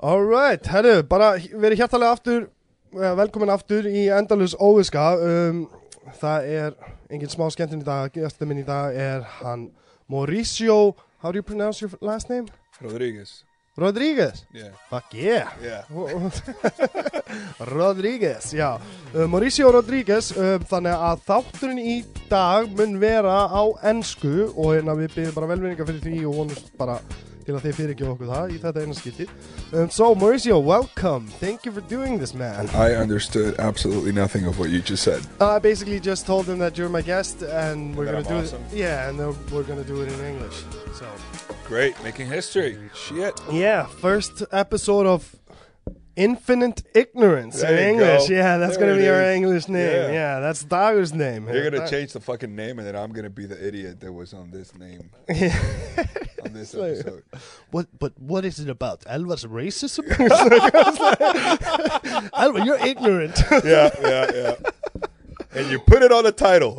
Alright, herru, bara verið hjertalega aftur, eh, velkomin aftur í Endalus Óviska. Um, það er engin smá skemmtinn í dag, gestur minn í dag er hann Mauricio, how do you pronounce your last name? Rodriguez. Rodríguez. Yeah. Fuck yeah. Yeah. Rodríguez, já uh, Mauricio Rodríguez uh, þannig að þátturinn í dag mun vera á ennsku og hérna við byggjum bara velvinninga fyrir því og vonumst bara til að þeir fyrirgjóðu okkur það í þetta eina skipti um, So Mauricio, welcome Thank you for doing this man I understood absolutely nothing of what you just said. I basically just told him that you're my guest and we're that gonna I'm do awesome. it Yeah, and then we're gonna do it in English So, Great, making history. Shit. yeah, first episode of Infinite Ignorance There you in English. go. Yeah, that's There going to it be our is. English name. Yeah, Yeah. that's Dagger's name. You're gonna Dag- change the fucking name, and then I'm gonna be the idiot that was on this name on this like- episode. What? But what is it about? Alva's racism? It's like- Alva, you're ignorant. yeah, yeah, yeah. And you put it on the title.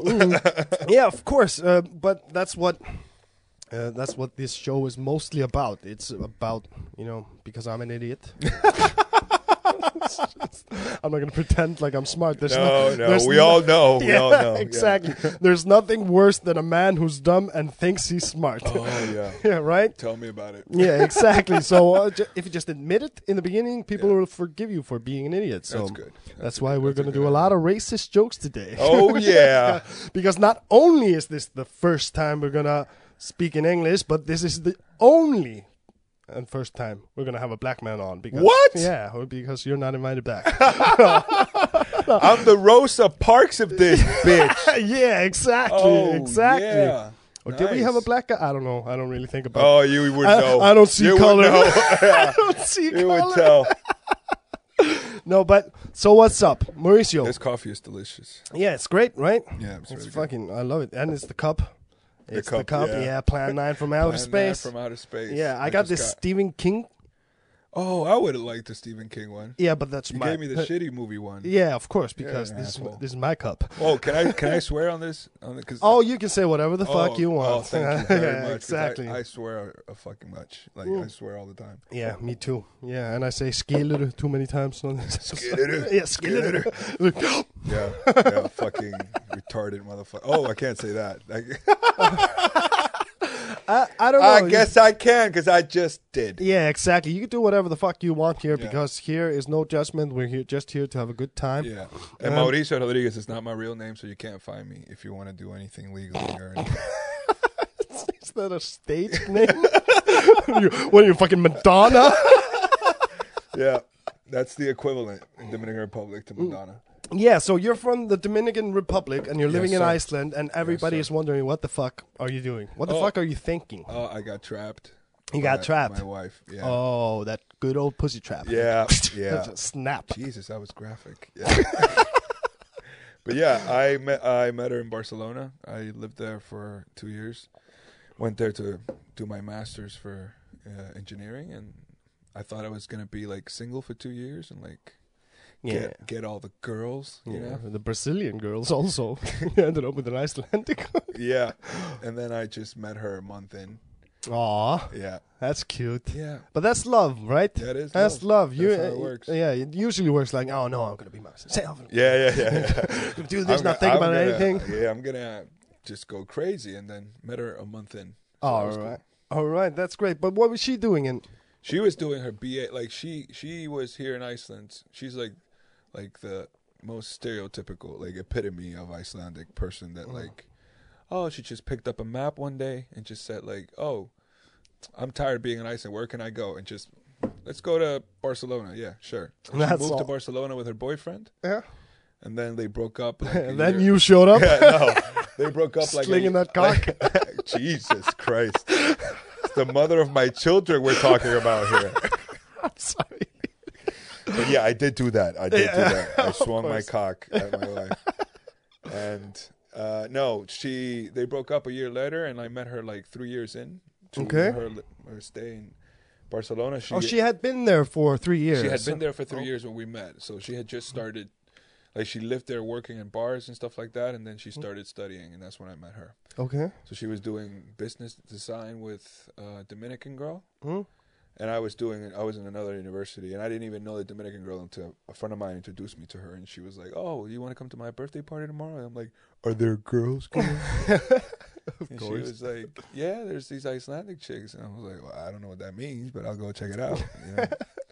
yeah, of course. Uh, but that's what uh, that's what this show is mostly about. It's about you know because I'm an idiot. It's just- I'm not gonna pretend like I'm smart. There's no, no, there's we all know. We Yeah, all know. yeah. exactly. There's nothing worse than a man who's dumb and thinks he's smart. Oh yeah. yeah, right. Tell me about it. Yeah, exactly. so uh, ju- if you just admit it in the beginning, people will forgive you for being an idiot. So That's good. That's that's a why good- we're that's a going to good do a lot of racist jokes today. Oh yeah. because not only is this the first time we're going to speak in English, but this is the only and first time we're going to have a black man on because What? Yeah, or because you're not invited back. I'm the Rosa Parks of this bitch. yeah, exactly. Oh exactly. yeah. Or did we have a Nice. black guy? I don't know. I don't really think about Oh, you would I- know. I don't see you would color. know. I don't see you would color. tell. No, but so what's up, Mauricio? This coffee is delicious. Yeah, it's great, right? Yeah, it's it's really good. fucking. I love it, and it's the cup. It's the cup, cup. Yeah, yeah. Plan Nine from Outer Plan Nine Space. from outer space. yeah, I got just this Stephen King. oh, I would have liked the Stephen King one. Yeah, but that's You my. gave me the shitty movie one. yeah, of course, because Yeah, this is asshole. this is my cup. Oh, can I can I swear on this? On the, cause Oh, you can say whatever the fuck oh, you want. Oh, thank you very yeah, much. 'cause exactly. I, I swear a, fucking much. Like I swear all the time. yeah, me too. Yeah, and I say skiller too many times on this. Skiller. yeah, skiller. Like, Yeah, yeah fucking retarded motherfucker. Oh, I can't say that. I, I, I don't know. I guess I can because I just did. Yeah, exactly. You can do whatever the fuck you want here Yeah. because here is no judgment. We're here just here to have a good time. Yeah, and Um, Mauricio Rodriguez is not my real name, so you can't find me if you want to do anything legally or anything. Is that a stage name? you, what are you, fucking Madonna? yeah, that's the equivalent in Dominican Republic to Madonna. yeah, so you're from the Dominican Republic and you're living in sir. Iceland, and everybody sir. is wondering what the fuck are you doing? What the Oh. fuck are you thinking? Oh, I got trapped. You got by trapped. My wife. Yeah. Oh, that good old pussy trap. Yeah. Yeah. Just Snap. Jesus, that was graphic. Yeah. but yeah, I met I met her in Barcelona. I lived there for two years. Went there to do my masters for uh, engineering, and I thought I was gonna be like single for two years and like Yeah. get get all the girls, you Yeah, know. the Brazilian girls also ended up with an Icelandic. Yeah. And then I just met her a month in. Aw, Yeah. that's cute. Yeah. But that's love, right? That is That's love. love. You, uh, That's how it works. Yeah, it usually works like, oh no, I'm gonna be myself. Yeah, yeah, yeah. yeah. Do this, not I'm gonna- think I'm about gonna- anything. Yeah, I'm gonna just go crazy, and then met her a month in. So that All was cool. Oh, right. All right, that's great. But what was she doing in She was doing her BA. Like she she was here in Iceland. She's like like the most stereotypical like epitome of Icelandic person Mm. that like oh she just picked up a map one day and just said like oh I'm tired of being in Iceland. Where can I go? And just let's go to Barcelona. Yeah, sure. And she That's moved all. to Barcelona with her boyfriend, Yeah. and then they broke up. Like, a And then year- you showed up Yeah, no. They broke up like a- slinging that cock. like- Jesus Christ. It's the mother of my children we're talking about here. Sorry. But yeah, I did do that. I did Yeah, do that. I swung my course. cock at my wife. And uh, no, she they broke up a year later, and I met her like three years in to Okay. her, her stay in Barcelona. She, Oh, she had been there for three years. she had been there for oh. three years when we met, so she had just started. Like she lived there, working in bars and stuff like that, and then Mm-hmm. she started studying, and that's when I met her. Okay. So she was doing business design with a uh, Dominican girl, Mm. and I was doing I was in another university and I didn't even know the Dominican girl until a friend of mine introduced me to her and she was like, "Oh, you want to come to my birthday party tomorrow?" And I'm like, "Are there girls going?" Of and she course. was like, "Yeah, there's these Icelandic chicks." And I was like, "Well, I don't know what that means, but I'll go check it out." you know?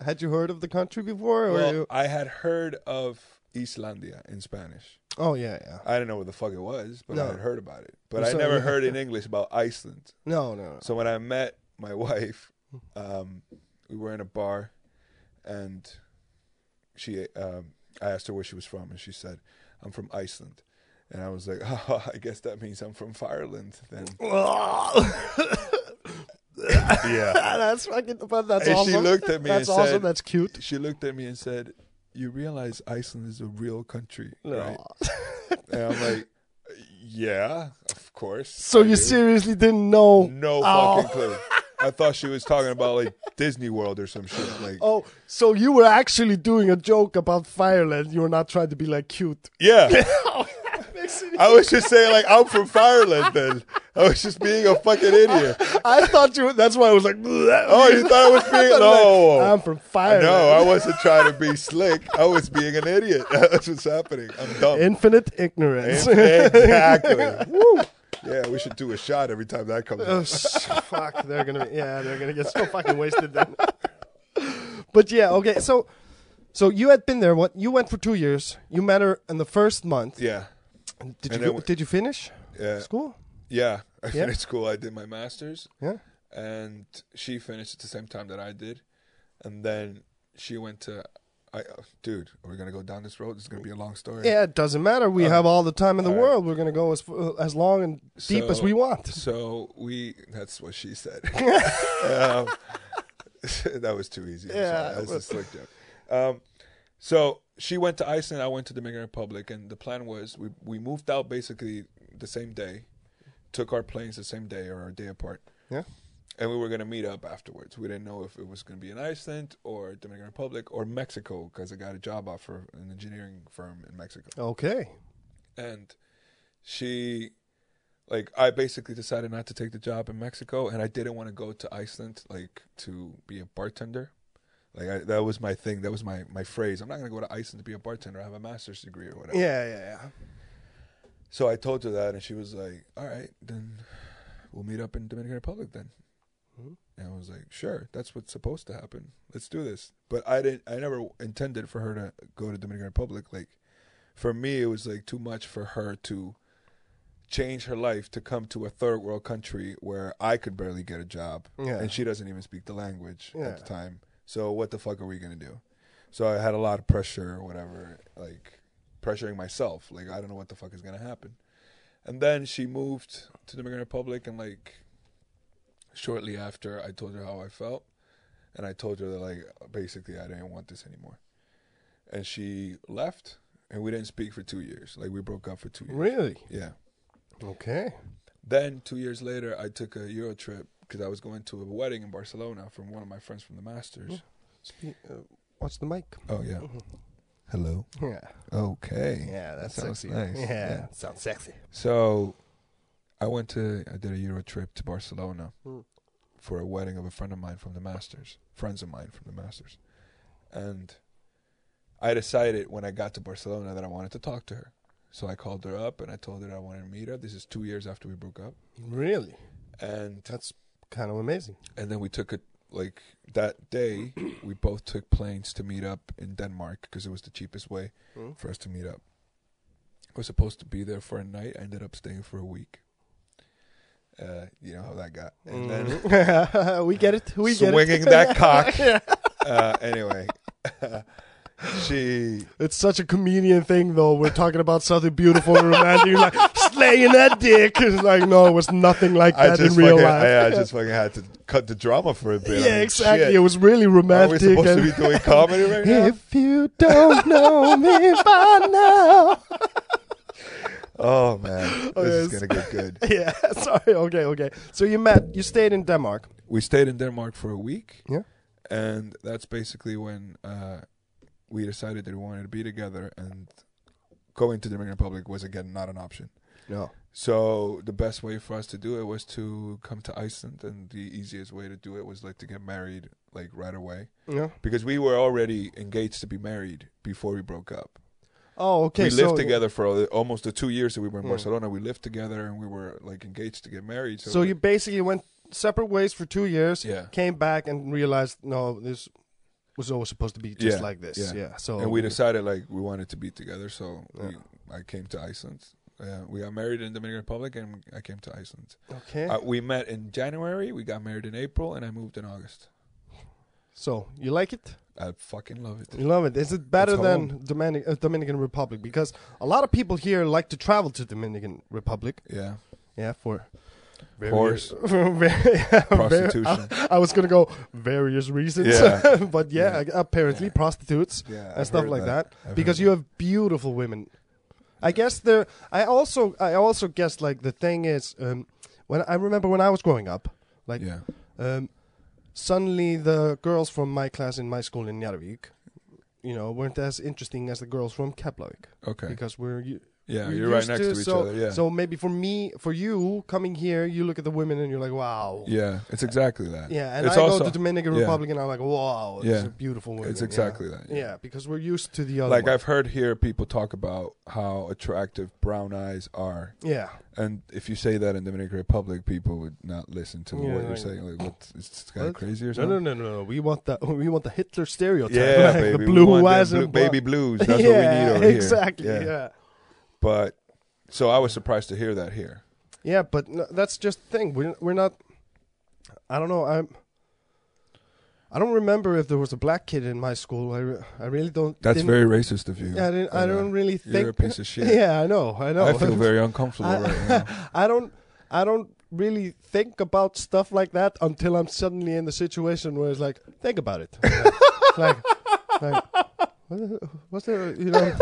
Had you heard of the country before? Or well, you... I had heard of Islandia in Spanish. Oh yeah, yeah. I didn't know what the fuck it was, but I No. had heard about it. But I'm I sorry. never heard in English about Iceland. No, no, no. So when I met my wife, um, we were in a bar, and she, um, I asked her where she was from, and she said, "I'm from Iceland," and I was like, "Oh, I guess that means I'm from Ireland." Then yeah, that's fucking. But that's and awesome. she looked at me that's and awesome. said, That's cute. "She looked at me and said." You realize Iceland is a real country, right? Aw. And I'm like, yeah, of course. So I you do." seriously didn't know? No Oh. fucking clue. I thought she was talking about like Disney World or some shit. Like, Oh, so you were actually doing a joke about Fireland. You were not trying to be like cute. yeah. Makes it- I was just saying, like, I'm from Ireland then. I was just being a fucking idiot. I thought you. That's why I was like. Oh, you thought I was being. No. I'm from Fireland. no, I wasn't trying to be slick. I was being an idiot. That's what's happening. I'm dumb. Infinite ignorance. exactly. Woo. Yeah, we should do a shot every time that comes Oh, up. s- fuck, they're gonna be, yeah, they're gonna get so fucking wasted then. but yeah, okay, so so you had been there. What you went for two years. You met her in the first month. Yeah. Did And you then we- did you finish Yeah. school? Yeah. I Yeah. finished school. I did my master's. Yeah. and she finished at the same time that I did, and then she went to. I, uh, dude, are we gonna go down this road? It's gonna be a long story. Yeah, it doesn't matter. We have all the time in the all right. world. We're gonna go as uh, as long and deep as So- we want. So we. That's what she said. um, that was too easy. I'm Yeah, sorry. That's but- a slick joke. Um, so she went to Iceland. I went to Dominican Republic, and the plan was we we moved out basically the same day, took our planes the same day or a day apart. Yeah. and we were going to meet up afterwards. We didn't know if it was going to be in Iceland or Dominican Republic or Mexico because I got a job offer in an engineering firm in Mexico. Okay. And she, like, I basically decided not to take the job in Mexico, and I didn't want to go to Iceland, like, to be a bartender. Like I, that was my thing. That was my my phrase. I'm not going to go to Iceland to be a bartender. I have a master's degree or whatever. Yeah, yeah, yeah. So I told her that, and she was like, "All right, then we'll meet up in Dominican Republic then." Mhm. And I was like, "Sure, that's what's supposed to happen. Let's do this." But I didn't. I never intended for her to go to Dominican Republic. Like, for me, it was like too much for her to change her life to come to a third world country where I could barely get a job, Yeah. and she doesn't even speak the language Yeah. at the time. So what the fuck are we gonna do? So I had a lot of pressure, or whatever, like pressuring myself. Like I don't know what the fuck is gonna happen. And then she moved to Dominican Republic, and like shortly after, I told her how I felt, and I told her that like basically I didn't want this anymore. And she left, and we didn't speak for two years. Like we broke up for two years. Really? Yeah. Okay. Then two years later, I took a Euro trip because I was going to a wedding in Barcelona from one of my friends from the Mm. Masters. Spe- uh, What's the mic? Oh yeah. Hello. Yeah, Okay. Mm-hmm. yeah, that's sounds sexy. nice. Yeah, Yeah. sounds sexy. So, I went to I did a Euro trip to Barcelona Mm. for a wedding of a friend of mine from the Masters, friends of mine from the Masters, and I decided when I got to Barcelona that I wanted to talk to her. So I called her up and I told her I wanted to meet her. This is two years after we broke up, Really? and That's kind of amazing. and then we took a like that day we both took planes to meet up in Denmark because it was the cheapest way Mm. for us to meet up. I was supposed to be there for a night. I ended up staying for a week. Uh, you know how that got. And then Mhm. we get it. Hmm. We get it. swinging that cock. Uh, anyway, she It's such a comedian thing, though. We're talking about something beautiful and romantic, You're like slaying that dick. It's like, no, it's nothing like I that in just real fucking life. I, I just fucking had to cut the drama for a bit. I yeah, mean, exactly. It shit. was really Are we romantic. supposed to and- be doing comedy right now? if you don't know me by now, Oh man, Oh, this yes. is gonna get good. yeah. Sorry. Okay. Okay. So you met. You stayed in Denmark. we stayed in Denmark for a week. Yeah. And that's basically when uh, we decided that we wanted to be together and going to the Dominican Republic was again not an option. No. So the best way for us to do it was to come to Iceland and the easiest way to do it was like to get married like right away Yeah. because we were already engaged to be married before we broke up. Oh, okay. we lived so, together for al- almost the two years that we were in Barcelona. We lived together and we were like engaged to get married. So, So you basically went separate ways for two years. Yeah. Came back and realized no, this was always supposed to be just Yeah, like this. Yeah. yeah. So and we decided like we wanted to be together. So Oh. we, I came to Iceland. Uh, we got married in Dominican Republic and I came to Iceland. okay. Uh, we met in January. We got married in April, and I moved in August. so you like it? I fucking love it. You love it. Is it better It's than Dominic, uh, Dominican Republic? Because a lot of people here like to travel to Dominican Republic. Yeah, Yeah, for Whores. various- prostitution. I was gonna go various reasons, Yeah. but yeah, apparently prostitutes Yeah, and I've stuff heard like that. that. I've heard because you have beautiful women. I guess there. I also I also guess like the thing is um, when I remember when I was growing up, like yeah. um, suddenly the girls from my class in my school in Njarvik, you know, weren't as interesting as the girls from Keflavik Okay. because we're u- Yeah, we're you're right used next to each so, other. Yeah. So maybe for me, for you coming here, you look at the women and you're like, wow. yeah, it's exactly that. Yeah, and it's I also, go to Dominican yeah. Republic and I'm like, wow, it's Yeah. a beautiful women. It's yeah. exactly that. Yeah. because we're used to the other. Like one. I've heard here people talk about how attractive brown eyes are, yeah, and if you say that in Dominican Republic, people would not listen to Yeah, what you're like- saying. Like, what is this guy What? crazy no, or something? no, no, no, no. We want the we want the Hitler stereotype. Yeah, like baby, the we blue want them eyes blue- and black- baby blues. That's yeah, what we need over here. Exactly. Yeah. yeah, But so I was surprised to hear that here. but no, that's just the thing. We're we're not. I don't know. I'm. I don't remember if there was a black kid in my school. I, re- I really don't. That's didn't- very racist of you. Yeah, I, didn't, by I the way. don't really think. You're a piece of shit. Yeah, I know. I know. I feel very uncomfortable I- right now. I don't. I don't really think about stuff like that until I'm suddenly in the situation where it's like, think about it. like, like what- what's there? You know,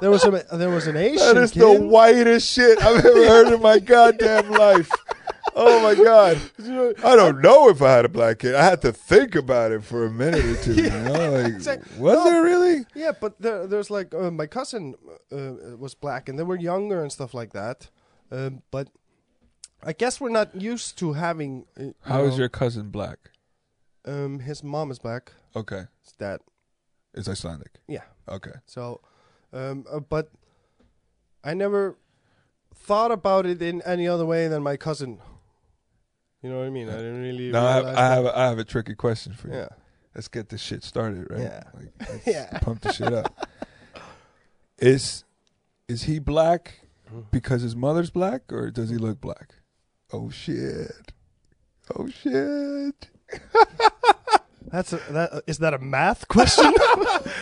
there was a there was an Asian That is kid. the whitest shit I've ever heard in my goddamn life. Oh my god! I don't know if I had a black kid. I had to think about it for a minute or two. You know? like, exact- was no. there really? Yeah, but there, there's like uh, my cousin uh, was black, and they were younger and stuff like that. Um, but I guess we're not used to having. Uh, you How is know, your cousin black? Um, his mom is black. Okay, His dad, it's Icelandic. yeah. Okay, So, um, uh, but I never thought about it in any other way than my cousin. You know what I mean? I didn't really. now I have realize I that- have, a, I have a tricky question for you. Yeah. Let's get this shit started, right? Yeah. Like, let's Yeah. Pump the shit up. is is he black Hmm. because his mother's black, or does he look black? Oh shit! Oh shit! That's a, that. uh, Is that a math question?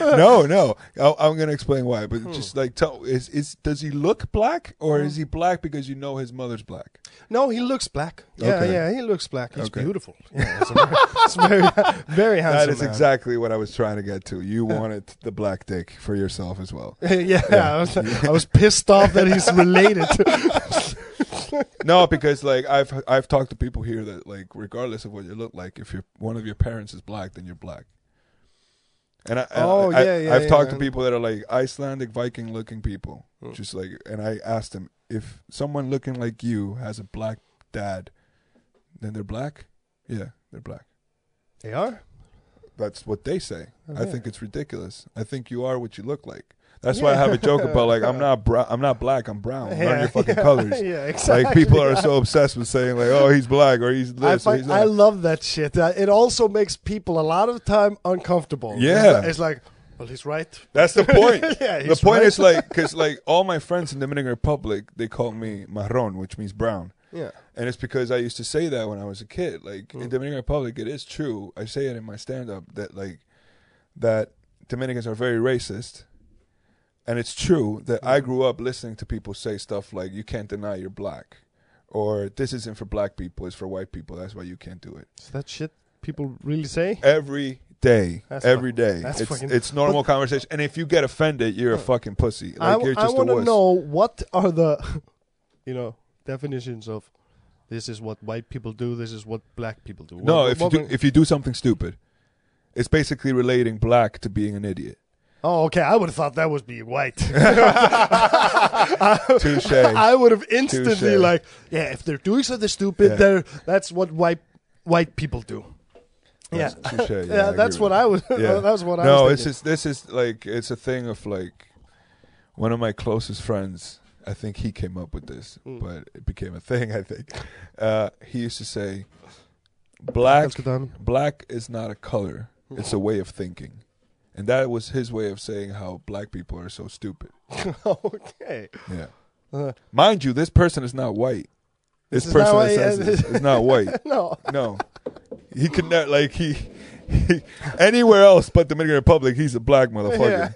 no, no. I, I'm going to explain why, but Hmm. just like tell is is does he look black or is he black because you know his mother's black? no, he looks black. Yeah, Okay. yeah, he looks black. He's Okay. beautiful. Yeah, it's, a very, it's very, very handsome. that is man. exactly what I was trying to get to. You wanted the black dick for yourself as well. yeah, I, was, I was pissed off that he's related. no, because like I've I've talked to people here that like regardless of what you look like, if you're one of your parents is black, then you're black. And I, and Oh, I, yeah, yeah, I've talked yeah. Oh. to people that are like Icelandic Viking looking people, just like, and I asked them if someone looking like you has a black dad, then they're black. Yeah, they're black. they are. That's what they say. I Okay. think it's ridiculous. I think you are what you look like. That's why I have a joke about like I'm not bra- I'm not black. I'm brown. Learn your fucking yeah, colors. Yeah, exactly. Like people are so obsessed with saying like, oh, he's black or he's this I, or find- he's I that. love that shit. Uh, It also makes people a lot of time uncomfortable. It's Yeah. li- it's like, well, he's right. That's the point. Yeah, the he's point right. is like, because like all my friends in Dominican Republic, they call me marron, which means brown, Yeah, and it's because I used to say that when I was a kid. Like Hmm. in Dominican Republic, it is true. I say it in my stand-up that like that Dominicans are very racist. And it's true that Hmm. I grew up listening to people say stuff like, you can't deny you're black. Or this isn't for black people, it's for white people. That's why you can't do it. is that shit people really say? every day. That's every fuck- day. that's it's, fucking- it's normal conversation. And if you get offended, you're a fucking pussy. Like I, you're just want a to wuss. know what are the, you know, definitions of this is what white people do. This is what black people do. No, What- if you what- do, if you do something stupid, it's basically relating black to being an idiot. oh, okay. I would have thought that was being white. Touche. I would have instantly Touche. like, yeah, if they're doing something stupid, Yeah. they're that's what white white people do. That's Yeah. touche, Yeah, I agree that's with what that. I was. Yeah. that's what I no, was. it's just this is like it's a thing of like one of my closest friends. I think he came up with this, Mm. but it became a thing. I think uh, he used to say, "Black, black is not a color; it's a Hmm. way of thinking," and that was his way of saying how black people are so stupid. okay. Yeah, Uh, mind you, this person is not white. This, This is not person that white, says yeah, this is not white. no. No, he could not like he, he anywhere else but Dominican Republic. He's a black motherfucker.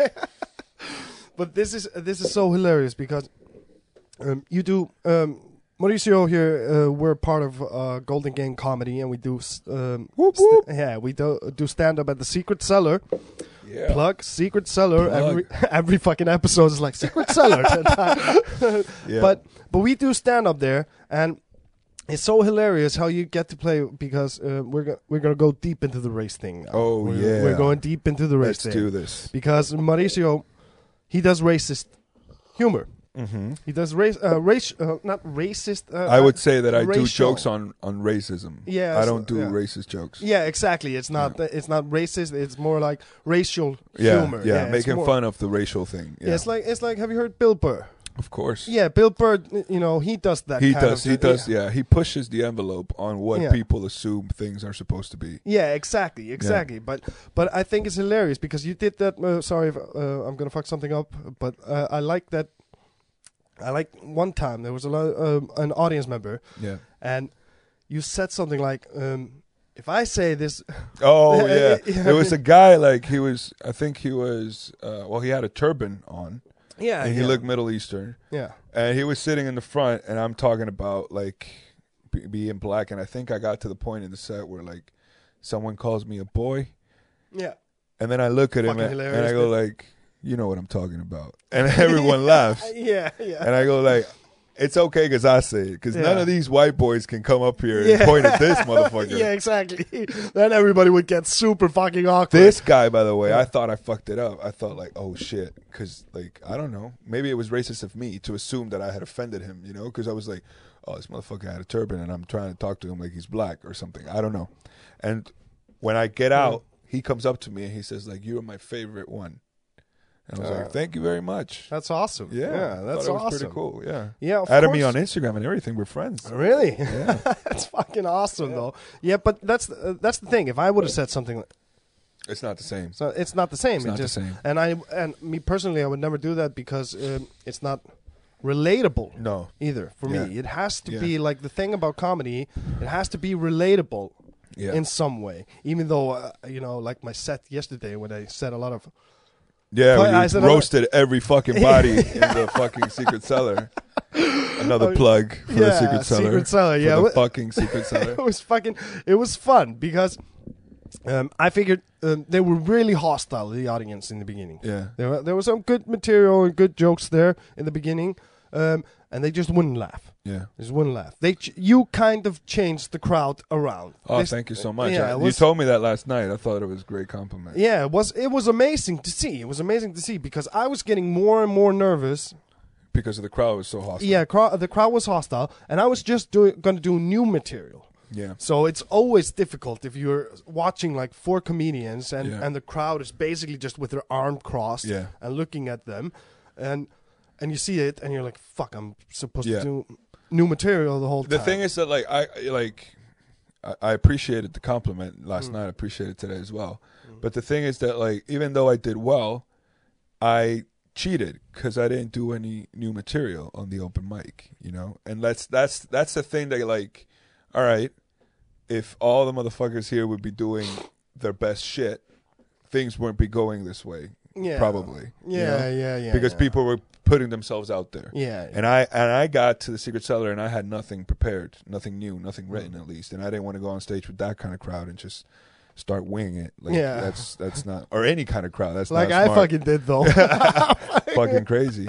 but this is this is so hilarious because um, you do um, Mauricio here. Uh, we're part of uh, Golden Gang Comedy, and we do s- um, Whoop, st- whoop. yeah we do do stand up at the Secret Cellar. Yeah. Plug Secret Cellar. Plug. Every every fucking episode is like Secret Cellar. Yeah. But but we do stand up there, and it's so hilarious how you get to play because uh, we're go- we're gonna go deep into the race thing. Now. Oh, we're, yeah. we're going deep into the race let's thing do this. because Mauricio, he does racist humor. Mm-hmm. He does race, uh, race, uh, not racist. Uh, I would say that I do racial. jokes on on racism. Yeah, I so- don't do yeah. racist jokes. Yeah, exactly. It's not. It's not racist. It's more like racial Yeah, humor. yeah, it's making more- fun of the racial thing. Yeah, Yeah, it's like it's like. Have you heard Bill Burr? of course. Yeah, Bill Burr. You know, he does that. he kind does. Of, He does. Yeah. he pushes the envelope on what Yeah. people assume things are supposed to be. Yeah, exactly, exactly. But but I think it's hilarious because you did that. Uh, sorry, if, uh, I'm gonna fuck something up. But uh, I like that. I like one time there was a lot, um, an audience member, Yeah. and you said something like, um, "If I say this, Oh Yeah, yeah. yeah. There was a guy like he was. I think he was. Uh, well, he had a turban on, yeah, and he Ah, yeah, looked Middle Eastern. yeah, and he was sitting in the front and i'm talking about like be- being black and i think i got to the point in the set where like someone calls me a boy yeah, and then i look at him Fucking and, hilarious, and i go dude. like you know what i'm talking about and everyone laughs Uh, yeah, yeah." and i go like it's okay because i say it because none Yeah. of these white boys can come up here Yeah. and point at this motherfucker Yeah, exactly. then everybody would get super fucking awkward. This guy, by the way, I thought I fucked it up. I thought like, oh shit, because like I don't know, maybe it was racist of me to assume that I had offended him, you know? Because I was like, oh, this motherfucker had a turban, and I'm trying to talk to him like he's black or something. I don't know. And when I get out, he comes up to me and he says like, "You are my favorite one," and I was Uh, like, "Thank you very much." that's awesome. Yeah, I thought that's it was awesome. Pretty cool. Yeah, Yeah, of added me course. on Instagram and everything. We're friends. Really? that's fucking awesome, though. Yeah, but that's uh, that's the thing. If I would have said something, like- It's not the same. so it's not the same. It's It not the just- same. And I and me personally, I would never do that because um, it's not relatable No. either for me. Yeah. It has to Yeah. be like the thing about comedy. It has to be relatable Yeah. in some way. Even though uh, you know, like my set yesterday when I said a lot of Yeah, But where you I said- "Oh, roasted every fucking body in the fucking secret cellar. Another plug for the Oh, yeah, secret cellar. Secret Cellar, For yeah. the What- fucking secret cellar. it was fucking it was fun because um, I figured um, they were really hostile the audience in the beginning. Yeah, There, were- there was some good material and good jokes there in the beginning, um, and they just wouldn't laugh. yeah. They just wouldn't laugh. They ch- you kind of changed the crowd around. Oh, This- thank you so much. yeah, I- it you was- told me that last night. I thought it was a great compliment. Yeah, it was it was amazing to see. It was amazing to see because I was getting more and more nervous. Because the crowd was so hostile. Yeah, crow- the crowd was hostile, and I was just doing going to do new material. Yeah. So it's always difficult if you're watching like four comedians and, Yeah. and the crowd is basically just with their arm crossed Yeah. and looking at them and and you see it and you're like, fuck, I'm supposed Yeah. to do new material the whole The time. thing is that like I like I, I appreciated the compliment Mm. last night. I appreciate it today as well. But the thing is that like even though I did well, I cheated because I didn't do any new material on the open mic. You know, and that's that's that's the thing that like, all right, if all the motherfuckers here would be doing their best shit, things wouldn't be going this way. Yeah. Probably. you yeah, know? yeah, yeah. because yeah. people were putting themselves out there. Yeah. And I and I got to the secret cellar and I had nothing prepared, nothing new, nothing written Mm. at least, and I didn't want to go on stage with that kind of crowd and just start winging it. Like Yeah. that's that's not or any kind of crowd. That's like not I smart. fucking did though. fucking crazy.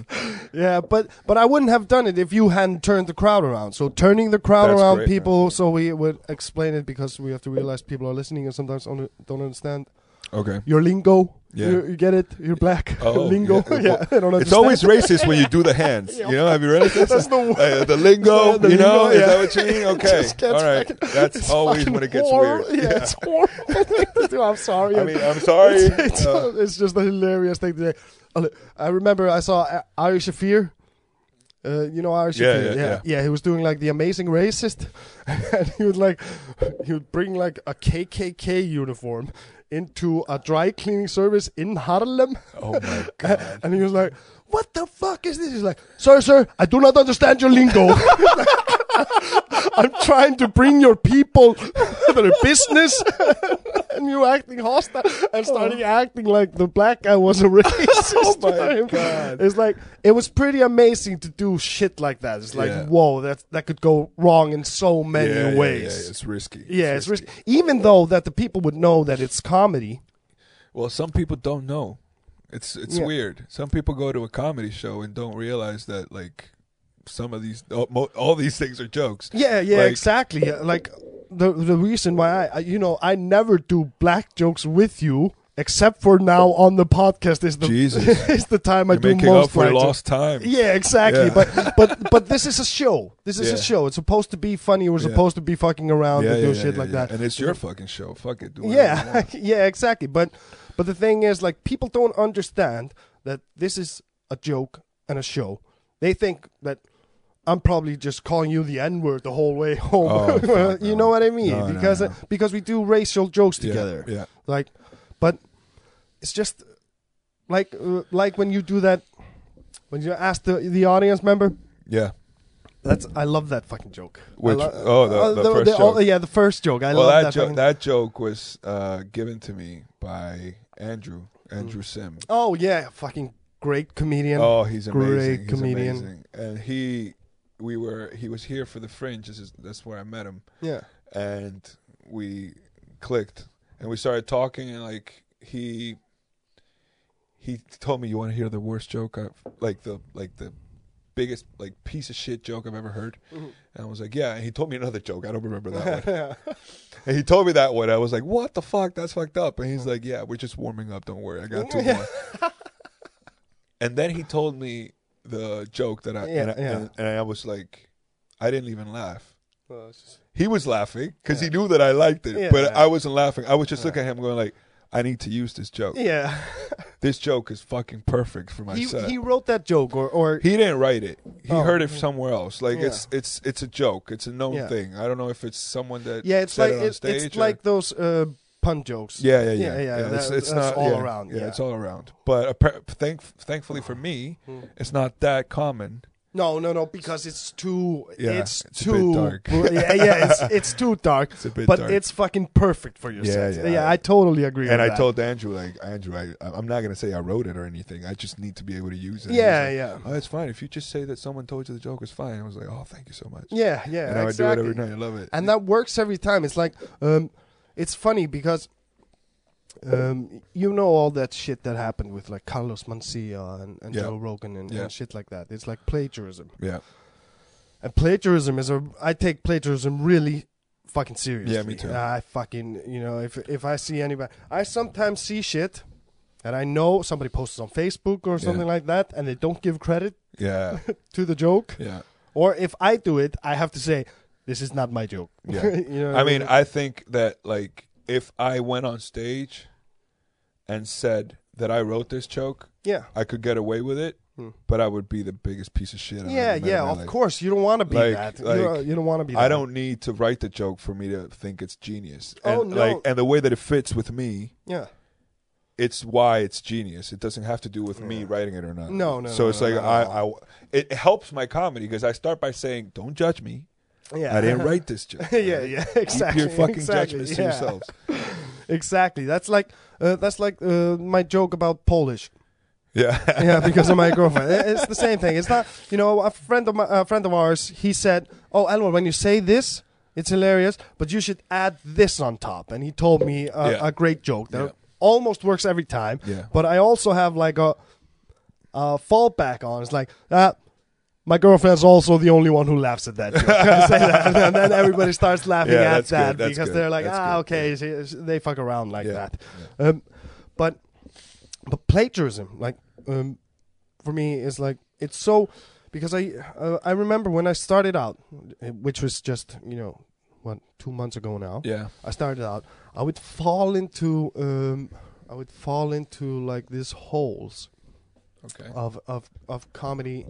yeah, but but I wouldn't have done it if you hadn't turned the crowd around. So turning the crowd That's around great, man. people so we would explain it because we have to realize people are listening and sometimes only- don't understand Okay. your lingo. Yeah. You, you get it. You're black. Oh, Lingo. Yeah. yeah. they don't It's understand. always racist when you do the hands. You know, have you realized this? That's the word. Uh, the lingo, Yeah, the you know, lingo, is that yeah. what you mean? It Okay, just gets all right. fucking- That's it's always fucking when it gets horrible. weird. Yeah, it's horrible thing to do. I'm sorry. I mean, I'm sorry. It's, it's, Uh, it's just a hilarious thing to do. Oh, look, I remember I saw uh, Ari Shafir. Uh, you know Ari Shafir? Yeah, yeah, yeah. He was doing like the Amazing Racist, and he would like he would bring like a KKK uniform into a dry cleaning service in Harlem. Oh my god. And he was like, "What the fuck is this?" He's like, "Sir, sir, I do not understand your lingo. I'm trying to bring your people to their business, and you acting hostile and starting acting like the black guy was a racist." Oh. my to him. God. It's like it was pretty amazing to do shit like that. It's like, Yeah. whoa, that that could go wrong in so many Yeah, yeah, ways. Yeah, Yeah, it's risky. it's risky. Even though that the people would know that it's comedy. Well, some people don't know. It's it's Yeah. weird. Some people go to a comedy show and don't realize that like some of these all, mo- all these things are jokes. Yeah, yeah, Like- exactly. Yeah, Like the the reason why I, I you know I never do black jokes with you except for now on the podcast is the Jesus. is the time I You're do making most up for black jokes. lost time. Yeah, exactly. Yeah. But but but this is a show. This is Yeah. a show. It's supposed to be funny. We're Yeah. supposed to be fucking around yeah, and do yeah, shit yeah, like yeah. that. And it's your fucking show. Fuck it. Do whatever you Yeah, want. yeah, exactly. But but the thing is, like, people don't understand that this is a joke and a show. They think that I'm probably just calling you the N word the whole way home. Oh, fuck you no. know what I mean? No, no, because uh, no. because we do racial jokes Yeah, together. Yeah. Like, but it's just like uh, like when you do that when you ask the the audience member. Yeah. That's I love that fucking joke. I Which- lo- oh, the- uh, the first joke. yeah, the first joke. I well, love that, that. joke fucking- that joke was uh, given to me by Andrew Andrew Sim. Oh yeah, fucking great comedian. Oh, he's amazing. Great he's comedian. amazing. And he, we were, he was here for the Fringe. This is, that's where I met him, Yeah. and we clicked, and we started talking, and like he, he told me, "You want to hear the worst joke I've like the like the biggest like piece of shit joke I've ever heard?" Mm-hmm. And I was like, "Yeah." And he told me another joke. I don't remember that one. And he told me that one. I was like, "What the fuck? That's fucked up." And he's Uh-huh. like, "Yeah, we're just warming up. Don't worry, I got two more." and then he told me the joke that I, Yeah, and, I yeah. And, and I was like, I didn't even laugh. He was laughing because he knew that I liked it, Yeah. but I wasn't laughing. I was just looking at him, going like, "I need to use this joke. yeah. This joke is fucking perfect for Oh. my He, set." he wrote that joke or or He didn't write it. He Oh. heard it somewhere else. Like Yeah. it's it's it's a joke. It's a known Yeah. thing. I don't know if it's someone that yeah, it's said like it on it- stage it's or- like those uh, pun jokes. Yeah, yeah, yeah, Yeah, yeah, it's, that- that's it's not all yeah, around, Yeah, yeah. it's all around. But appar- thank, thankfully for me, it's not that common. No, no, no, because it's too Yeah, it's, it's a bit too dark. br- yeah, yeah, it's it's too dark. It's a bit but dark. it's fucking perfect for your Yeah, set. yeah. I totally agree And with I that. told Andrew, like Andrew, I, I'm not gonna say I wrote it or anything. I just need to be able to use it. And he was Yeah, like, yeah. Oh, it's fine. If you just say that someone told you the joke was fine, I was like, oh, thank you so much. Yeah, yeah, and I would exactly. do it every night. I love it. and that works every time. It's like, um, it's funny because, um, you know all that shit that happened with like Carlos Mencia and, and Yeah. Joe Rogan and, Yeah. and shit like that. It's like plagiarism, yeah, and plagiarism is a. I take plagiarism really fucking seriously. Yeah, me too. I fucking you know if if I see anybody, I sometimes see shit. And I know somebody posts on Facebook or something like that, and they don't give credit yeah, to the joke. yeah. Or if I do it, I have to say, "This is not my joke." Yeah. you know what I mean, I think that like if I went on stage and said that I wrote this joke, yeah. I could get away with it, Hmm. but I would be the biggest piece of shit. I've Yeah, ever met in yeah, my of life. course. You don't want to be Like- that. like, you don't, want to be that. I don't need to write the joke for me to think it's genius. And Oh, no. like and the way that it fits with me, Yeah. it's why it's genius. It doesn't have to do with me writing it or not. No, no, So no, it's no, like no, no. I, I it helps my comedy because I start by saying, "Don't judge me. Yeah. I didn't write this joke." yeah, yeah, exactly. Keep your fucking exactly, judgments yeah. to yourselves. Exactly. That's like uh, that's like uh, my joke about Polish. Yeah. Yeah, because of my girlfriend. It- It's the same thing. It's not. You know, a friend of my a friend of ours. He said, "Oh, Elmore, when you say this." It's hilarious, but you should add this on top. And he told me a, Yeah. a great joke that Yeah. almost works every time. Yeah. But I also have like a, a fallback on. It's like, ah, my girlfriend's also the only one who laughs at that joke. I say that, and then everybody starts laughing Yeah, at that's good, that that's because "Ah, good, they're like, that's ah, good, okay, she- she- they fuck around like Yeah, that. Um, but but plagiarism like um for me is like it's so because i uh, i remember when i started out which was just you know what two months ago now Yeah. i started out i would fall into um i would fall into like these holes Okay. of of of comedy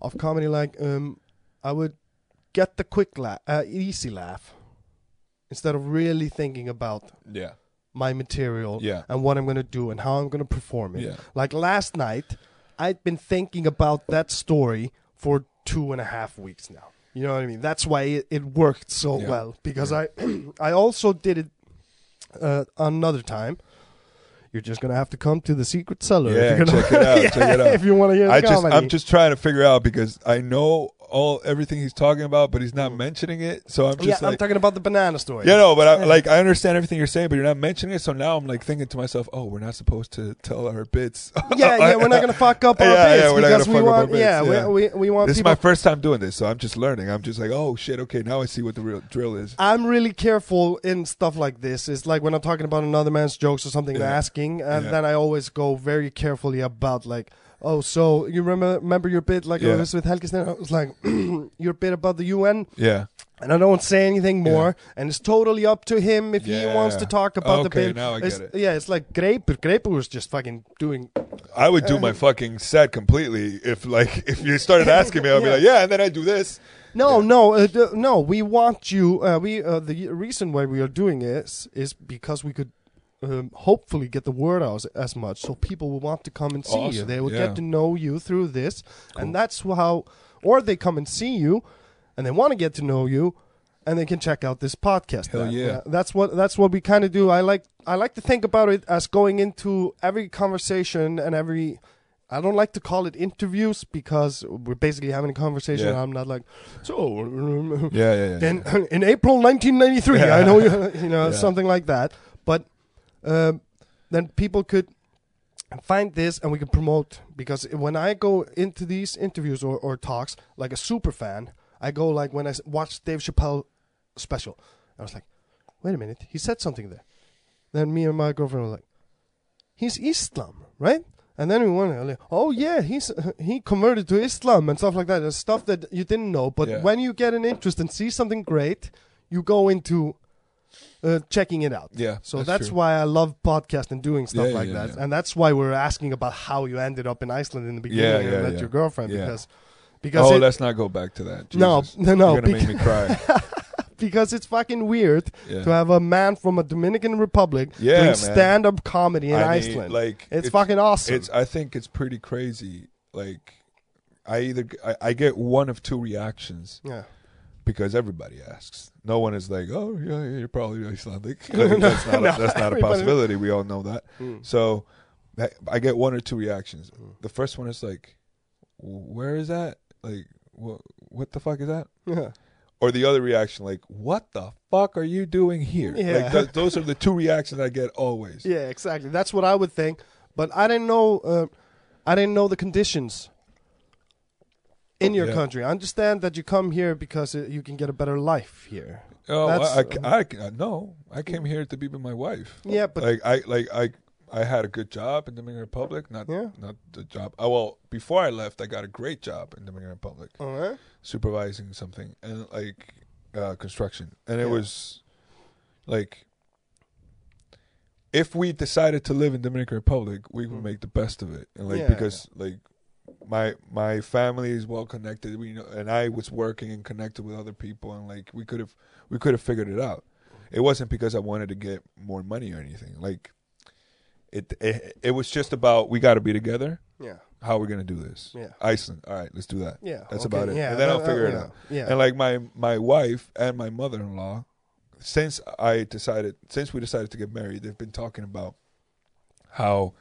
of comedy like um i would get the quick laugh uh, easy laugh instead of really thinking about Yeah. my material Yeah. and what I'm going to do and how I'm going to perform it. Yeah. Like last night, I'd been thinking about that story for two and a half weeks now. You know what I mean? That's why it, it worked so Yeah. well because I, I also did it uh, another time. You're just gonna have to come to the secret cellar. Yeah, if you're gonna- check it out, check it out. If you want to hear I just comedy, I'm just trying to figure out because I know all everything he's talking about, but he's not mentioning it. So I'm Mm. yeah, just I'm like, talking about the banana story. you know, but I like I understand everything you're saying, but you're not mentioning it. So now I'm like thinking to myself, oh, we're not supposed to tell our bits. yeah, yeah, we're not gonna fuck up our uh, Yeah, yeah, bits we're not because gonna we fuck up our want, bits, yeah, yeah. We, we, we want This is people my first time doing this, so I'm just learning. I'm just like, oh shit, okay, now I see what the real drill is. I'm really careful in stuff like this. It's like when I'm talking about another man's jokes or something, and Yeah. asking, and Yeah. then I always go very carefully about like, oh, so you remember remember your bit like Yeah. I was with Helge Steen, I was like your bit about the UN, Yeah. and I don't say anything more, and it's totally up to him if he wants Yeah. to talk about the Okay, bit. now I It's- get Yeah, it's like Graper. Graper was just fucking doing. I would do my fucking set completely if like if you started asking me, I'd be Yeah. like, yeah, and then I do this. No, no, uh, d- no. We want you. Uh, we uh, the reason why we are doing this is because we could um, hopefully get the word out as, as much, so people will want to come and see you. Awesome, They will yeah. get to know you through this, and that's how. Or they come and see you, and they want to get to know you, and they can check out this podcast. Hell then. yeah. that's what that's what we kind of do. I like I like to think about it as going into every conversation and every. I don't like to call it interviews because we're basically having a conversation. Yeah. I'm not like, so Yeah, yeah, yeah. in in April 1993, I know you, you know Yeah. something like that. But um, then people could find this and we can promote because when I go into these interviews or, or talks like a super fan, I go like when I s- watched Dave Chappelle special, I was like, wait a minute, he said something there. Then me and my girlfriend were like, he's Islam, right? And then we went, like, oh yeah, he's he converted to Islam and stuff like that, and stuff that you didn't know. But Yeah. when you get an interest and see something great, you go into uh, checking it out. Yeah, So that's that's, true. why I love podcast and doing stuff Yeah, like yeah, that, yeah. and that's why we're asking about how you ended up in Iceland in the beginning Yeah, and yeah, met yeah. your girlfriend Yeah. because because Oh, it- let's not go back to that. No, Jesus. no, no, You're gonna make me cry. because it's fucking weird Yeah. to have a man from a Dominican Republic Yeah, doing man. stand up comedy in I mean, Iceland. like it's, fucking awesome. It's I think it's pretty crazy. Like I either I, I get one of two reactions yeah. because everybody asks. No one is like, "Oh, yeah, yeah you're probably Icelandic." Like, that's not a, that's not a everybody- Mm. possibility. We all know that. So I- I get one or two reactions. The first one is like, "Where is that?" Like, what what the fuck is that? Yeah. or the other reaction like what the fuck are you doing here Yeah. like th- those are the two reactions i get always Yeah, exactly. That's what I would think. But I didn't know. Uh, I didn't know the conditions in your Yeah. country. I understand that you come here because uh, you can get a better life here. oh That's- um, I, I, I- no i came here to be with my wife Yeah, but like i like i i had a good job in dominican republic not Yeah. not the job oh well before i left i got a great job in dominican republic all right. supervising something and like uh, construction and it Yeah. was like if we decided to live in dominican republic we would make the best of it and like Mm-hmm. Yeah, because like my my family is well connected we know and i was working and connected with other people and like we could have we could have figured it out it wasn't because i wanted to get more money or anything like it it, it was just about we got to be together Yeah. how we're gonna do this Yeah. iceland all right let's do that Yeah. that's okay, about it. Yeah. and then I'll uh, figure it yeah, out. Yeah. And like my my wife and my mother in law, since I decided since we decided to get married, they've been talking about how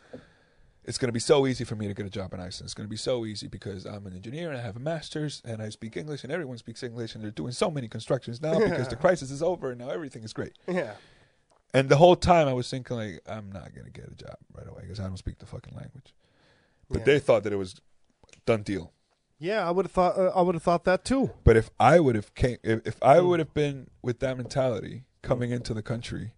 it's going to be so easy for me to get a job in Iceland. It's going to be so easy because I'm an engineer and I have a master's and I speak English and everyone speaks English and they're doing so many constructions now because the crisis is over and now everything is great. yeah. And the whole time I was thinking like I'm not going to get a job right away because I don't speak the fucking language. But Yeah. they thought that it was done deal. Yeah. I would have thought. Uh, I would have thought that too. But if Hmm. Hmm. I would have came, if, if I would have been with that mentality coming into the country,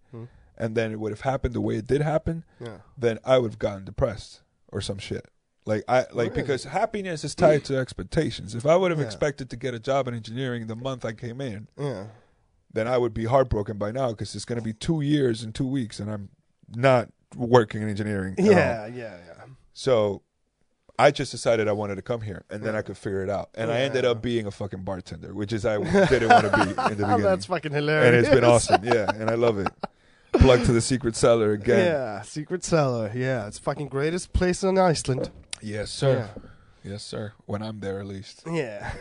and then it would have happened the way it did happen, Yeah. then I would have gotten depressed or some shit. Like I like Really? because happiness is tied to expectations. If I would have Yeah. expected to get a job in engineering the month I came in, Yeah. then I would be heartbroken by now because it's going to be two years and two weeks, and I'm not working in engineering. at all. Yeah, yeah, yeah. So I just decided I wanted to come here, and then I could figure it out. And I ended Yeah. up being a fucking bartender, which is I didn't want to be in the beginning. That's fucking hilarious. and it's been awesome, yeah, and I love it. Plug to the secret cellar again. Yeah, secret cellar. Yeah, it's fucking greatest place in Iceland. Yes, sir. Yes, sir. When I'm there, at least. Yeah.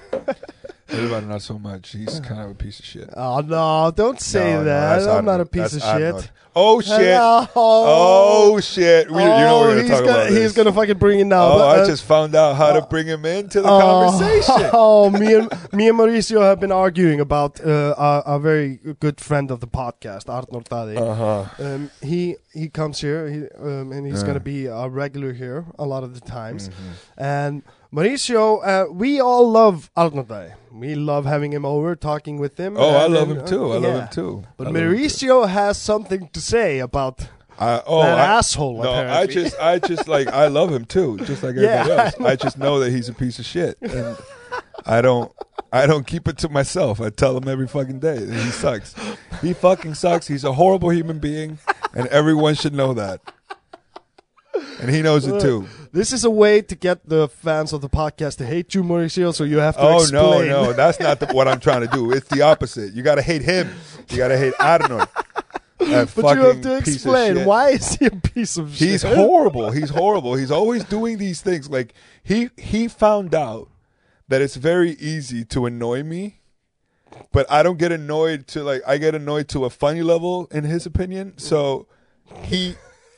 Everybody not so much. He's kind of a piece of shit. Oh no, don't say No, no, that. that's I'm not Arnold. a piece That's of shit. Arnold. Oh shit. Hello. Oh shit. We, you know we're Oh, gonna he's talk gonna, about this. He's gonna fucking bring it now. oh, but, I uh, just found out how to bring him into the conversation. Oh, me and me and Mauricio have been arguing about uh, our, our very good friend of the podcast, Art Nortadi. Uh huh. Um, he he comes here, he, um, and he's Yeah. gonna be a regular here a lot of the times. Mm-hmm. And Mauricio, uh, we all love Art Nortadi. We love having him over, talking with him. Oh, I and- love and, him uh, too. I love yeah. him too. But I love him too. Mauricio has something to say about I, oh, that I, asshole. No, I apparently. just, I just like, I love him too, just like Yeah, everybody else. I just know that he's a piece of shit, and I don't, I don't keep it to myself. I tell him every fucking day that he sucks. He fucking sucks. He's a horrible human being, and everyone should know that. And he knows it too. This is a way to get the fans of the podcast to hate you, Mauricio. So you have to Oh explain. no, no, that's not the, what I'm trying to do. It's the opposite. You gotta hate him. You gotta hate Arnold. That But you have fucking to piece of explain shit. why is he a piece of shit? He's horrible. He's horrible. He's always doing these things. Like he he found out that it's very easy to annoy me, but I don't get annoyed to like I get annoyed to a funny level in his opinion. So he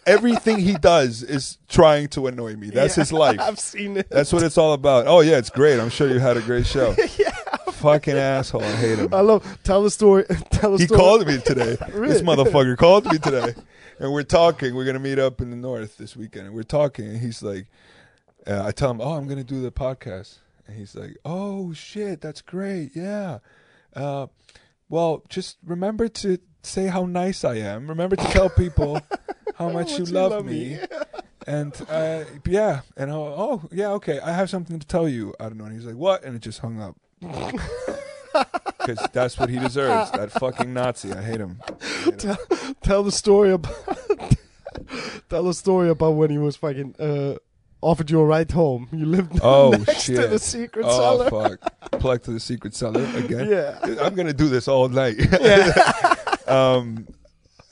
everything he does is trying to annoy me. That's Yeah. his life. I've seen it. That's what it's all about. Oh yeah, it's great. I'm sure you had a great show. Fucking asshole. I hate him. I love tell the story. Tell the He story. called me today. Really? This motherfucker called me today. And we're talking. We're going to meet up in the north this weekend. And we're talking. And he's like, uh, I tell him, oh, I'm going to do the podcast. And he's like, oh, shit, that's great. Yeah. Uh, well, just remember to say how nice I am. Remember to tell people how much you love, me. And uh, yeah, and I'll, oh yeah, okay. I have something to tell you. I don't know. And he's like, what? And it just hung up. Because that's what he deserves. That fucking Nazi. I hate him. tell, tell the story about. tell the story about when he was fucking uh, offered you a ride home. You lived Oh next shit. to the secret oh cellar. fuck. Plug to the secret cellar again. Yeah. I'm gonna do this all night. um.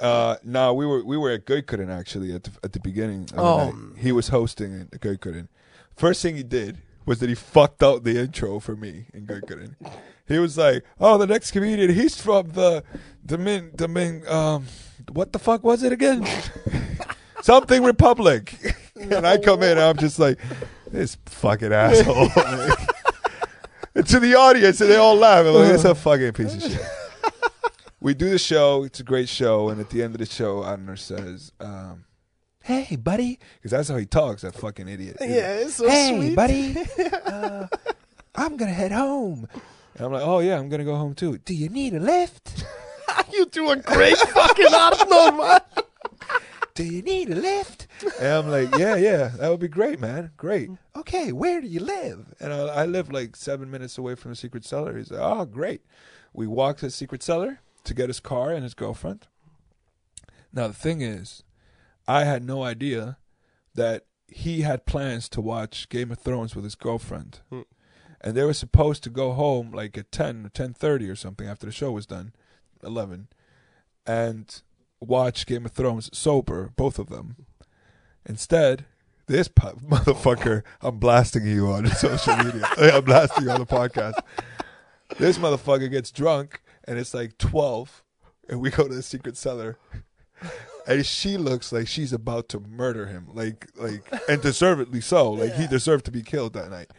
Uh. No, we were we were at Goikurin actually at the, at the beginning. Of Oh. the night. He was hosting at Goikurin. First thing he did was that he fucked out the intro for me in Goikurin. He was like, "Oh, the next comedian, he's from the the min the min um what the fuck was it again?" something republic and i come in and i'm just like this fucking asshole And to the audience and they all laugh I'm like it's Uh-huh. a fucking piece of shit we do the show it's a great show and at the end of the show Adner says um, hey buddy because that's how he talks that fucking idiot Yeah, it's so hey sweet. buddy uh, i'm gonna head home and i'm like oh yeah i'm gonna go home too do you need a lift you do a great fucking Arnold, man. do you need a lift? And I'm like, yeah, yeah, that would be great, man. Great. Okay, where do you live? And I, I live like seven minutes away from the secret cellar. He's like, oh, great. We walked to the secret cellar to get his car and his girlfriend. Now, the thing is, I had no idea that he had plans to watch Game of Thrones with his girlfriend. Hmm. And they were supposed to go home like at 10 or 10.30 or something after the show was done, 11. And watch Game of Thrones sober, both of them. Instead, this po- motherfucker, I'm blasting you on social media. I'm blasting you on the podcast. This motherfucker gets drunk, and it's like 12, and we go to the secret cellar. And she looks like she's about to murder him, like, like, and deservedly so. Like he deserved to be killed that night.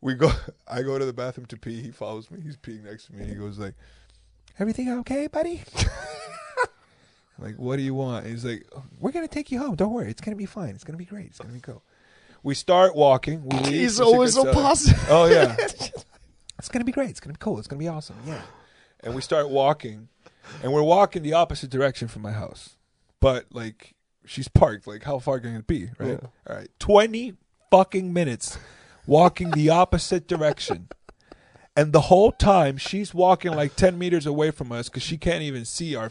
We go. I go to the bathroom to pee. He follows me. He's peeing next to me. He goes like, "Everything okay, buddy?" I'm like, what do you want? And he's like, we're gonna take you home. Don't worry, it's gonna be fine. It's gonna be great. It's gonna be cool. We start walking. We leave He's the always so secret cellar. positive. Oh yeah, it's gonna be great. It's gonna be cool. It's gonna be awesome. Yeah. And we start walking, and we're walking the opposite direction from my house. But like she's parked, like how far can it be, right? All right, twenty fucking minutes walking the opposite direction. And the whole time she's walking like ten meters away from us because she can't even see our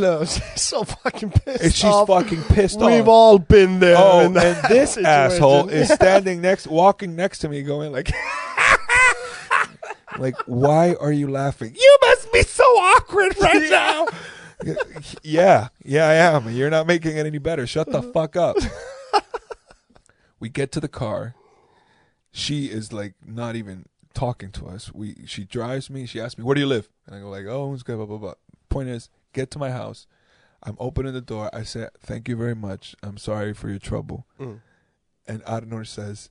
No, she's so fucking pissed and she's off. fucking pissed off. We've all been there. Oh, in that and this situation. asshole is standing next, walking next to me, going like, like, why are you laughing? You must be so awkward right now. yeah, yeah, I am. You're not making it any better. Shut the fuck up. we get to the car. She is like not even talking to us. We she drives me. She asks me, "Where do you live?" And I go like, "Oh, it's good." Blah blah blah. Point is, get to my house. I'm opening the door. I say, "Thank you very much. I'm sorry for your trouble." Mm. And Adenor says,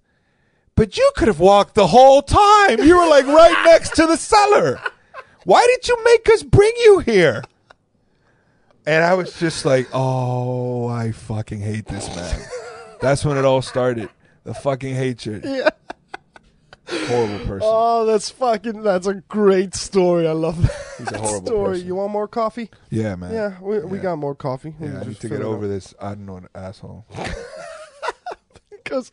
"But you could have walked the whole time. You were like right next to the cellar. Why did you make us bring you here?" And I was just like, "Oh, I fucking hate this man." That's when it all started. The fucking hatred. Yeah. Horrible person. Oh, that's fucking. That's a great story. I love that He's a horrible story. person. You want more coffee? yeah, man. Yeah, we, we Yeah. got more coffee. Yeah, I need to get over this Adenor asshole. because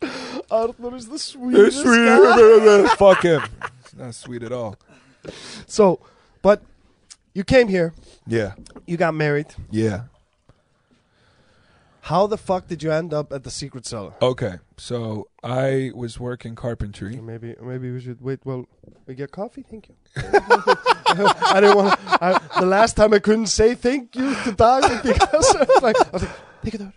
Arthur is the It's sweetest. guy. sweet. Fuck him. It's not sweet at all. So, but you came here. Yeah. You got married. Yeah. How the fuck did you end up at the secret cellar? Okay. So I was working carpentry. Maybe maybe we should wait. Well, we get coffee. Thank you. I didn't want. I, the last time I couldn't say thank you to David because I was like, I was like, take it out.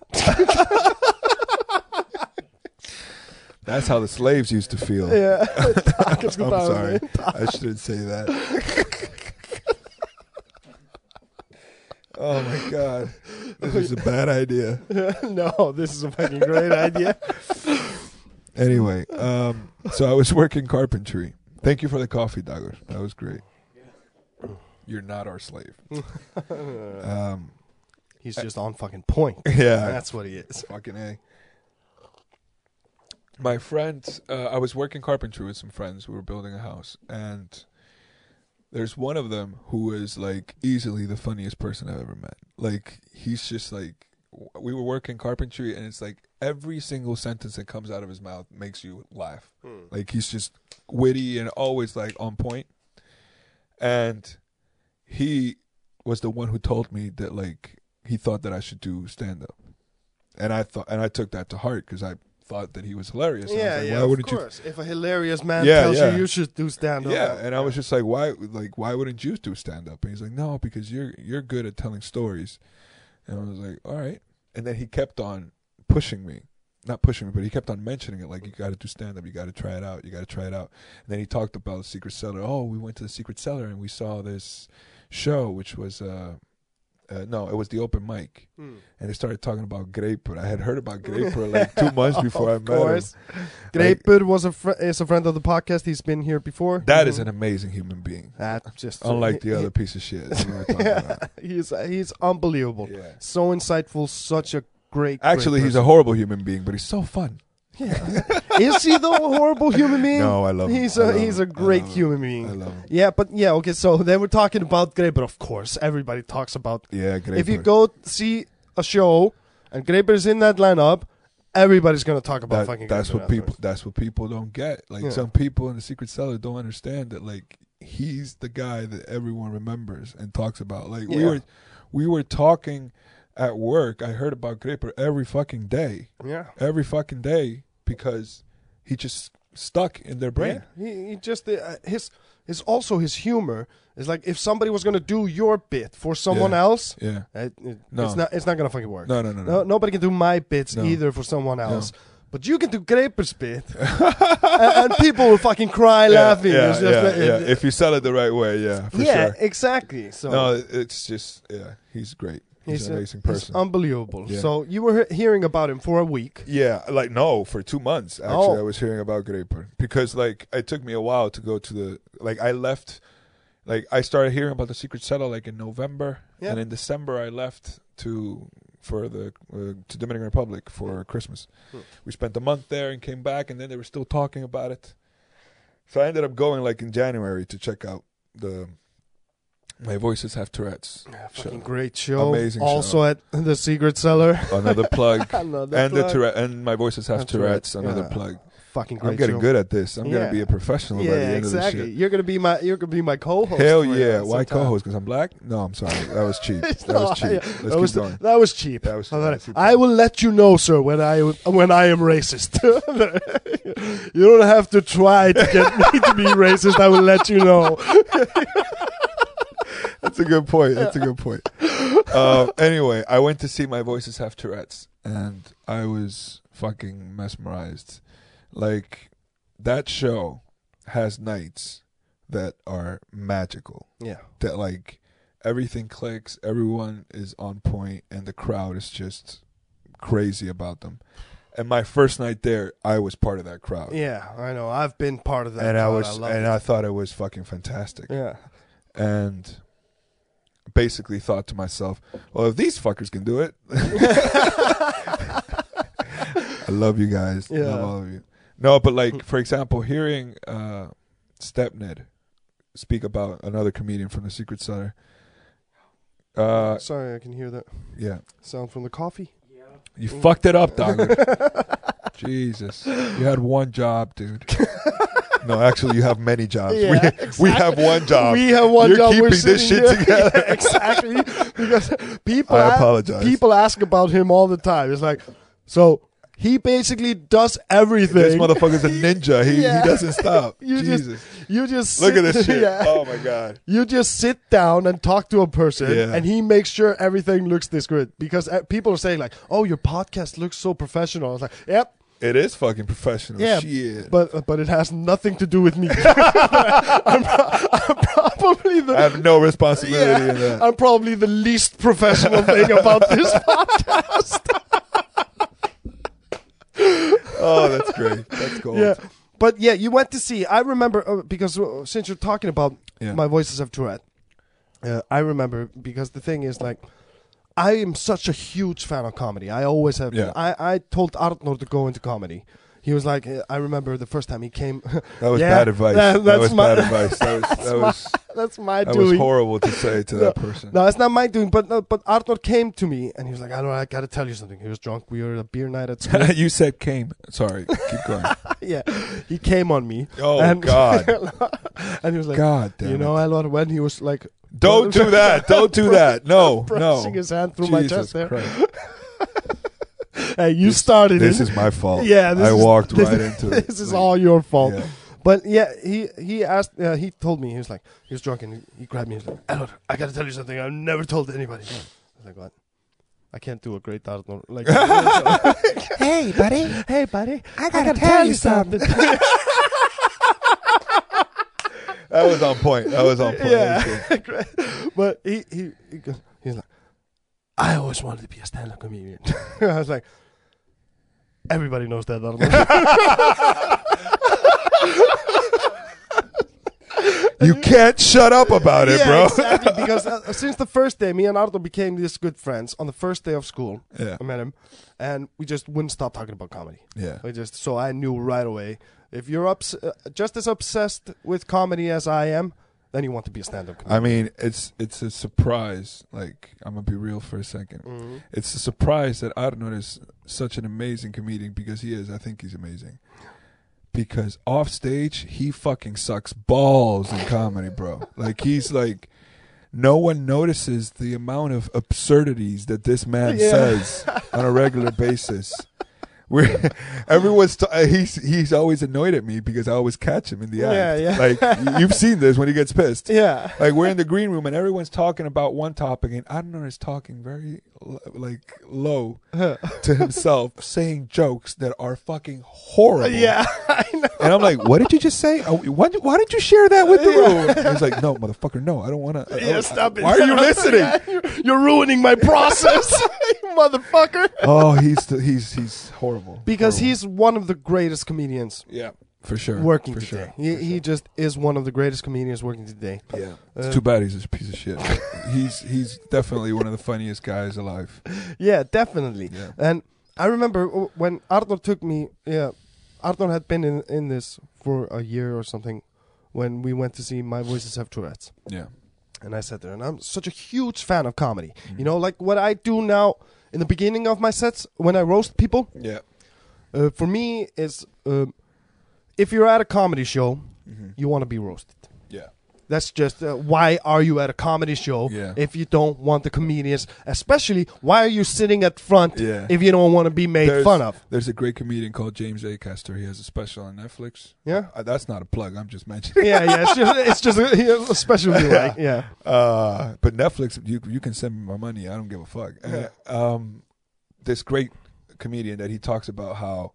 That's how the slaves used to feel. Yeah, Dag is I'm goed aan, sorry. man. I shouldn't say that. oh my god. This is a bad idea. no, this is a fucking great idea. Anyway, um, so I was working carpentry. Thank you for the coffee, Douglas. That was great. You're not our slave. um, He's just on fucking point. yeah. That's what he is. Fucking A. My friend, uh, I was working carpentry with some friends. We were building a house, and there's one of them who is like easily the funniest person I've ever met. Like he's just like w- we were working carpentry, and it's like every single sentence that comes out of his mouth makes you laugh. Like he's just witty and always like on point. And he was the one who told me that like he thought that I should do stand up and I thought and I took that to heart because I thought that he was hilarious. And I was Yeah, like, yeah, Why of wouldn't course. If a hilarious man Yeah, tells yeah. you you should do stand you? up, Yeah, and I was just like, why? Like, why wouldn't you do stand up? And he's like, no, because you're you're good at telling stories. And I was like, all right. And then he kept on pushing me, not pushing me, but he kept on mentioning it. Like, you got to do stand up. You got to try it out. You got to try it out. And then he talked about the secret cellar. Oh, we went to the secret cellar and we saw this show, which was uh, uh no, it was the open mic. Hmm. and they started talking about Graper. I had heard about Graper like two months before I of met course. him. Graper was a fr- is a friend of the podcast. He's been here before. Hmm. That is an amazing human being, That just unlike he- the other piece of shit that we were talking about. he- he's he's unbelievable. Yeah. So insightful. Such a great. Actually, great he's a horrible human being, but he's so fun. person. is he though a horrible human being? No, I love him. He's I a love he's a him. I great love him. human I being. love him. Yeah, but yeah, okay. So then we're talking about Graper. Of course, everybody talks about. Yeah, Graper. If you go see a show and Graper's in that lineup, everybody's gonna talk about That- fucking. that's Graper what people. That's what people don't get. Like Yeah. some people in the secret cellar don't understand that. Like he's the guy that everyone remembers and talks about. Like we Yeah. were, we were talking at work. I heard about Graper every fucking day. afterwards. every fucking day because he just stuck in their Yeah. brain. Yeah. He, he just uh, his his also his humor is like if somebody was gonna do your bit for someone Yeah. else, Yeah. It, it- No. It's not. It's not gonna fucking work. No, no, no, No, no. nobody can do my bits No. either for someone else. But you can do Graper's bit, and, and people will fucking cry laughing. Yeah, It's just yeah, like- uh, yeah. If you sell it the right way, yeah, for Yeah, sure. exactly. So No, it's just yeah, he's great. He's, he's an a- amazing he's person. unbelievable. Yeah. So you were he- hearing about him for a week. yeah, like no, for two months actually, Oh. I was hearing about Graper because like it took me a while to go to the like I left, like I started hearing about the secret cellar like in November, Yeah. and in December I left to for the uh, to Dominican Republic for Christmas. Hmm. We spent a month there and came back, and then they were still talking about it. So I ended up going like in January to check out the My voices have Tourette's. Fucking Show. great show. Amazing also at the Secret Cellar. Another plug. Another and the plug. Tourette, and my voices have Have Tourette's. Tourette's, Another yeah. plug. Fucking great. I'm getting show. good at this. I'm gonna Yeah. be a professional Yeah, by the end exactly. of this shit. You're gonna be my you're gonna be my co-host. Hell for, uh, yeah! Why sometime. co-host? Because I'm black? No, I'm sorry. That was cheap. that No, was cheap. I- Let's that keep was going. that was cheap. That was cheap. I Let's keep I going. will let you know, sir, when I when I am racist. you don't have to try to get me to be racist. I will let you know. That's a good point. That's a good point. Um, anyway, I went to see My Voices Have Tourette's, and I was fucking mesmerized. Like that show has nights that are magical. Yeah. That like everything clicks, everyone is on point, and the crowd is just crazy about them. And my first night there, I was part of that crowd, Yeah, I know. I've been part of that. and I crowd. was, love and it. I thought it was fucking fantastic yeah. and basically thought to myself, well, if these fuckers can do it, I love you guys. I Yeah. love all of you. No, but like, for example, hearing uh, Stepned speak about another comedian from the Secret Center. Uh, Sorry, I can hear that yeah. sound from the coffee. You fucked it up, Dogger. Jesus. You had one job, dude. no, actually, you have many jobs. Yeah, we, exactly. we have one job. we have one You're job. keeping we're this sitting shit here. together. Yeah, exactly, because people. I a- apologize. People ask about him all the time. It's like, so he basically does everything. This motherfucker's a ninja. He, Yeah. he doesn't stop. You just- Jesus. You just Look at sit- this shit. yeah. Oh my god. You just sit down and talk to a person, Yeah. and he makes sure everything looks this good. Because uh, people are saying like, "Oh, your podcast looks so professional." I was like, "Yep, It is fucking professional. Yeah, Shit. but but it has nothing to do with me. I'm, I'm probably the I have no responsibility in that. I'm probably the least professional thing about this podcast. Oh, that's great. That's gold. yeah, but yeah, you went to see. I remember uh, because uh, since you're talking about Yeah. my voices of Tourette, uh, I remember because the thing is like. I am such a huge fan of comedy. I always have. Yeah. I, I told Artnor to go into comedy. He was like, uh, I remember the first time he came. That was Yeah, bad advice. that- That, that's was my- bad advice. That was that was That's my that doing. was horrible to say to that person. No, it's not my doing. But no, but Arthur came to me and he was like, "I don't. I gotta tell you something." He was drunk. We were at a beer night at school. you said came. Sorry. Keep going. yeah, he came on me. Oh and, God. and he was like, God damn. "You know, it. Elon, when he was like, Don't do that. Don't do that. No. No. brushing his hand through my chest Jesus there. Christ. Hey, you started This it. is my fault. Yeah, this I is- walked this- right into it. this is Like, all your fault." yeah. But yeah, he he asked. Uh, he told me he was like he was drunk and he, he grabbed me. He was like, Elon, I gotta tell you something. I've never told anybody. I was like, "What?" I can't do a great Arthur. Like, Hey, buddy, hey, buddy, I gotta, tell you something. That was on point. That was on point. That was good. Yeah, Great. but he he he goes- he's like, I always wanted to be a stand-up comedian. I was like, everybody knows that. Arnold." You can't shut up about it, yeah, bro. exactly. Because uh, since the first day, me and Arto became these good friends. On the first day of school, Yeah. I met him, and we just wouldn't stop talking about comedy. Yeah. We just so I knew right away if you're ups- uh, just as obsessed with comedy as I am, then you want to be a stand-up comedian. I mean, it's it's a surprise. Like I'm gonna be real for a 2nd Mm-hmm. It's a surprise that Arnold is such an amazing comedian because he is. I think he's amazing. Because off stage, he fucking sucks balls in comedy, bro. like he's like, no one notices the amount of absurdities that this man Yeah. says on a regular basis. Where everyone's t- uh, he's he's always annoyed at me because I always catch him in the Yeah, act. yeah. Like y- you've seen this when he gets pissed. yeah. Like we're in the green room and everyone's talking about one topic and Adnan is talking very l- like low to himself, saying jokes that are fucking horrible. Yeah, I know. And I'm like, what did you just say? Oh, Why, why did you share that with the room? And he's like, no, motherfucker, no, I don't want to. Yeah, stop it. Why are you listening? Yeah, you're- You're ruining my process, you motherfucker. Oh, he's the, he's he's horrible. Because Horrible. he's one of the greatest comedians yeah, for sure, working for today. sure. He, he just is one of the greatest comedians working today. Yeah, Uh, it's too bad he's a piece of shit. he's he's definitely one of the funniest guys alive. Yeah, definitely. Yeah. And I remember w- when Arthur took me, yeah, Arthur had been in, in this for a year or something when we went to see My Voices Have Tourette's. Yeah, And I sat there, and I'm such a huge fan of comedy. Mm. You know, like what I do now in the beginning of my sets when I roast people. Yeah. Uh, for me, is um if you're at a comedy show, you want to be roasted. Mm-hmm. Yeah. That's just uh, why are you at a comedy show Yeah. if you don't want the comedians? Especially why are you sitting at front Yeah. if you don't want to be made fun of? There's a great comedian called James Acaster. He has a special on Netflix. Yeah? Uh, that's not a plug. I'm just mentioning. Yeah, yeah, it's just it's just a, a special you like, yeah. Uh, but Netflix, you you can send me my money. I don't give a fuck. Uh, um, this great comedian that he talks about how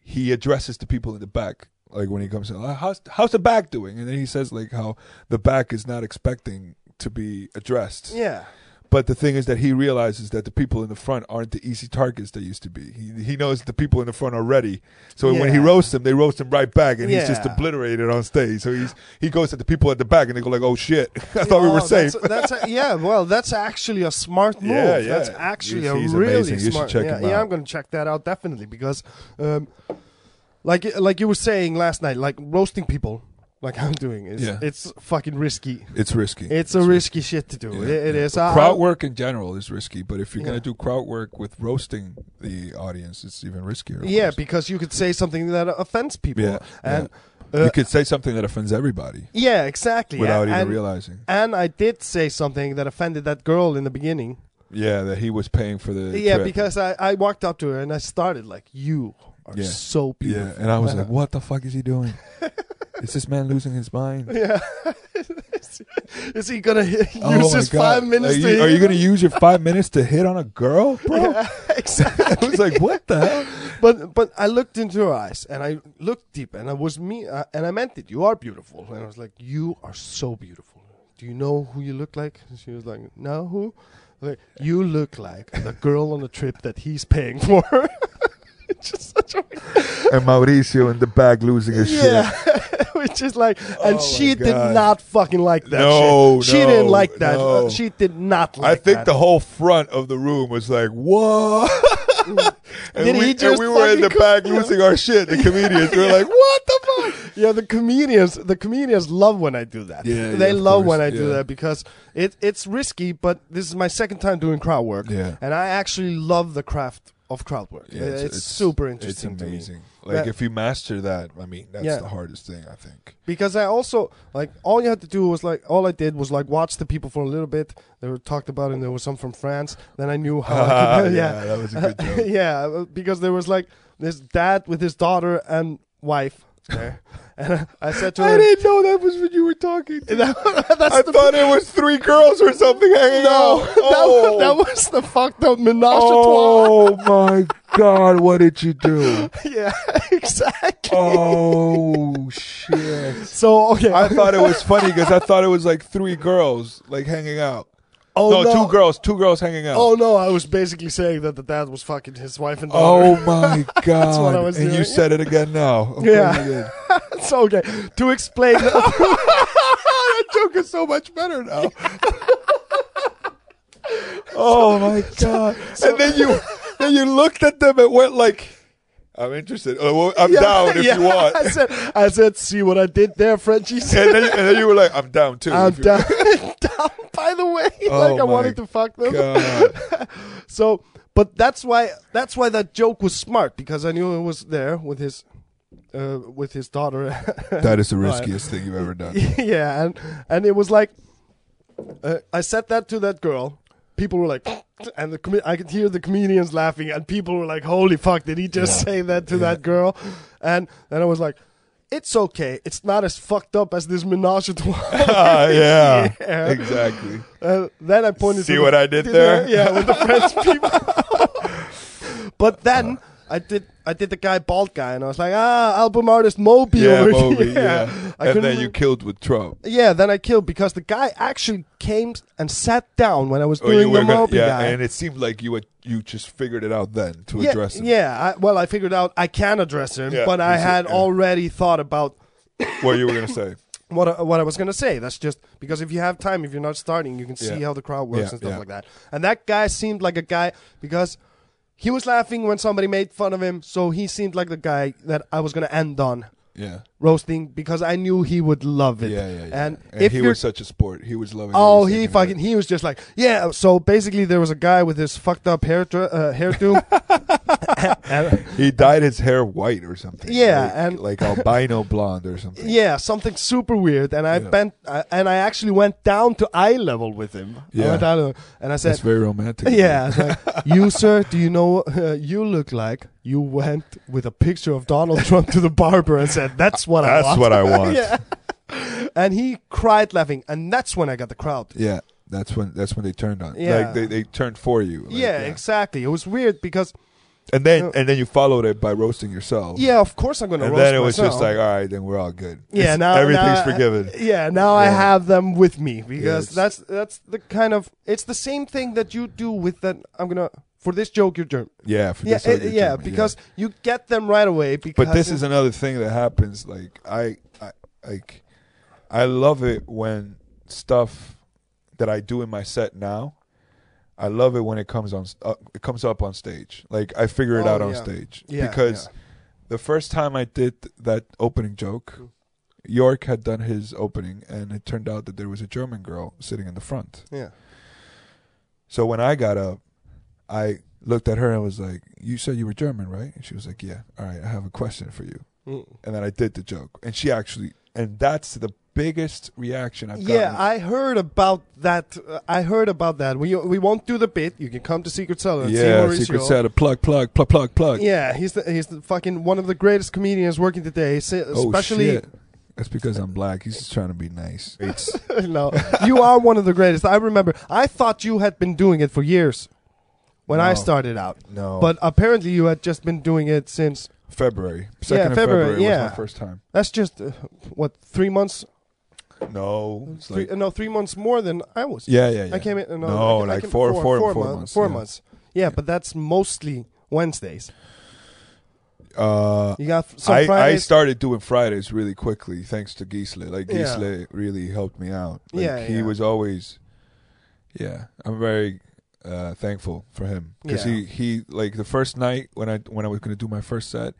he addresses the people in the back, like when he comes in, "Uh, how's how's the back doing? And then he says like how the back is not expecting to be addressed. Yeah. But the thing is that he realizes that the people in the front aren't the easy targets they used to be. He, he knows the people in the front already. So when he Yeah. roasts them, they roast him right back, and he's just Yeah. obliterated on stage. So he's he goes at the people at the back, and they go like, "Oh shit, I thought we were safe." Oh, That's, that's a- yeah, well, that's actually a smart move. Yeah, yeah. That's actually He's- a he's really amazing. You should smart. check yeah, him yeah, out. I'm going to check that out definitely because, um, like, like you were saying last night, like roasting people, like I'm doing, is Yeah. it's fucking risky. It's risky. It's a risky shit to do. Yeah, It- it yeah. is. Uh, But I- crowd I- work in general is risky, but if you're Yeah. gonna do crowd work with roasting the audience, it's even riskier. of Yeah, course. because you could say something that offends people. Yeah, and yeah. uh, you could say something that offends everybody yeah, exactly. without and, even and- realizing. and I did say something that offended that girl in the beginning. Yeah, that he was paying for the yeah, trip. because I, I walked up to her and I started like, "You are Yeah. so beautiful." Yeah, and I was like, "What the fuck is he doing? is this man losing his mind?" Yeah. Is he gonna hit, use Oh my his God. five minutes to Are you, are hit you him? gonna use your five minutes to hit on a girl, bro? I exactly. was like, "What the hell?" but but I looked into her eyes and I looked deep and I was me uh, and I meant it. You are beautiful. And I was like, "You are so beautiful. Do you know who you look like?" And she was like, "No, who?" I was Like, you look like the girl on the trip that he's paying for. it's just such a And Mauricio in the back losing his Yeah, which is like, and Oh my she did God. not fucking like that. No, shit. she didn't no, like that. no. Uh, She did not I like. think that. the whole front of the room was like, "Whoa!" and, Did we, he and just we were fucking in the co- back losing our shit. The comedians were like, "What the fuck?" yeah, the comedians, the comedians love when I do that. Yeah, they yeah, of love when course, I do yeah. that because it it's risky. But this is my second time doing crowd work, Yeah. and I actually love the craft of crowd work. Yeah, it's, super interesting It's to me. amazing. Like Yeah. if you master that, I mean, that's Yeah. the hardest thing I think. because I also like all you had to do was like all I did was like watch the people for a little bit. They were talked about, and there was some from France. Then I knew how. Oh, I could, yeah, that was a good joke. yeah, uh, because there was like this dad with his daughter and wife there, and I, I said to I her, didn't know that was when you were talking. To. "That's I the thought it was three girls or something hanging no, out. that, was, that was the fucked up menage a oh my god! What did you do? trois." Yeah, exactly. Oh shit! So okay, I thought it was funny because I thought it was like three girls like hanging out. oh no, two girls, two girls hanging out. Oh no, I was basically saying that the dad was fucking his wife and Oh daughter. my god! what I was and you doing. said it again now. Of Yeah. course you did. it's okay to explain. that joke is so much better now. oh my god! and then you, then you looked at them and went like, "I'm interested. Oh, well, I'm down if yeah. you want." I said, I said, see what I did there, Frenchie. And then, and then you were like, "I'm down too." I'm if you down, down by the way. Oh like I my wanted to fuck them. God. So, but that's why that's why that joke was smart because I knew it was there with his uh, with his daughter. That is the riskiest thing you've ever done. yeah, and and it was like uh, I said that to that girl. People were like, and the com- I could hear the comedians laughing, and people were like, "Holy fuck! Did he just Yeah. say that to Yeah. that girl?" And and I was like, "It's okay. It's not as fucked up as this menage a trois." Ah, yeah, Yeah. exactly. Uh, then I pointed. See to what the, I did there? Yeah, with the French people. but then I did. I did the guy bald guy, and I was like, ah, album artist Moby. Yeah, over Moby. here. Yeah, I and couldn't- then you killed with Trump. Yeah, then I killed because the guy actually came and sat down when I was Or Oh, you doing were the gonna, Moby yeah, guy. and it seemed like you had, you just figured it out then to yeah, address it. yeah. I, well, I figured out I can address him, Yeah, but I you said- had yeah. already thought about What you were gonna say? what I, what I was gonna say. That's just because if you have time, if you're not starting, you can see Yeah. how the crowd works Yeah, and stuff yeah. like that. And that guy seemed like a guy because he was laughing when somebody made fun of him, so he seemed like the guy that I was gonna end on. Yeah. roasting because I knew he would love Yeah, it. yeah, yeah. And, And if he you're was such a sport. He was loving. Oh, every he second of fucking it. he was just like, yeah. So basically, there was a guy with his fucked up hair dr- uh, hairdo. And- He dyed his hair white or something. Yeah, like, and- like albino blonde or something. yeah, something super weird. And I Yeah. bent uh, and I actually went down to eye level with him. I Yeah. went down to- and I That's said, very romantic. yeah, I was like, you sir, do you know what uh, you look like? You went with a picture of Donald Trump to the barber and said, "That's what I That's want." what I want. yeah. And he cried laughing, and that's when I got the crowd. Yeah, that's when that's when they turned on. Yeah. Like they, they turned for you. Like, yeah, exactly. It was weird because And then and then you followed it by roasting yourself. yeah, of course I'm going to And roast then it was myself. just like, all right, then we're all good. yeah, It's- now everything's now- uh, forgiven. Yeah, now I Yeah. have them with me because it's- that's that's the kind of it's the same thing that you do with that. I'm gonna for this joke you're German. yeah, for Yeah, this other it- yeah, gentleman, because you get them right away. Because But this is another thing that happens. Like I, I like, I love it when stuff that I do in my set now. I love it when it comes on. Uh, it comes up on stage. Like I figure it Oh, out on yeah. stage Yeah, because the first time I did th- that opening joke, York had done his opening, and it turned out that there was a German girl sitting in the front. yeah, So when I got up, I looked at her and was like, "You said you were German, right?" And she was like, "Yeah." All right, I have a question for you. And then I did the joke, and she actually, and that's the biggest reaction I've yeah. gotten. I heard about that. uh, I heard about that. We we won't do the bit. You can come to Secret Cellar. And see yeah, Mauricio. secret Santa, plug, plug, plug, plug, plug. Yeah, he's the, he's the fucking one of the greatest comedians working today. se- Oh Especially shit. That's because I'm black. He's just trying to be nice. It's, no, you are one of the greatest. I remember. I thought you had been doing it for years when I No. started out, no, but apparently you had just been doing it since. February second of February, February, yeah. was my first time. That's just uh, what three months. No, it's Three, like, uh, no, three months more than I was. yeah, yeah, yeah. I came in. uh, No, No, I, like I came, four- four- four four mon- months, Four yeah. months. Yeah, but that's mostly Wednesdays. Uh, You got f- some I, I Fridays. started doing Fridays really quickly thanks to Gisle. Like Yeah. Gisle really helped me out. Like, Yeah, he yeah. was always Yeah, I'm very uh, thankful for him cuz Yeah. he he like the first night when I when I was going to do my first set,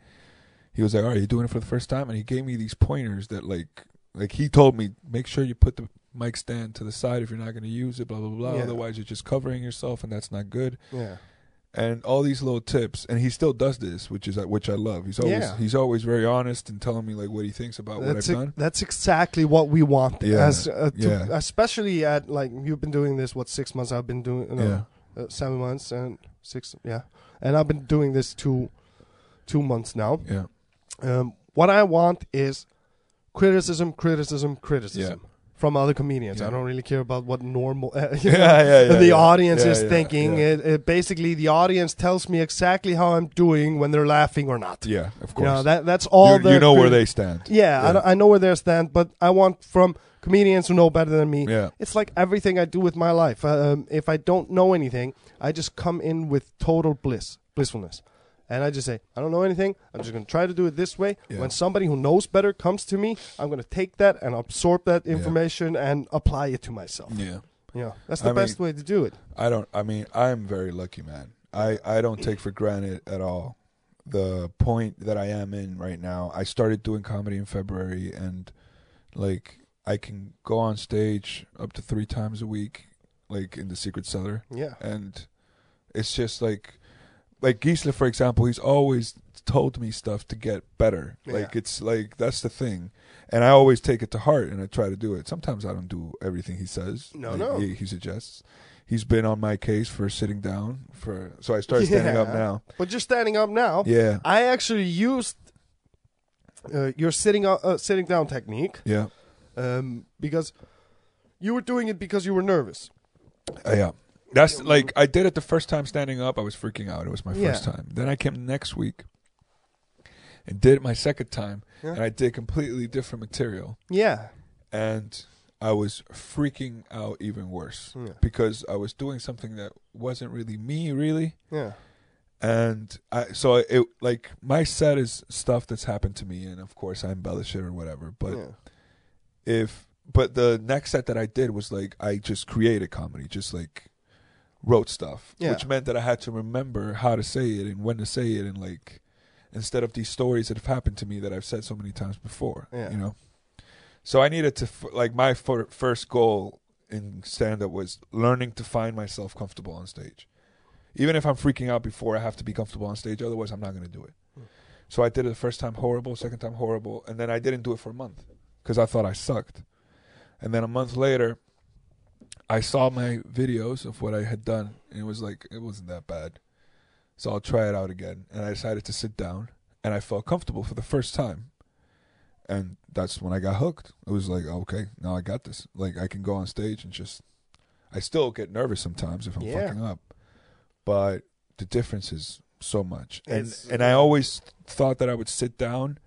he was like, "All right, you're doing it for the first time." And he gave me these pointers that like like he told me, "Make sure you put the mic stand to the side if you're not going to use it, blah blah blah. Yeah. Otherwise, you're just covering yourself and that's not good." yeah, and all these little tips and he still does this which is uh, which i love he's always Yeah. he's always very honest and telling me like what he thinks about what i've that's, e- done that's exactly what we want. Yeah, As, uh, to, yeah. Especially at like you've been doing this what six months? I've been doing. No, yeah uh, seven months and six yeah and i've been doing this two two months now yeah um, what i want is criticism criticism criticism from other comedians i Yeah. don't really care about what normal yeah yeah, yeah the yeah. audience Yeah, is yeah, thinking yeah. It, it basically the audience tells me exactly how i'm doing when they're laughing or not yeah of you course know that that's all you, the you know where criti- they stand yeah, I Yeah. don't- I, know where they stand but i want from comedians who know better than me yeah it's like everything I do with my life. Um, if I don't know anything, I just come in with total bliss, blissfulness. And I just say, I don't know anything. I'm just going to try to do it this way. Yeah. When somebody who knows better comes to me, I'm going to take that and absorb that information and apply it to myself. yeah Yeah, that's the I best way to do it. i don't i mean i'm very lucky man i i don't take for granted at all the point that i am in right now i started doing comedy in february and like i can go on stage up to three times a week like in the secret cellar Yeah. and it's just like like Gisela, for example, he's always told me stuff to get better. Yeah. Like it's like that's the thing, and I always take it to heart and I try to do it. Sometimes I don't do everything he says. No, like, no. He, he suggests. He's been on my case for sitting down for, so I started standing up Yeah. now. But you're standing up now. Yeah, I actually used uh, your sitting, up, uh, sitting down technique yeah, um, because you were doing it because you were nervous. Uh, yeah. That's like I did it the first time standing up. I was freaking out. It was my first Yeah. time. Then I came next week and did it my second time, Yeah. and I did completely different material. Yeah. and I was freaking out even worse Yeah. because I was doing something that wasn't really me, really. Yeah. And I, so it like my set is stuff that's happened to me, and of course I embellish it or whatever. But yeah. if but the next set that I did was like I just created comedy, just like wrote stuff, Yeah. which meant that I had to remember how to say it and when to say it, and like instead of these stories that have happened to me that I've said so many times before. Yeah. You know, so I needed to f- like my fir- first goal in stand up was learning to find myself comfortable on stage. Even if I'm freaking out before, I have to be comfortable on stage. Otherwise, I'm not going to do it. So I did it the first time horrible, second time horrible, and then I didn't do it for a month because I thought I sucked. And then a month later, I saw my videos of what I had done, and it was like it wasn't that bad. So I'll try it out again. And I decided to sit down, and I felt comfortable for the first time. And that's when I got hooked. It was like, okay, now I got this. Like I can go on stage and just. I still get nervous sometimes if I'm Yeah. fucking up, but the difference is so much. And It's- and I always thought that I would sit down,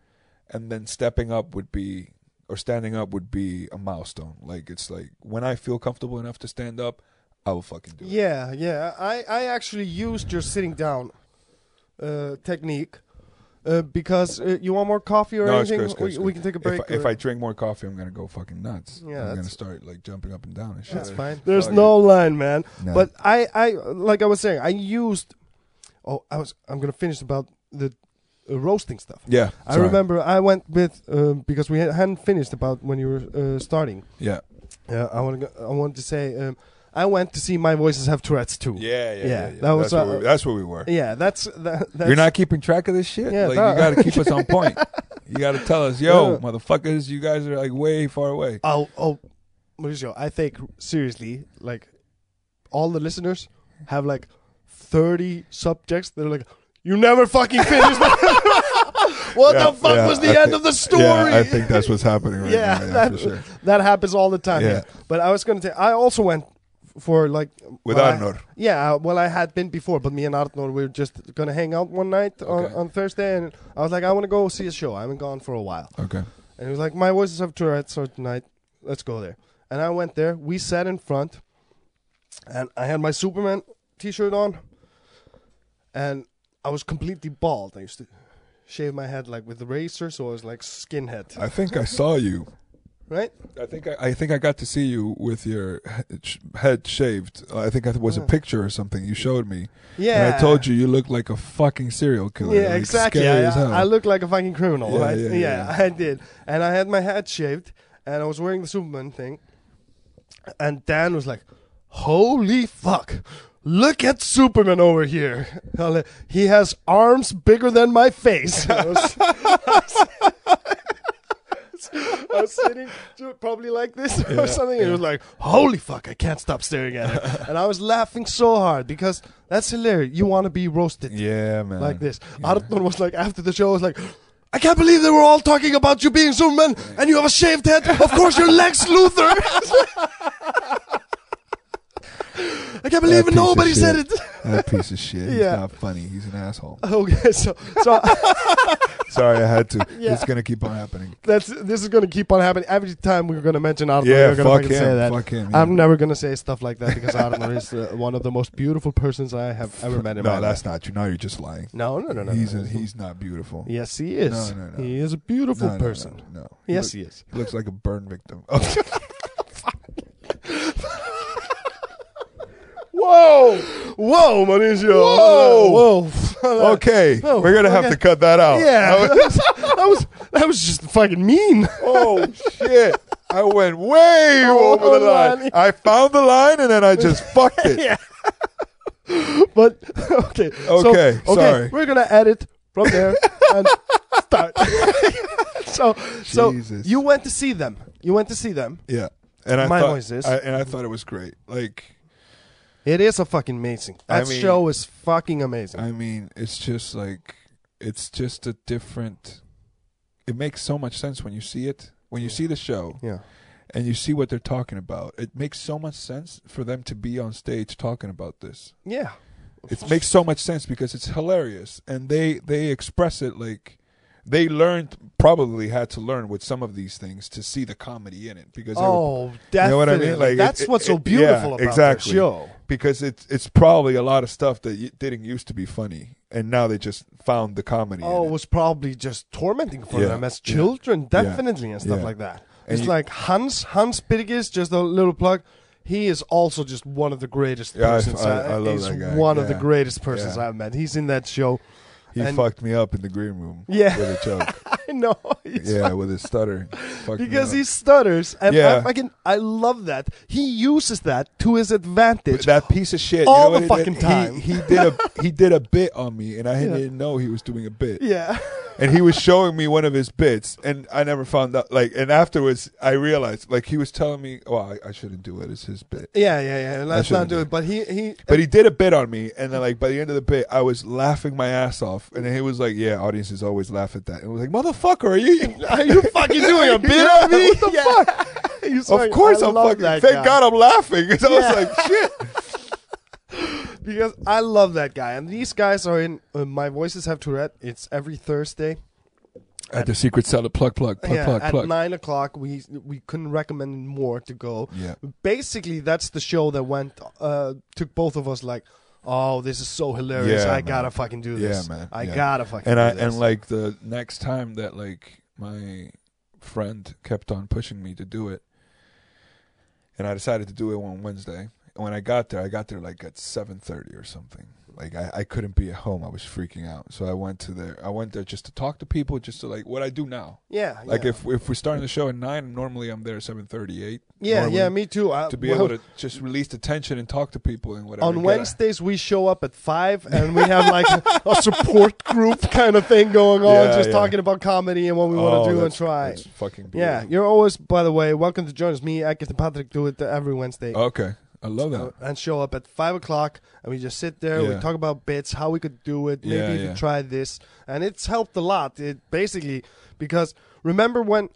and then stepping up would be or standing up would be a milestone. Like it's like when I feel comfortable enough to stand up, I will fucking do it. Yeah, yeah. I, I actually used your sitting down uh, technique uh, because uh, you want more coffee or No, it's anything. good, it's good, we, it's we good. can take a If, break. I- if or- I drink more coffee, I'm gonna go fucking nuts. Yeah, I'm gonna that's- start like jumping up and down and shit. that's fine. There's There's no Oh, no line, man. No. But I, I like I was saying, I used. Oh, I was. I'm gonna finish about the uh, roasting stuff. Yeah, I sorry. remember I went with um, because we hadn't finished about when you were uh, starting. Yeah, Yeah, I want to. I want to say um, I went to see my voices have Tourette's too. yeah, yeah. Yeah, yeah, yeah. that was that's, where what- we, that's where we were. yeah. That's that, that's You're not keeping track of this shit. Yeah, like no. you gotta keep us on point. You gotta tell us, yo, Yeah. motherfuckers, you guys are like way far away. Oh, oh, Mauricio, I think seriously, like all the listeners have like thirty subjects. They're like, you never fucking finished. what Yeah, the fuck yeah, was the I end thi- of the story? Yeah, I think that's what's happening right Yeah, now. Yeah, that, for sure. that happens all the time. Yeah. Yeah. But I was gonna say, I also went for like With well, I- Arnor. yeah, uh, well, I had been before, but me and Arnor we were just gonna hang out one night on, Okay. on Thursday, and I was like, I want to go see a show. I haven't gone for a while. Okay. And he was like, My voices have Tourette's so tonight. Let's go there. And I went there. We sat in front. And I had my Superman t shirt on. And I was completely bald. I used to shave my head like with a razor, so I was like skinhead. I think I saw you. Right? I think I, I think I got to see you with your he- sh- head shaved. I think it was a picture or something you showed me. Mm. Yeah. And I told you you look like a fucking serial killer. Yeah, like, exactly. Scary I, as hell. I look like a fucking criminal. Yeah, right? yeah, yeah, yeah. I did. And I had my head shaved, and I was wearing the Superman thing. And Dan was like, "Holy fuck! Look at Superman over here. Hell, He has arms bigger than my face." I was, I was sitting to- probably like this or something. And it was like, "Holy fuck! I can't stop staring at it." and I was laughing so hard because that's hilarious. You want to be roasted yeah, man. like this. Arthur was like, after the show, was like, I can't believe they were all talking about you being Superman and you have a shaved head. Of course, you're Lex Luthor. I can't That believe piece of nobody said shit. it. That piece of shit. He's Yeah. not funny. He's an asshole. Okay, so so Sorry, I had to. Yeah. It's gonna keep on happening. that's this is gonna keep on happening. Every time we're gonna mention Arthur, Yeah, we're gonna fuck fucking him, say that. fuck him, I'm yeah. never gonna say stuff like that because Arthur is uh, one of the most beautiful persons I have ever met in my No, life. that's not true. Now you're just lying. No, no, no, no. he's no. A, he's not beautiful. yes, he is. No, no, no. He is a No, beautiful no, no, person. No, no. Yes, he, he is. look- he looks like a burn victim. Whoa! Whoa, Mauricio! Whoa. Whoa! okay, No, we're gonna have okay. to cut that out. Yeah, that was, that was that was just fucking mean. Oh shit! I went way Oh, over the line. line. I found the line and then I just fucked it. Yeah. But okay, so- Okay, sorry. We're gonna edit from there and start. so, so Jesus. you went to see them. You went to see them. Yeah. And I My thought, voice is- I, and I thought it was great. Like, It is a fucking amazing. I That mean- show is fucking amazing. I mean, it's just like, it's just a different. It makes so much sense when you see it, when you see the show, yeah, and you see what they're talking about. It makes so much sense for them to be on stage talking about this. yeah, it makes so much sense because it's hilarious and they they express it like they learned probably had to learn with some of these things to see the comedy in it because they were- Oh, definitely. know what I mean? Like, it- that's it- what's so it- beautiful yeah, about exactly. the show. because it's it's probably a lot of stuff that y- didn't used to be funny and now they just found the comedy Oh, in it it. was probably just tormenting for Yeah, them as yeah, children, definitely, and stuff yeah. like that. And it's you- like Hans Hans Birgis, just a little plug. He is also just one of the greatest Yeah, I- persons. uh, I- I love he's that guy, one of the yeah, greatest persons yeah. I've met. He's in that show. He And- fucked me up in the green room. Yeah. With a joke. I know. He's yeah, with his stutter. Fucked me Because up. he stutters, and Yeah. I fucking I love that. He uses that to his advantage. that piece of shit. all you know the what it fucking is? time. He, he did a he did a bit on me, and I Yeah. didn't know he was doing a bit. yeah, and he was showing me one of his bits, and I never found out. Like, and afterwards, I realized, like, he was telling me, "Well, I, I shouldn't do it. It's his bit." yeah, yeah, yeah. Let's not shouldn't do do it. But he he. But he did a bit on me, and then, like, by the end of the bit, I was laughing my ass off, and then he was like, "Yeah, audiences always laugh at that," and I was like, "Motherfucker, are you? are you fucking doing a bit Yeah, on me? what the fuck? of course I I'm love fucking. that Thank guy. God I'm laughing." 'cause I Yeah. was like, "Shit." because I love that guy. And these guys are in uh, My Voices Have Tourette. It's every Thursday. At the secret cellar, plug, plug, plug, yeah, plug, at plug. nine o'clock, we we couldn't recommend more to go. Yeah. Basically, that's the show that went uh, took both of us like, oh, this is so hilarious! Yeah, I man. gotta fucking do Yeah, this. man. I Yeah. gotta fucking and do I this. and like the next time that like my friend kept on pushing me to do it, and I decided to do it on Wednesday. And when I got there, I got there like at seven thirty or something. Like I, I couldn't be at home. I was freaking out. So I went to there. I went there just to talk to people, just to like what I do now. yeah, Like yeah. if if we're starting the show at nine, normally I'm there at seven thirty eight. yeah, yeah, me too. I, To be Uh, well, able to just release the tension and talk to people and whatever. on Get a- Wednesdays we show up at five and we have like a, a support group kind of thing going on, Yeah, just yeah. talking about comedy and what we want Oh, to do and that's- try. that's fucking yeah, beautiful. you're always, by the way, welcome to join us. Me, Agnes, and Patrick do it every Wednesday. Oh, Okay, I love that. uh, and show up at five o'clock and we just sit there we Yeah. talk about bits how we could do it maybe Yeah, if you yeah. try this and it's helped a lot it basically because remember when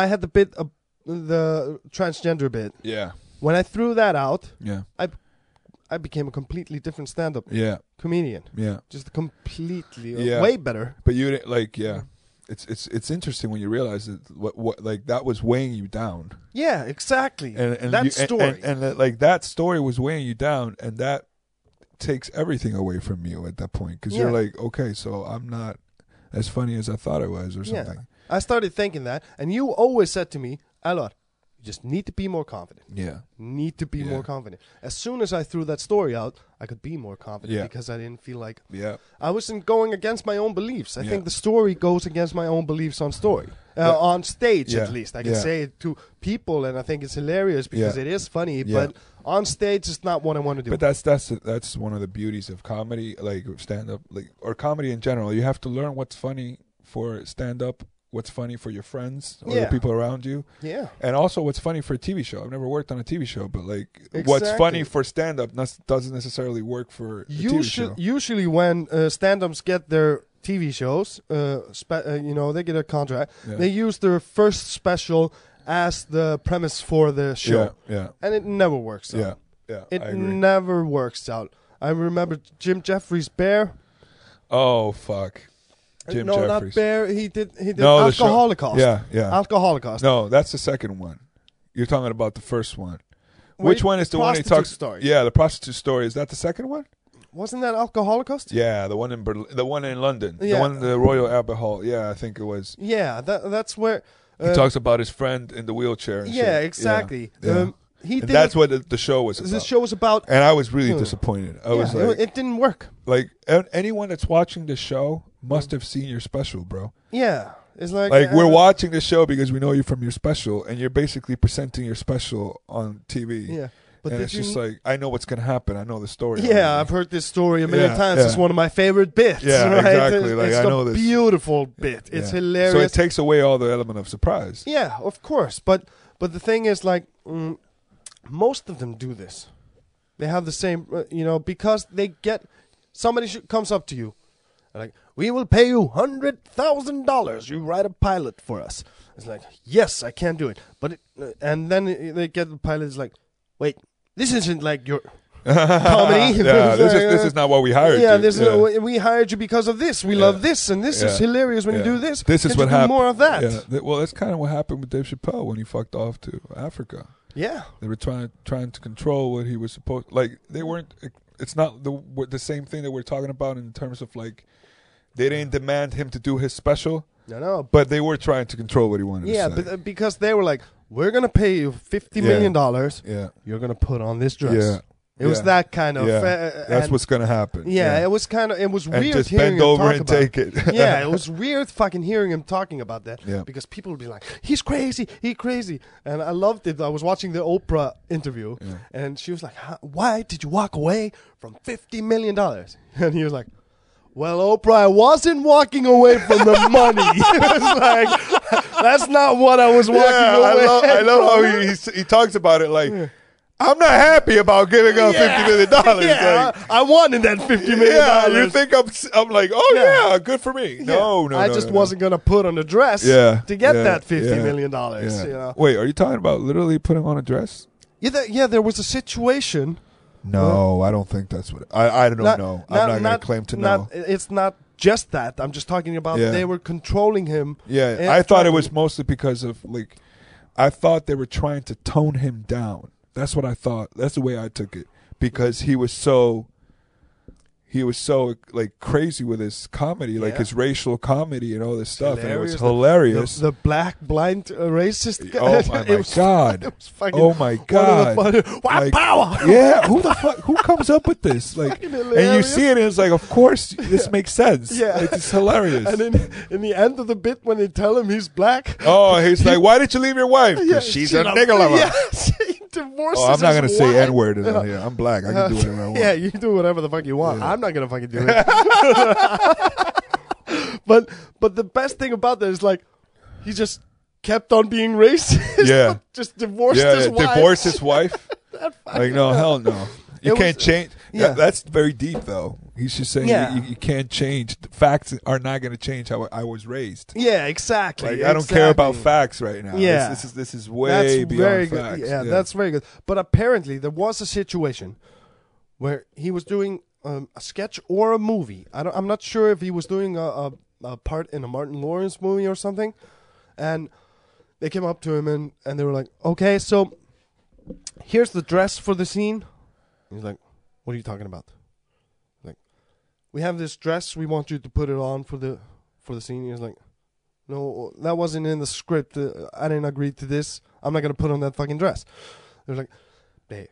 i had the bit of the transgender bit Yeah, when i threw that out yeah, i became a completely different stand-up yeah, comedian yeah. just completely uh, Yeah. way better But you didn't like, yeah. It's it's it's interesting when you realize that what what like that was weighing you down, yeah exactly and, and that you- and- story and, and that, like that story was weighing you down, and that takes everything away from you at that point because you're Yeah. like, okay, so I'm not as funny as I thought I was, or Yeah. something. i started thinking that and you always said to me alor you just need to be more confident Yeah, need to be Yeah. more confident. As soon as I threw that story out, I could be more confident Yeah. because I didn't feel like yeah, I wasn't going against my own beliefs. I Yeah. think the story goes against my own beliefs on story. Uh, But- on stage, at Yeah. least. I can Yeah. say it to people, and I think it's hilarious because Yeah. it is funny, Yeah. but on stage, it's not what I want to do. But that's that's that's one of the beauties of comedy, like stand up, like or comedy in general. You have to learn what's funny for stand up, what's funny for your friends or Yeah. the people around you. yeah. And also, what's funny for a TV show? I've never worked on a TV show, but like, what's Exactly. funny for stand up doesn't necessarily work for a TV Usually, show. usually when uh, stand-ups get their TV shows, uh, spe- uh, you know, they get a contract. Yeah. They use their first special as the premise for the show. Yeah, and it never works yeah, out. yeah, yeah. It I agree. never works out. I remember Jim Jeffries Bear. Uh, oh fuck, Jim no, Jeffries. not Bear. He did he did No, the show- Alcoholicost. Yeah, yeah. Alcoholicost. no, that's the second one. You're talking about the first one. Wait, Which one is the one he prostitute talks? story. Yeah, the prostitute story. Is that the second one? Wasn't that Alcoholicost? Yeah, the one in Berlin, the one in London, Yeah. the one in the Royal Albert Hall. Yeah, I think it was. Yeah, that, that's where He uh, talks about his friend in the wheelchair. And Yeah, shit. exactly. Yeah. Um, he and did that's what the, the show was. the About. show was about. and I was really Hmm. disappointed. I yeah, was it- like, it, didn't work. like a- anyone that's watching the show must have seen your special, bro. Yeah, it's like Like uh, we're watching the show because we know you from your special, and you're basically presenting your special on TV. Yeah, but but and did it's you, just like I know what's gonna happen. I know the story. Yeah, I've already. heard this story a million Yeah, times. It's yeah. one of my favorite bits. Yeah, right? exactly. Like, it's I a know this. beautiful bit. It's Yeah. hilarious. So it takes away all the element of surprise. Yeah, of course. But but the thing is, like, mm, most of them do this. They have the same, uh, you know, because they get somebody sh- comes up to you, and like, we will pay you hundred thousand dollars. You write a pilot for us. It's like, yes, I can do it. But it, uh, and then it- they get the pilot. It's like, wait, this isn't like your comedy. yeah, this is this is not what we hired. yeah, you. this Is, we- we hired you because of this. We Yeah. love this, and this is Yeah. hilarious when you Yeah. do this. This is Can't what you do happened. More of that. Yeah. Th- Well, that's kind of what happened with Dave Chappelle when he fucked off to Africa. yeah. They were trying trying to control what he was supposed like. They weren't. It's not the what- the same thing that we're talking about in terms of like they didn't demand him to do his special, No, no, but they were trying to control what he wanted. Yeah, to but say. uh, because they were like, we're gonna pay you fifty Yeah. million dollars. yeah, You're gonna put on this dress. yeah, It was Yeah. that kind of. yeah, fa- uh, that's and- what's gonna happen. Yeah, it was kind of. It was and weird just hearing bend him over talk and about take it. yeah, it was weird fucking hearing him talking about that Yeah. because people would be like, "He's crazy, he crazy," and I loved it. I was watching the Oprah interview, and she was like, "Huh, "Why did you walk away from fifty million dollars?" And he was like. Well, Oprah, I wasn't walking away from the money. it was like, that's not what I was walking Yeah, away. I love, I love from. how he, he s- he talks about it like, I'm not happy about giving up Yeah. fifty million dollars. Yeah, like, I, I wanted that fifty million. yeah, you dollars. think I'm? s- I'm like, oh Yeah. yeah, good for me. No, Yeah. no, I no, just no, no. wasn't gonna put on a dress Yeah, to get yeah, that fifty million yeah, dollars. Yeah. You know, Wait, are you talking about literally putting on a dress? yeah, there, yeah. There was a situation. No, I don't think that's what. I I don't not- know. I'm not, gonna claim to know. not- It's not just that. I'm just talking about Yeah. they were controlling him. Yeah, and I thought trying it to- was mostly because of like, I thought they were trying to tone him down. That's what I thought. That's the way I took it because he was so, he was so like crazy with his comedy, like Yeah. his racial comedy and all this stuff, and it was hilarious. hilarious. The, the black blind uh, racist. Guy. oh my, It my was- god! was fucking Oh my god! One of the funny- White Like, power. yeah, who the fuck? Who comes up with this? Like, fucking and you hilarious. see it, and it's like, of course, this makes sense. Yeah. Like, it's hilarious. And in, in the end of the bit, when they tell him he's black, Oh, he's like, why did you leave your wife? 'Cause Oh, she's a nigga lover. Yeah, she divorces. Oh, I'm not his gonna say wife. N word in here. I'm black. I can do whatever I want. Yeah, you can do whatever the fuck you want. I'm not gonna fucking do it. but but the best thing about that is like he just kept on being racist. Yeah. but just divorced yeah, his wife. divorce his wife. like no, hell no. You It can't was- change. yeah. Yeah. that's very deep, though. He's just saying Yeah. you, you can't change. The facts are not going to change how I was raised. Yeah, exactly. Like I don't care about exactly. facts right now. Yeah. this, this is this is way beyond very facts. good. Yeah, that's very good. But apparently, there was a situation where he was doing um, a sketch or a movie. I don't, I'm not sure if he was doing a, a, a part in a Martin Lawrence movie or something. And they came up to him and, and they were like, "Okay, so here's the dress for the scene." He's like, "What are you talking about?" Like, we have this dress. We want you to put it on for the for the scene. He's like. No, that wasn't in the script. Uh, I didn't agree to this. I'm not gonna put on that fucking dress. They were like, Dave,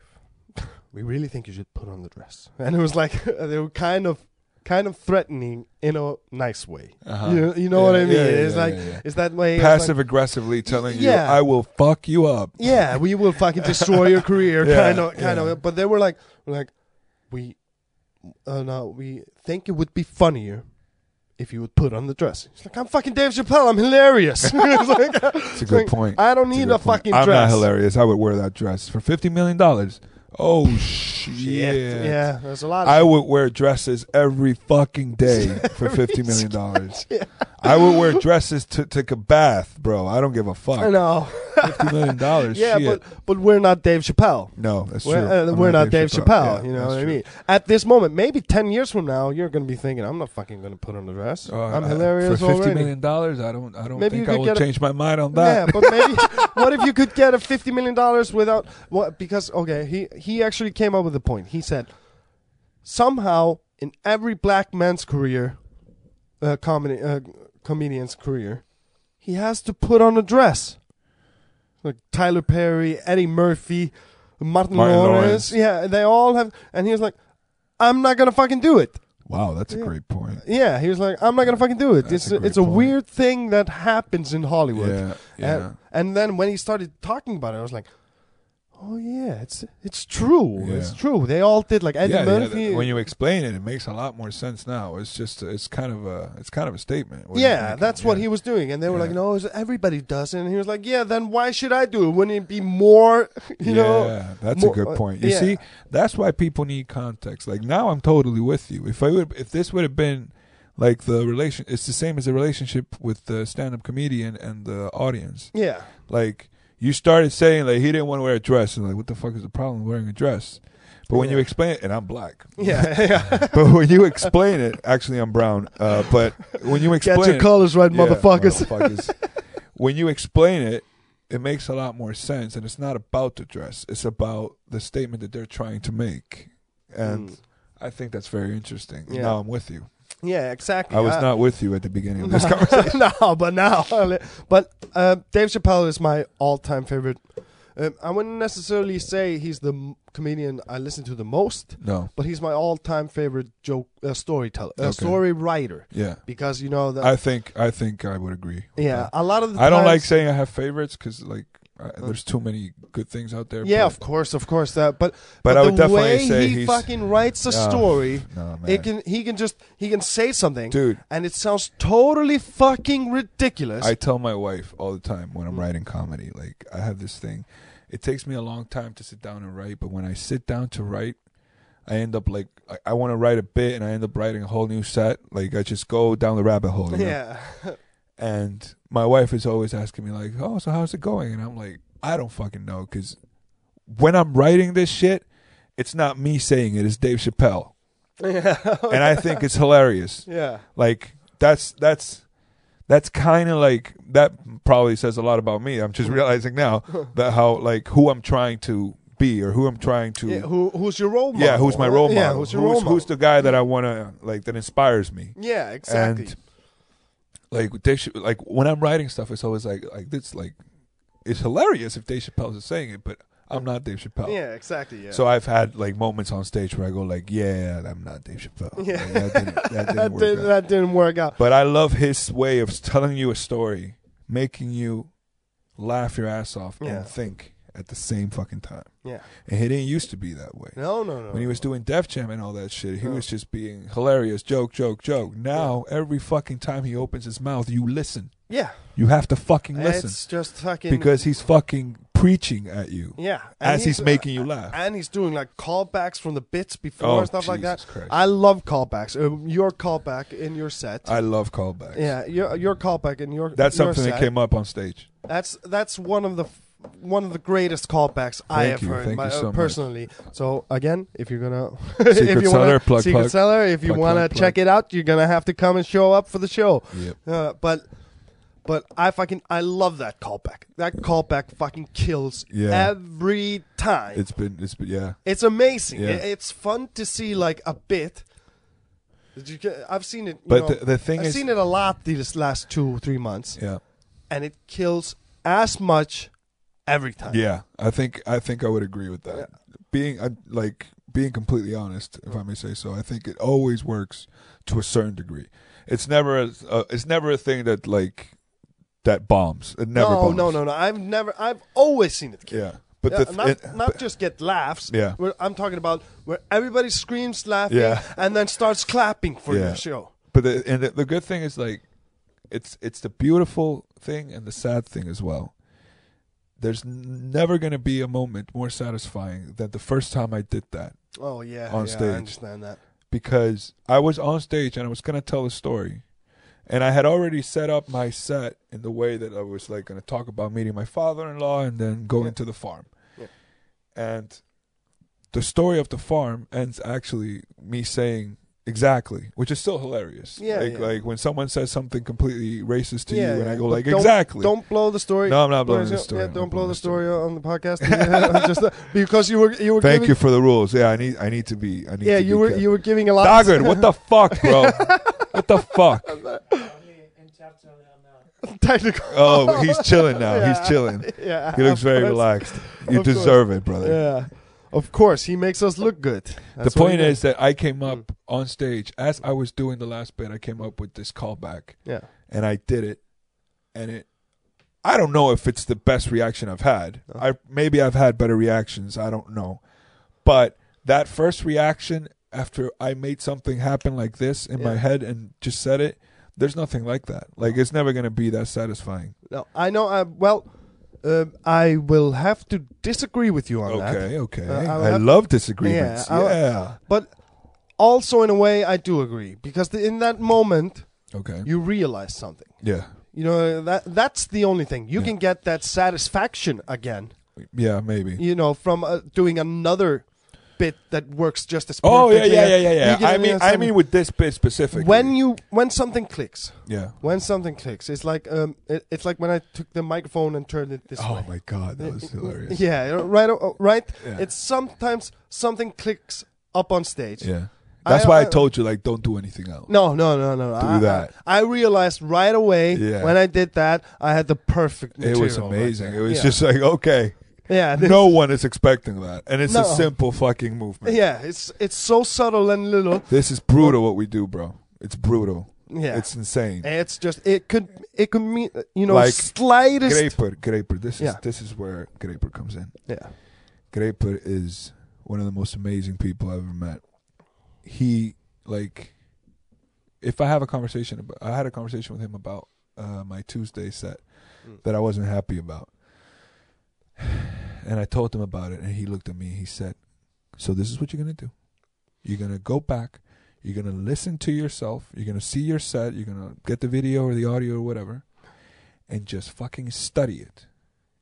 we really think you should put on the dress. And it was like they were kind of, kind of threatening in a nice way. Uh-huh. You, you know Yeah, what I mean? yeah, yeah, it's yeah, like yeah, yeah. it's that way. it's like- passive aggressively telling you, Yeah. "I will fuck you up." yeah, we will fucking destroy your career, Yeah, kind of, kind yeah. of. But they were like, we're like, we, uh, no, we think it would be funnier if you would put on the dress. He's like, I'm fucking Dave Chappelle. I'm hilarious. It's like, That's a it's good like, point. I don't That's a need good a, point. fucking I'm dress. not hilarious. I would wear that dress for fifty million dollars. Oh shit! Yeah, there's a lot. Of I would wear dresses every fucking day for fifty million dollars. I would wear dresses to take a bath, bro. I don't give a fuck. I know. Fifty million dollars. yeah, shit. but but we're not Dave Chappelle. no, that's true. We're, uh, I'm we're not Dave Chappelle. Yeah, you know that's what I true. mean? At this moment, maybe ten years from now, you're going to be thinking, "I'm not fucking going to put on the dress. Uh, I'm I- hilarious for fifty already." million dollars. I don't. I don't Maybe you think I could will get a- change my mind on Yeah, that. but maybe what if you could get a fifty million dollars without what? Because okay, he he actually came up with a point. He said somehow in every black man's career, uh, comedy uh, comedian's career, he has to put on a dress, like Tyler Perry, Eddie Murphy, Martin, Martin Lawrence. Lawrence. Yeah, they all have. And he was like, I'm not gonna fucking do it. wow, that's a great point. Yeah, he was like, I'm not gonna fucking do it. That's it's a a, great it's a point. weird thing that happens in Hollywood. Yeah, yeah. And, and then when he started talking about it, I was like, "Oh yeah, it's it's true. Yeah. It's true. They all did like Eddie yeah, yeah, Murphy. that- when you explain it, it makes a lot more sense now. It's just, it's kind of a, it's kind of a statement. what he's yeah, making, that's what yeah. he was doing." And they were Yeah. like, "No, it's- everybody does." it." And he was like, "Yeah, then why should I do it? Wouldn't it be more? You know?" Yeah, that's more- uh, a good point. You yeah. see, that's why people need context. Like now, I'm totally with you. If I would, if this would have been like the relation, it's the same as the relationship with the stand-up comedian and the audience. Yeah, Like you started saying, like he didn't want to wear a dress, and like what the fuck is the problem with wearing a dress? But when you Yeah. explain it, and I'm black, yeah, yeah. but when you explain it, actually I'm brown. Uh, but when you explain Get your it, colors right, yeah, motherfuckers. motherfuckers. when you explain it, it makes a lot more sense, and it's not about the dress; it's about the statement that they're trying to make. And Mm. I think that's very interesting. Yeah. Now I'm with you. yeah, exactly. I was I- not with you at the beginning of this conversation. no, but now, but uh, Dave Chappelle is my all-time favorite Um, I wouldn't necessarily say he's the m- comedian I listen to the most, No. but he's my all-time favorite joke uh, storyteller, uh, Okay. story writer, Yeah. because you know that. I think I think I would agree. with Uh, yeah, that. a lot of the I don't like times- saying I have favorites because like I, there's too many good things out there. Yeah, but- of course, of course that. But But I would the definitely way say he he's- fucking writes a Yeah. story, No, man. it can he can just he can say something, Dude, and it sounds totally fucking ridiculous. I tell my wife all the time when Mm. I'm writing comedy, like I have this thing. It takes me a long time to sit down and write, but when I sit down to write, I end up like I, I want to write a bit, and I end up writing a whole new set. Like I just go down the rabbit hole. you know? yeah, And my wife is always asking me like, "Oh, so how's it going?" And I'm like, "I don't fucking know," because when I'm writing this shit, it's not me saying it; it's Dave Chappelle, yeah, and I think it's hilarious yeah. like that's that's that's kind of like that probably says a lot about me i'm just realizing now that how like who i'm trying to be or who i'm trying to Yeah, yeah, who, who's your role model? who's my role model Yeah, who's your who's, role model? who's the guy that i want to like that inspires me yeah, exactly. and like with Dave, Ch- like when i'm writing stuff it's always like like this like it's hilarious if dave chappelle is saying it but i'm not dave chappelle yeah, exactly. Yeah. So I've had like moments on stage where I go like, "Yeah, I'm not Dave Chappelle. Yeah. Like, that didn't, that didn't that, work did, out. that didn't work out. But I love his way of telling you a story, making you laugh your ass off Yeah. and think at the same fucking time. Yeah. And he didn't used to be that way. No, no, no. When he was doing Def Jam and all that shit, he No. was just being hilarious, joke, joke, joke. Now, every fucking time he opens his mouth, you listen. yeah, You have to fucking listen it's just fucking because he's fucking preaching at you yeah, and uh, as he's, making you laugh. and he's doing like callbacks from the bits before Oh, and stuff like that. Jesus Christ. I love callbacks. Um, your callback in your set. I love callbacks. yeah, your your callback in your That's your something that set. came up on stage. That's that's one of the f- one of the greatest callbacks I Thank have you, heard thank my, uh, you so much. personally. So again, if you're gonna if Secret you Cellar, wanna, plug, secret plug. seller, if you Plug, wanna plug, plug. check it out, you're gonna have to come and show up for the show. Yep. Uh, but but I fucking I love that callback. That callback fucking kills Yeah. every time. It's been, it's been, yeah. It's amazing. Yeah. It- it's fun to see like a bit. Did you get- I've seen it. you But know, the, the thing I've is, seen it a lot these last two three months, yeah. and it kills as much every time. Yeah, I think I think I would agree with that. Being I, like being completely honest, if I may say so, I think it always works to a certain degree. It's never a, uh, it's never a thing that like that bombs. It never no, bombs. no, no, no. I've never. I've always seen it kill. Yeah, but Uh, the th- not it- not just get laughs. Yeah. where I'm talking about where everybody screams laughing Yeah. and then starts clapping for Yeah. your show. but the, and the, the good thing is like it's it's the beautiful thing and the sad thing as well there's n- never going to be a moment more satisfying than the first time i did that Oh yeah, On yeah, stage. I understand that. because i was on stage and i was going to tell a story and i had already set up my set in the way that i was like going to talk about meeting my father-in-law and then going Yeah. to the farm Yeah. and the story of the farm ends actually me saying exactly which is still hilarious Yeah, like yeah. like when someone says something completely racist to yeah, you and yeah. i go But like don't- exactly Don't blow the story. no i'm not blowing Yeah, the story yeah, I'm don't not blow blowing the story on the podcast Just, uh, because you were you were thank giving, you for the rules yeah i need i need to be i need yeah to you be were kept- you were giving a lot. Daggett, what the fuck bro what the fuck technical. oh he's chilling now Yeah. he's chilling Yeah, he looks of very course. relaxed you Of course. deserve it brother Yeah, of course he makes us look good. the That's what he point does. Mm. is that i came up on stage as i was doing the last bit i came up with this callback yeah, and I did it, and it. I don't know if it's the best reaction I've had. No. I maybe I've had better reactions. I don't know, but that first reaction after I made something happen like this in my Yeah. head and just said it, there's nothing like that. Like it's never gonna be that satisfying. no, I know. I well, um I will have to disagree with you on that, Okay, okay. Uh, I'll I, have- love disagreements. Yeah, I'll- Yeah. but also in a way I do agree because the, in that moment Okay. you realize something. Yeah. You know uh, that that's the only thing you Yeah. can get that satisfaction again. Yeah. Maybe. you know, from uh, doing another bit that works just as Oh yeah, perfectly. yeah, yeah, yeah, You yeah. get I it, mean, it's I some- mean, with this bit specifically. when you when something clicks, yeah. when something clicks, it's like um, it, it's like when I took the microphone and turned it this Oh way. my god, that was hilarious. Yeah, right, uh, right. Yeah. It's sometimes something clicks up on stage. Yeah. I- That's why I, I- told you, like, don't do anything else. No, no, no, no. Do I, that. I, I realized right away Yeah. when I did that, I had the perfect. it material was right amazing. there. it was Yeah. just like, okay, Yeah, this- no one is expecting that, and it's No. a simple fucking movement. Yeah, it's it's so subtle and little. This is brutal. What we do, bro. It's brutal. Yeah, It's insane. And it's just it could it could mean you know Like, slightest. Graper, Graper. This is Yeah. this is where Graper comes in. Yeah, Graper is one of the most amazing people I've ever met. He like if I have a conversation about I had a conversation with him about uh, my Tuesday set Mm. that I wasn't happy about. And I told him about it and he looked at me and he said, "So this is what you're going to do. You're going to go back, you're going to listen to yourself, you're going to see your set, you're going to get the video or the audio or whatever and just fucking study it."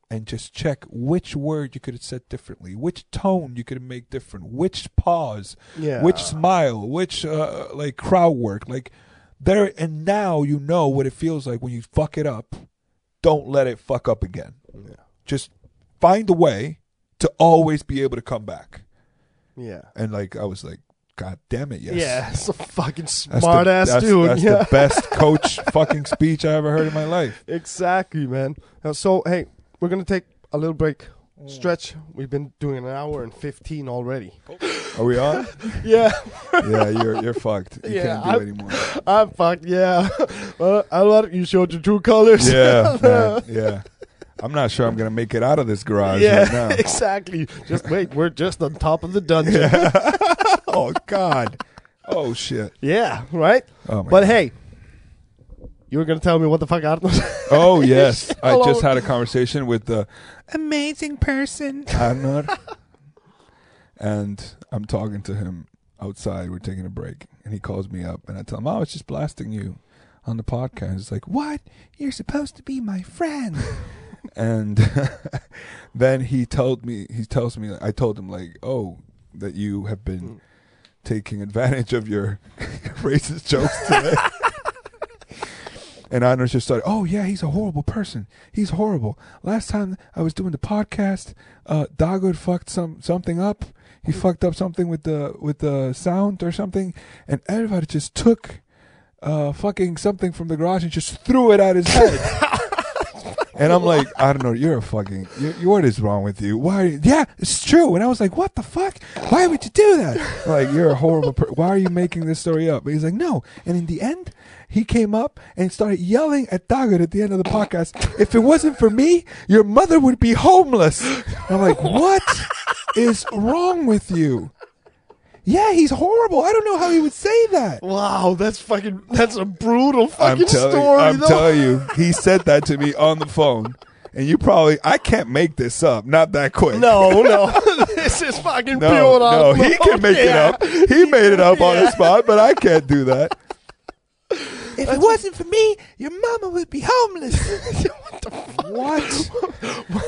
and just check which word you could have said differently, which tone you could make different, which pause, yeah. which smile, which uh, like crowd work, like there and now you know what it feels like when you fuck it up. Don't let it fuck up again. Yeah. Just find a way to always be able to come back. yeah. And like I was like, God damn it, yes. Yeah, it's a fucking smart That's the- ass that's- dude. That's yeah, the best coach fucking speech I ever heard in my life. exactly, man. Now, so hey, we're gonna take a little break. Stretch. We've been doing an hour and fifteen already. Are we on? Yeah, yeah, you're you're fucked. You Yeah, can't do I'm- anymore. I'm fucked. Yeah, well, I love you. Showed your true colors. Yeah, man, yeah. I'm not sure I'm gonna make it out of this garage right yeah, now. exactly. Just wait, we're just on top of the dungeon. Yeah, oh God. Oh shit. right. Oh my but God. hey, you were gonna tell me what the fuck Arnold. Oh yes. I Hello. just had a conversation with the amazing person. I'm not. and I'm talking to him outside. We're taking a break, and he calls me up, and I tell him, "Oh, it's just blasting you on the podcast." It's like, "What? You're supposed to be my friend." and then he told me. He tells me. I told him like, "Oh, that you have been." Taking advantage of your racist jokes today. And Anders just started, oh, yeah, he's a horrible person. He's horrible. Last time I was doing the podcast, uh, Dago had fucked some, something up. He fucked up something with the with the sound or something. And everybody just took uh, fucking something from the garage and just threw it at his head. and I'm like, I don't know, you're a fucking, you, you- what is wrong with you? Why? Yeah, it's true. And I was like, what the fuck? Why would you do that? like, you're a horrible person. Why are you making this story up? But he's like, no. And in the end, he came up and started yelling at Daggett at the end of the podcast, if it wasn't for me, your mother would be homeless. And I'm like, what is wrong with you? Yeah, he's horrible. I don't know how he would say that. Wow, that's fucking. That's a brutal fucking telling, story. I'm though. telling you, he said that to me on the phone, and you probably I can't make this up, not that quick. No, no, this is fucking no, pure. no, Arnold. he can make Yeah. it up. He made it up on the spot, but I can't do that. If it wasn't for me, your mama would be homeless. What?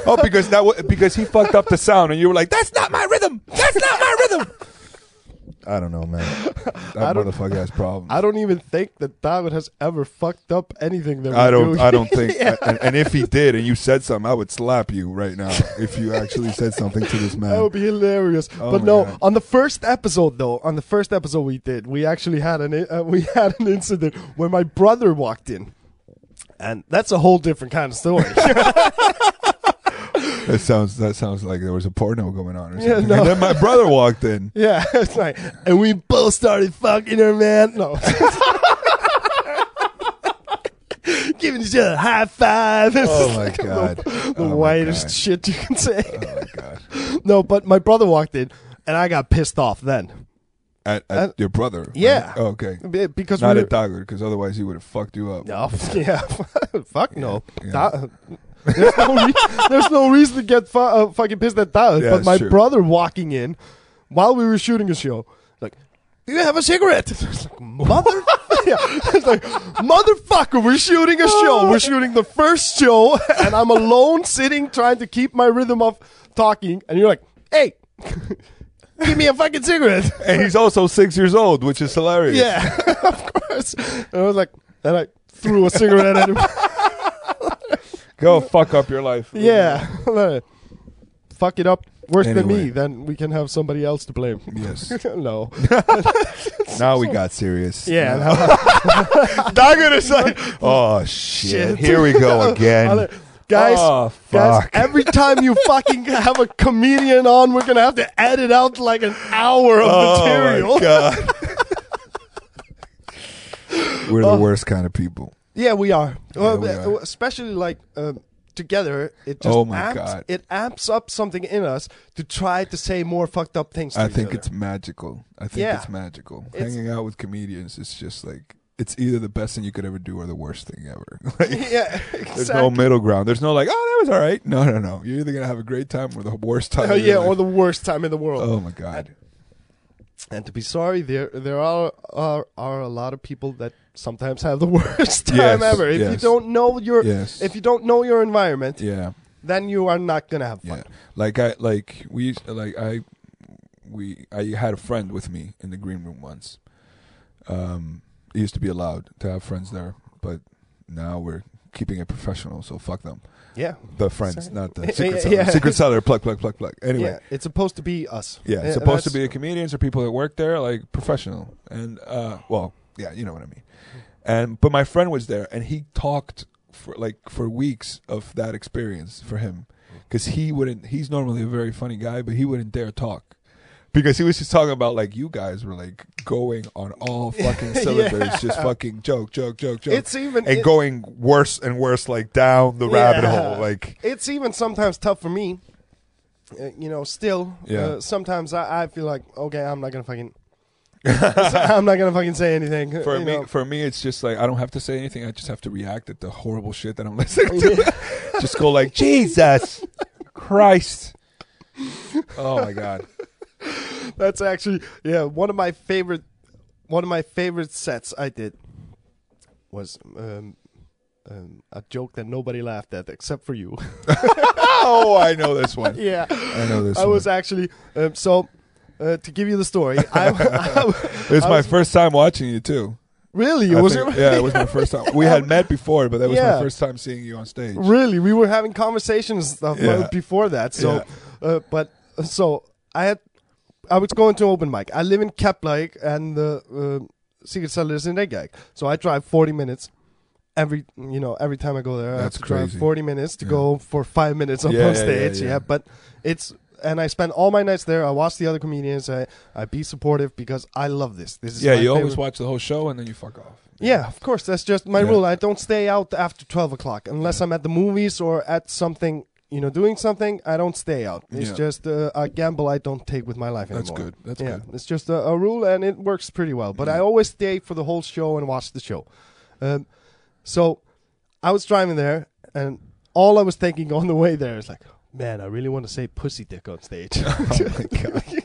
oh, because that wa- because he fucked up the sound, and you were like, "That's not my rhythm. That's not my rhythm." I don't know, man. That don't- motherfucker has problems. I don't even think that David has ever fucked up anything that we I don't. do. I don't think. and, and if he did, and you said something, I would slap you right now if you actually said something to this man. That would be hilarious. Oh but my no, God. on the first episode though, on the first episode we did, we actually had an i- uh, we had an incident where my brother walked in, and that's a whole different kind of story. That sounds that sounds like there was a porno going on or Yeah, something. no. And then my brother walked in. yeah, it's like, and we both started fucking her, man. No. Giving each other high five. Oh my god. The oh my whitest God. shit you can say. Oh my god. no, but my brother walked in, and I got pissed off then. At, at Uh, your brother. right? yeah. Oh, okay. Be- Because Not we at Dogger, because otherwise he would have fucked you up. No, yeah, fuck no. Yeah. Da- there's, no re- there's no reason to get fu- uh, fucking pissed at that. Yeah, but it's my true. brother walking in while we were shooting a show, like, do you have a cigarette? It's like, mother. yeah, it's like, motherfucker, we're shooting a show. We're shooting the first show, and I'm alone sitting trying to keep my rhythm of talking, and you're like, hey, give me a fucking cigarette. And he's also six years old, which is hilarious. Yeah, of course. And I was like, and I threw a cigarette at him. Go fuck up your life. Yeah. Fuck it up worse than me, Anyway. then we can have somebody else to blame. Yes. no. Now we got serious. Yeah. Now- Dogger is like, oh Shit. shit. Here we go again. Guys, Oh, guys, fuck. every time you fucking have a comedian on, we're gonna have to edit out like an hour of material. God. We're Oh. the worst kind of people. Yeah, we are. Well, we are. Especially like um, together, it just Oh my amps, God. it amps up something in us to try to say more fucked up things. To I each think other. it's magical. I think Yeah. it's magical. It's- Hanging out with comedians is just like it's either the best thing you could ever do or the worst thing ever. Like, yeah, There's exactly. no middle ground. There's no like, oh, that was all right. No, no, no. You're either gonna have a great time or the worst time. Oh, of your yeah, or life. the worst time in the world. oh my god. And to be sorry, there there are, are are a lot of people that sometimes have the worst time Yes, ever. If you yes. don't know your Yes. if you don't know your environment, Yeah, then you are not gonna have fun. yeah. Like I like we used like I we I had a friend with me in the green room once. Um, it used to be allowed to have friends there, but now we're keeping it professional. So fuck them. Yeah, The friends, Sorry. not Yeah, the secret seller. yeah. Secret seller, plug, plug, plug, plug. yeah. Anyway, It's supposed to be us. yeah, Uh, it's supposed to that's- be the comedians or people that work there, like professional. And uh, well, yeah, you know what I mean. And but my friend was there, and he talked for like for weeks of that experience for him, because he wouldn't. He's normally a very funny guy, but he wouldn't dare talk. Because he was just talking about like you guys were like going on all fucking cylinders, just fucking joke, joke, joke, joke, It's even and it- going worse and worse, like down the rabbit Yeah. hole, like it's even sometimes tough for me. Uh, you know, still, Yeah. uh, sometimes I, I feel like okay, I'm not gonna fucking, I'm not gonna fucking say anything. For you me, know. for me, it's just like I don't have to say anything. I just have to react at the horrible shit that I'm listening to. just go like Jesus Christ. Oh my God. That's actually yeah, one of my favorite one of my favorite sets I did was um, um, a joke that nobody laughed at except for you. Oh, I know this one. yeah, I know this. I was One. actually um, so uh, to give you the story. I, I- It was I my was- first time watching you too. really I was think- it- Yeah, it was my first time. We had met before, but that was Yeah. my first time seeing you on stage. really we were having conversations and stuff Yeah. before that. So, uh, but so I had I was going to open mic. I live in Kepler and the uh, secret seller is in Reykjavik. So I drive 40 minutes every you know every time I go there. I have That's to drive crazy. 40 minutes to Yeah. go for five minutes up Yeah, on yeah, yeah, stage. yeah. but it's. And I spend all my nights there. I watch the other comedians. I, I be supportive because I love this. This is Yeah, my you always favorite- watch the whole show and then you fuck off. yeah, of course. That's just my Yeah. rule. I don't stay out after twelve o'clock unless I'm at the movies or at something. You know, doing something. I don't stay out. It's Yeah. just uh, a gamble I don't take with my life anymore. That's good. That's yeah, good. Mm. it's just a, a rule, and it works pretty well. But I always stay for the whole show and watch the show. Um, so I was driving there, and all I was thinking on the way there is like, man, I really want to say pussy dick on stage. Oh my God.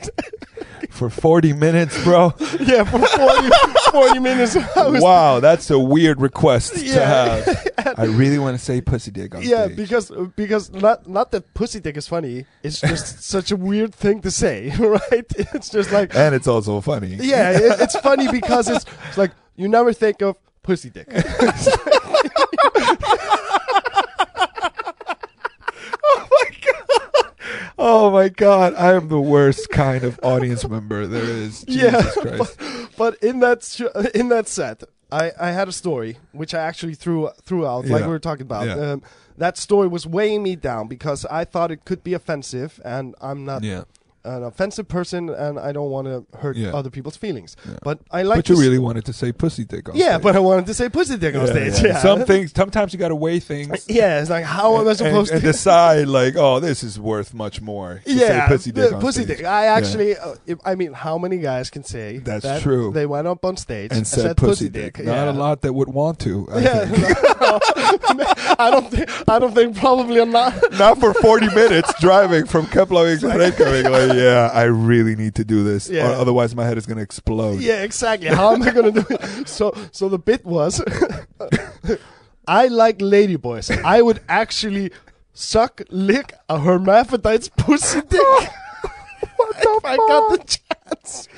For 40 minutes, bro. yeah, for 40, 40 minutes. I was Wow, that's a weird request to Yeah. have. I really want to say pussy dick on Yeah, stage. because because not not that pussy dick is funny. It's just such a weird thing to say, right? It's just like and it's also funny. yeah, it, it's funny because it's, it's like you never think of pussy dick. Oh my god, I am the worst kind of audience member there is. Yeah. Jesus Christ. but in that sh- in that set, I, I had a story which I actually threw threw out, like Yeah. we were talking about. Yeah. Um, that story was weighing me down because I thought it could be offensive, and I'm not Yeah. an offensive person, and I don't want to hurt Yeah. other people's feelings. Yeah. But I like but you to s- really wanted to say pussy dick on Yeah, stage. but I wanted to say pussy dick on stage. Yeah. Some things sometimes you gotta weigh things. Yeah, it's like how am I and- supposed and, to? decide like, oh, this is worth much more. to say yeah, pussy dick. the on pussy stage. dick. I Yeah. actually, uh, if, I mean, how many guys can say That's that true. They went up on stage and said, pussy, dick. Not Yeah. a lot that would want to. I Yeah, think. I don't think. I don't think probably a lot. Not for 40 minutes driving from Keflavik to Reykjavik. Like, yeah, I really need to do this, Yeah. or otherwise my head is going to explode. Yeah, exactly. How am I gonna do it? So, so the bit was, I like lady boys. I would actually suck, lick a hermaphrodite's pussy dick. what the if I got the chance.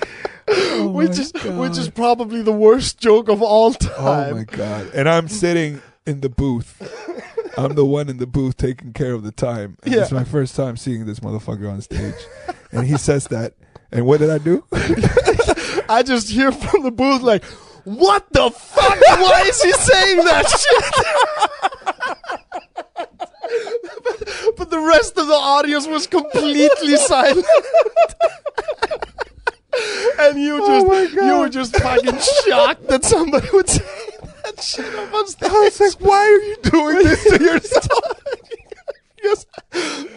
which Oh my is which is probably the worst joke of all Oh time. my god! And I'm sitting in the booth. I'm the one in the booth taking care of the time. And It's Yeah. my first time seeing this motherfucker on stage, and he says that. And what did I do? I just hear from the booth like, "What the fuck? Why is he saying that shit?" the audience was completely silent. and you just you were just fucking shocked that somebody would say that shit up on stage. I was like, why are you doing this to yourself? Oh Yes,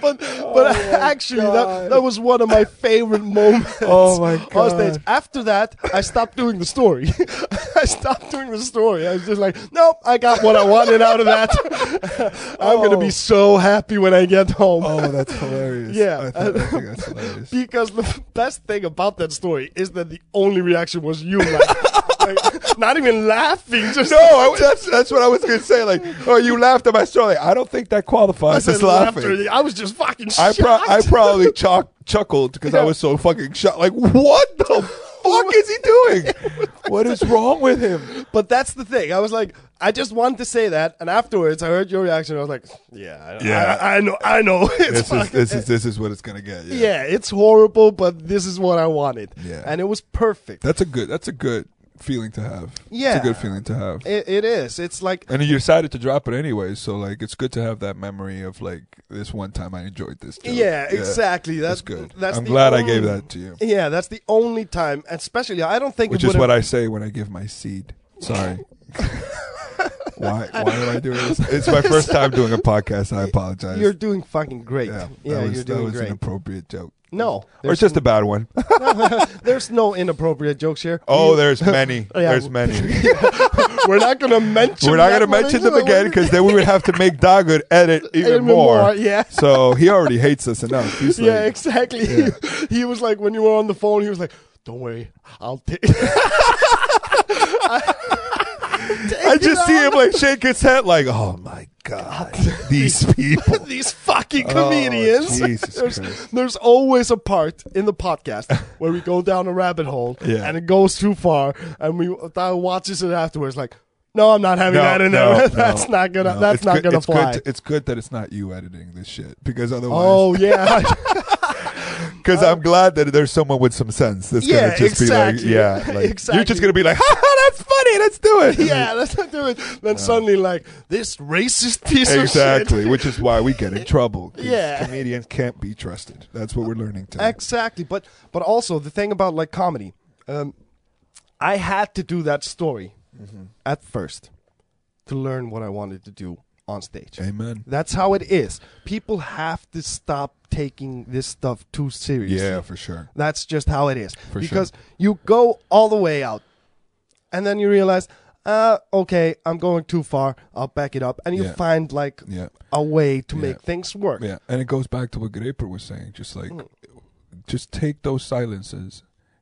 but but actually, that, that was one of my favorite moments. Oh my On God. stage. After that, I stopped doing the story. I stopped doing the story. I was just like, nope, I got what I wanted out of that. I'm gonna be so happy when I get home. Oh, that's hilarious. Yeah. I, th- I think that's hilarious. Because the best thing about that story is that the only reaction was you, like, like, not even laughing, just No, I, that's that's what I was gonna say. Like, oh, you laughed at my story. Like, I don't think that qualifies as just laughing. laughter. I was just fucking I shocked. pro- I probably chuck- chuckled because I Yeah. was so fucking shocked. Like, what the fuck is he doing? what is wrong with him? but that's the thing. I was like, I just wanted to say that, and afterwards, I heard your reaction. I was like, yeah, I, Yeah. I, I know, I know. It's This is fucking, this is this is what it's gonna get. Yeah. yeah, it's horrible, but this is what I wanted, Yeah. and it was perfect. That's a good. That's a good feeling to have. Yeah. it's a good feeling to have. It, it is. It's like and you decided to drop it anyway, so like it's good to have that memory of like this one time I enjoyed this. Joke. Yeah, exactly. That's, That's good. That's I'm the glad I only- gave that to you, Yeah, that's the only time, especially. I don't think which it is would've- what I say when I give my seed. Sorry. why? Why am I doing this? It's my first time doing a podcast. I apologize. You're doing fucking great. yeah, Yeah, that was, you're that doing was great. an appropriate joke. no, Or it's there's, just a bad one. there's no inappropriate jokes here. Oh, We- there's many. Yeah. There's many. we're not gonna mention. We're not that going to one mention them anymore. again because then we would have to make Doggood edit even, Even more. more, yeah. So he already hates us enough. He's yeah, like, exactly. he was like, when you were on the phone, he was like, "Don't worry, I'll take." I just see him like shake his head, like, oh my god, these people. These fucking Oh, comedians. Jesus Christ. there's, there's always a part in the podcast where we go down a rabbit hole Yeah. and it goes too far, and we Thao watches it afterwards like, "No, I'm not having that in there. that's not gonna. no. That's It's not good- gonna it's fly." Good it's good that it's not you editing this shit because otherwise, Oh yeah, because I'm glad that there's someone with some sense that's Oh, Yeah, gonna just exactly. be like, yeah, like, you're Exactly. just gonna be like, ha ha, that's funny, let's do it. yeah. Let's not do it. Then suddenly, like this racist piece of shit. exactly, which is why we get in trouble. 'cause Yeah. comedians can't be trusted. That's what we're learning today. Exactly. But but also the thing about like comedy, um, I had to do that story Mm-hmm. at first to learn what I wanted to do on stage. Amen. That's how it is. People have to stop taking this stuff too seriously. Yeah, for sure. That's just how it is. For sure. because you go all the way out, and then you realize, uh, okay, I'm going too far. I'll back it up, and you Yeah. find like Yeah. a way to Yeah. make things work. Yeah, and it goes back to what Greper was saying. Just like, just take those silences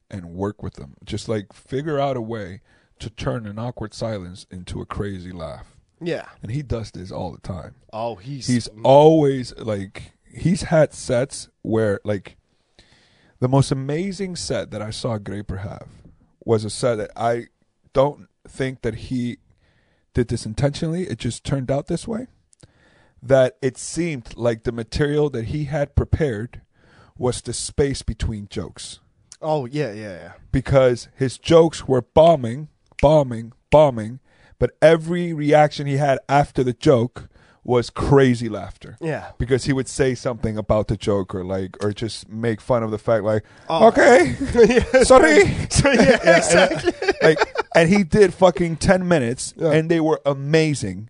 and work with them. Just like figure out a way to turn an awkward silence into a crazy laugh. Yeah. And he does this all the time. Oh, he's He's always like, he's had sets where like, the most amazing set that I saw Graper have was a set that I don't think that he did this intentionally. It just turned out this way. That it seemed like the material that he had prepared was the space between jokes oh yeah yeah yeah. because his jokes were bombing, bombing, bombing, but every reaction he had after the joke was crazy laughter Yeah. because he would say something about the joke or like or just make fun of the fact like Oh. okay yeah. sorry So, yeah, exactly. like and he did fucking 10 minutes Yeah. and they were amazing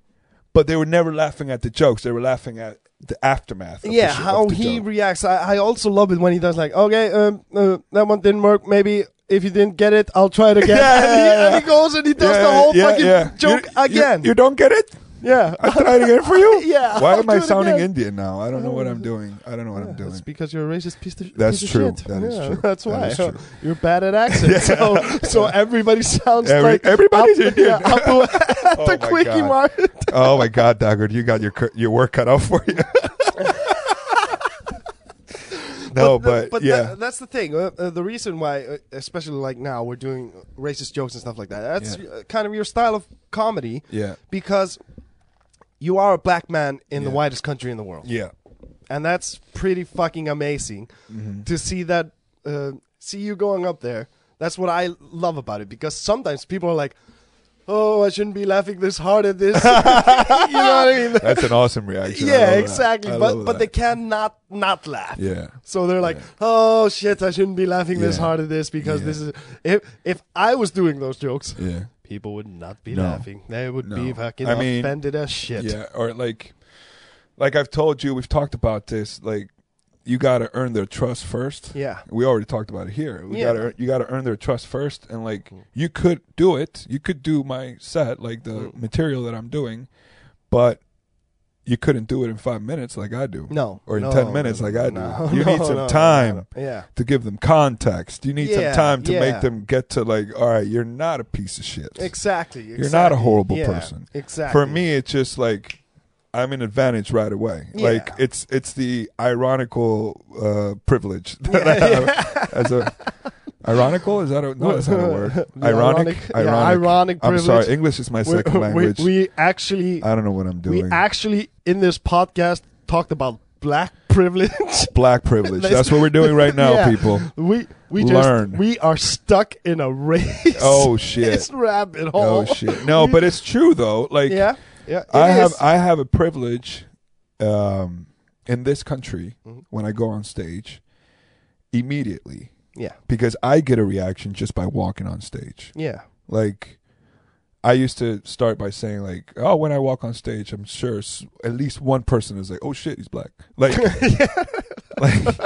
but they were never laughing at the jokes they were laughing at the aftermath of the yeah, sh- of how the he joke. reacts. I, I also love it when he does like, okay, um, uh, that one didn't work. Maybe if you didn't get it, I'll try it again. Yeah, and, he, yeah, and he goes and he does Yeah, the whole yeah, fucking yeah. joke You- you- again. you don't get it yeah, I tried again for you. Yeah, Why I'll am I do it sounding again. Uh, Indian now? I don't know what I'm doing. I don't know what I'm doing. That's because you're a racist piece of, That's piece true. of shit. That is Yeah, true. That's That why is true. you're bad at accents. so, so everybody sounds Every- like everybody's Indian. Yeah, Abu at Oh the my quickie God. mart. oh my God, Daggard, you got your cur- your work cut out for you. no, but, but yeah, that, that's the thing. Uh, uh, the reason why, uh, especially like now, we're doing racist jokes and stuff like that. That's Yeah. uh, kind of your style of comedy. Yeah. Because you are a black man in the Yeah. whitest country in the world, yeah, and that's pretty fucking amazing Mm-hmm. to see that. Uh, see you going up there. That's what I love about it because sometimes people are like. oh, I shouldn't be laughing this hard at this. you know what I mean? That's an awesome reaction. I love yeah, that. exactly. I But love but that. they cannot not laugh. Yeah. So they're like, oh shit, I shouldn't be laughing this Yeah. hard at this because Yeah. this is if if I was doing those jokes, Yeah. people would not be No. laughing. They would be No. fucking I mean- offended as shit. Yeah, or like, like I've told you, we've talked about this. Like, you gotta earn their trust first. Yeah. we already talked about it here. We Yeah. Mm-hmm. gotta, you gotta earn their trust first, and like, you could do it. You could do my set, like the Mm-hmm. material that I'm doing, but you couldn't do it in five minutes, like I do. No. or in no, ten minutes, no, like I do. no, you no, need some no, no, time. no. Yeah. To give them context, you need Yeah, some time to yeah. make them get to like, all right, you're not a piece of shit. Exactly. You're not a horrible person. Exactly. For me, it's just like I'm an advantage right away. Yeah. Like it's it's the ironical uh, privilege that I have as a ironical is that a, no that's not a word The ironic ironic- yeah, ironic I'm privilege. sorry, English is my we, second language. We, we actually I don't know what I'm we doing. actually in this podcast talked about black privilege. Black privilege. Let's- That's what we're doing right now, Yeah. people. we we just Learn. we are stuck in a race. Oh shit. It's rabbit hole. Oh shit. No, We- but it's true though. Like yeah, yeah. it I have is. I have a privilege um, in this country Mhm. when I go on stage immediately yeah, because I get a reaction just by walking on stage. yeah, Like I used to start by saying like, "Oh, when I walk on stage, I'm sure s- at least one person is like, "Oh shit, he's black." Like like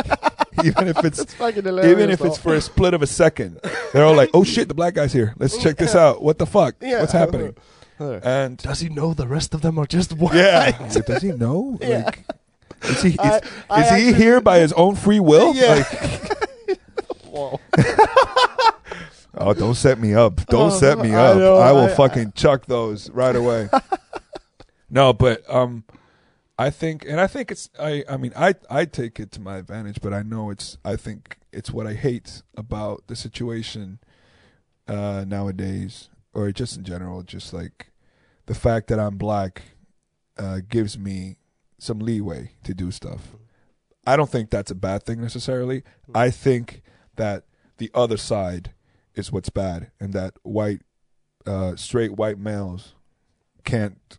even if it's It's fucking hilarious. even if it's though. for a split of a second, they're all like, "Oh shit, the black guy's here. Let's check this out. What the fuck? Yeah. What's happening?" Uh, And does he know the rest of them are just white? yeah. Does he know? Yeah. Like, is he, is, I- I is he actually- here by his own free will? Yeah. Like, Whoa. oh, don't set me up. Don't Oh, set me I up. I, know, will I- fucking chuck those right away. no, but um, I think, and I think it's, I, I mean, I, I take it to my advantage, but I know it's, I think it's what I hate about the situation uh, nowadays, or just in general, just like the fact that I'm black uh, gives me some leeway to do stuff. I don't think that's a bad thing necessarily. I think that the other side is what's bad, and that white, uh, straight white males can't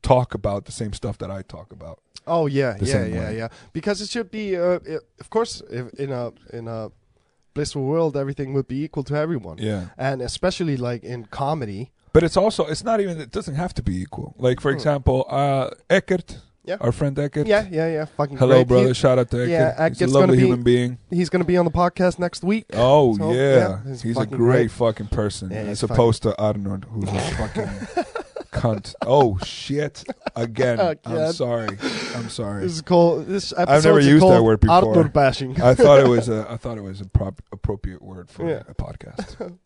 talk about the same stuff that I talk about. Oh yeah, the yeah, same yeah, way. yeah. Because it should be, uh, i of course, if, in a in a blissful world, everything would be equal to everyone, Yeah, and especially like in comedy. but it's also it's not even it doesn't have to be equal. Like for example, uh, Eckert, Hmm. Yeah. our friend Eckert. Yeah, yeah, yeah. Fucking Hello, great. brother. Shout out to Eckert. yeah, He's a Eckert's lovely gonna be- human being. He- he's gonna be on the podcast next week. Oh So, yeah. yeah, he's he's, a fucking great, great. fucking person. Yeah, he's as opposed to Arnold, who's a fucking cunt. Oh shit! Again, Again. I'm sorry. I'm sorry. This is called. This episode never used that word before. Arthur bashing. I thought it was a I thought it was a prop, appropriate word for Yeah. a podcast.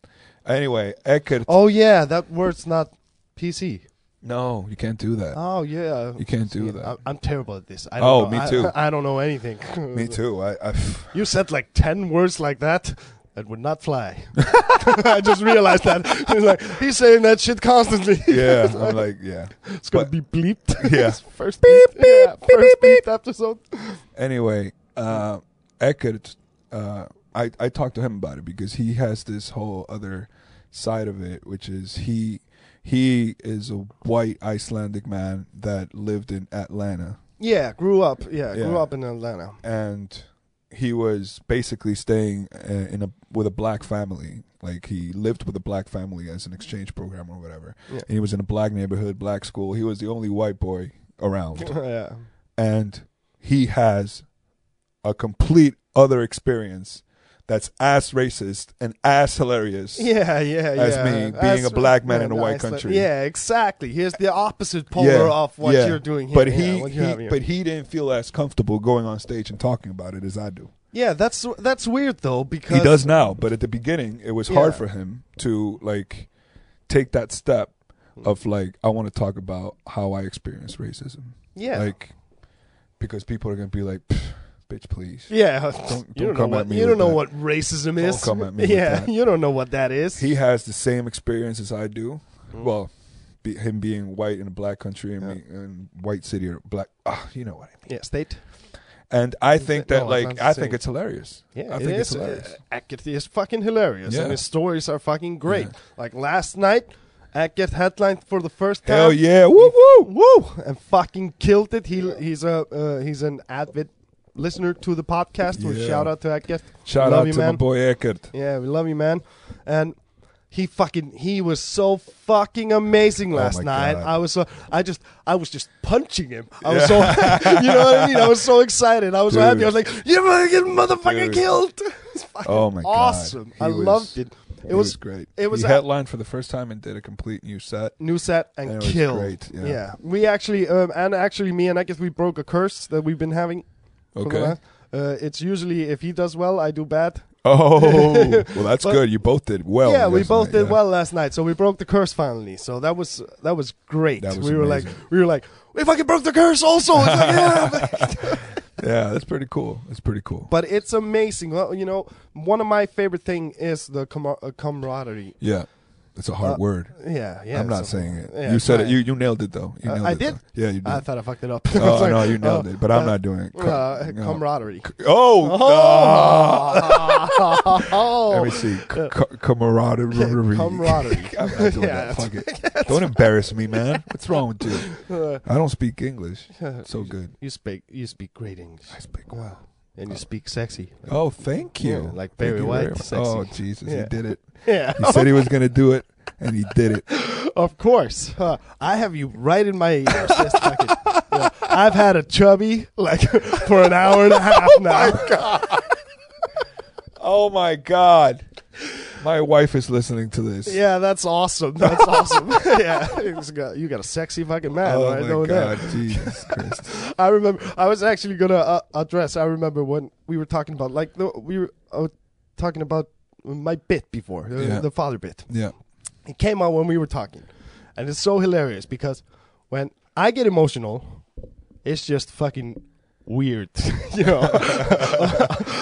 Anyway, Eckert. oh yeah, that word's not PC. No, you can't do that. Oh yeah. You can't do Yeah, that. I, am terrible at this. I don't Oh, know. me I- too. I, don't know anything. Me too. I, I You said like ten words like that. That would not fly. I just realized that. He's like, he's saying that shit constantly. yeah. I'm like yeah. it's gonna but- be bleeped. Yeah. It's first beep, beep, yeah, beep, first beep, beeped episode. anyway, uh, Eckert, uh, I I talked to him about it because he has this whole other side of it, which is he he is a white Icelandic man that lived in Atlanta Yeah, grew up. Yeah, Yeah. grew up in Atlanta. and he was basically staying uh, in a with a black family. Like he lived with a black family as an exchange program or whatever. Yeah. And he was in a black neighborhood, black school. He was the only white boy around. yeah. and he has a complete other experience that's as racist and as hilarious. Yeah, yeah, yeah. As me being a black man in a white Iceland. country. Yeah, exactly. Here's the opposite polar Yeah, of what yeah. you're doing here. But yeah, he, what you have he here. but he didn't feel as comfortable going on stage and talking about it as I do. yeah, that's that's weird though because He does now, but at the beginning it was hard Yeah. for him to like take that step of like I want to talk about how I experience racism. Yeah, Like because people are going to be like "Pff, bitch please. yeah. you don't don't know come what at me you with don't know that. what racism Don't is. come at me with yeah, that. you don't know what that is. he has the same experience as I do. Well, be, him being white in a black country and Mm-hmm. Yeah. me in white city or black, ah, you know what I mean. yeah, state. And I think No, that it's not like the I same. think it's hilarious. Yeah, I it think it's is. hilarious. Uh, Ackett is fucking hilarious, Yeah. and his stories are fucking great. Yeah. Like last night, Eggert headlined for the first time. Hell yeah! Woo woo! Woo! And fucking killed it. He he's a uh, he's an avid listener to the podcast. Yeah. Well, shout out to Eggert. Shout Love out you, to man. my boy Eckert. Yeah, we love you, man. And he fucking he was so fucking amazing Oh last my night. God. I was so I just I was just punching him. I was so you know what I mean. I was so excited. I was so Dude. happy. I was like, "You fucking motherfucker Dude. killed!" It's fucking Oh my God. awesome. He I was- loved it. It It was, was great. it was he a- headlined for the first time and did a complete new set. new set and, And it was killed. great, Yeah. yeah. we actually um, and actually me and I guess we broke a curse that we've been having. for the Okay. last- Uh, it's usually if he does well, I do bad. Oh, well, that's But- good. You both did well. yeah, we last both night, did Oh, yeah. well last night, so we broke the curse finally. So that was that was great. That was we were amazing. like we were like we fucking broke the curse also. It's like, yeah. Yeah, that's pretty cool. That's pretty cool. but it's amazing. Well, you know, one of my favorite thing is the camar- uh, camaraderie. Yeah, it's a hard Uh, word. Yeah, yeah. I'm not so- saying it. yeah, you said try it. You you nailed it though. You Uh, nailed I it, did? though. Yeah, you did. I thought I fucked it up. oh Sorry. no, you nailed Uh, it. But I'm uh, not doing it. uh, No. camaraderie. Oh, ah. let oh, me see. C- c- camaraderie. camaraderie. I'm not doing Yeah, that. Fuck it. Don't embarrass me, man. What's wrong with you? Uh, I don't speak English. So good. you speak you speak great English I speak well. and you speak sexy. Oh, thank you. Yeah, like Thank Barry you White, very much. sexy. Oh, Jesus, Yeah. he did it. Yeah, He said he was gonna do it, and he did it. of course. Huh. I have you right in my ears. Yes, fucking- yeah. I've had a chubby like for an hour and a half now. Oh my God. My wife is listening to this. Yeah, that's awesome. That's awesome. yeah, it's got- you got a sexy fucking man Oh right my over there. God, Jesus Christ. I remember. I was actually gonna uh, address. I remember when we were talking about like the, we were uh, talking about my bit before uh, Yeah. the father bit. Yeah. it came out when we were talking, and it's so hilarious because when I get emotional, it's just fucking weird, you know,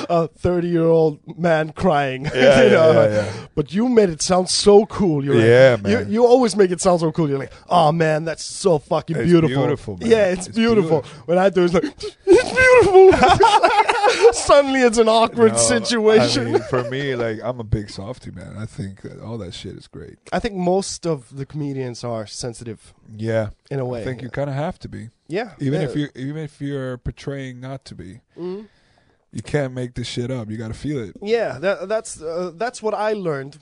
a thirty-year-old man crying. Yeah, you yeah, know? yeah, yeah. But you made it sound so cool. You're like- Yeah, man. You, you always make it sound so cool. You're like, oh man, that's so fucking It's beautiful. beautiful, man. Yeah, it's, It's beautiful. beautiful. When I do, it's like it's beautiful. Suddenly, it's an awkward No, situation. I mean, for me, like I'm a big softy man. I think that all that shit is great. I think most of the comedians are sensitive Yeah. in a way. I think you kind of have to be, Yeah. even yeah. if you even if you're portraying not to be. Mhm. You can't make this shit up. You got to feel it. Yeah, that, that's uh, that's what I learned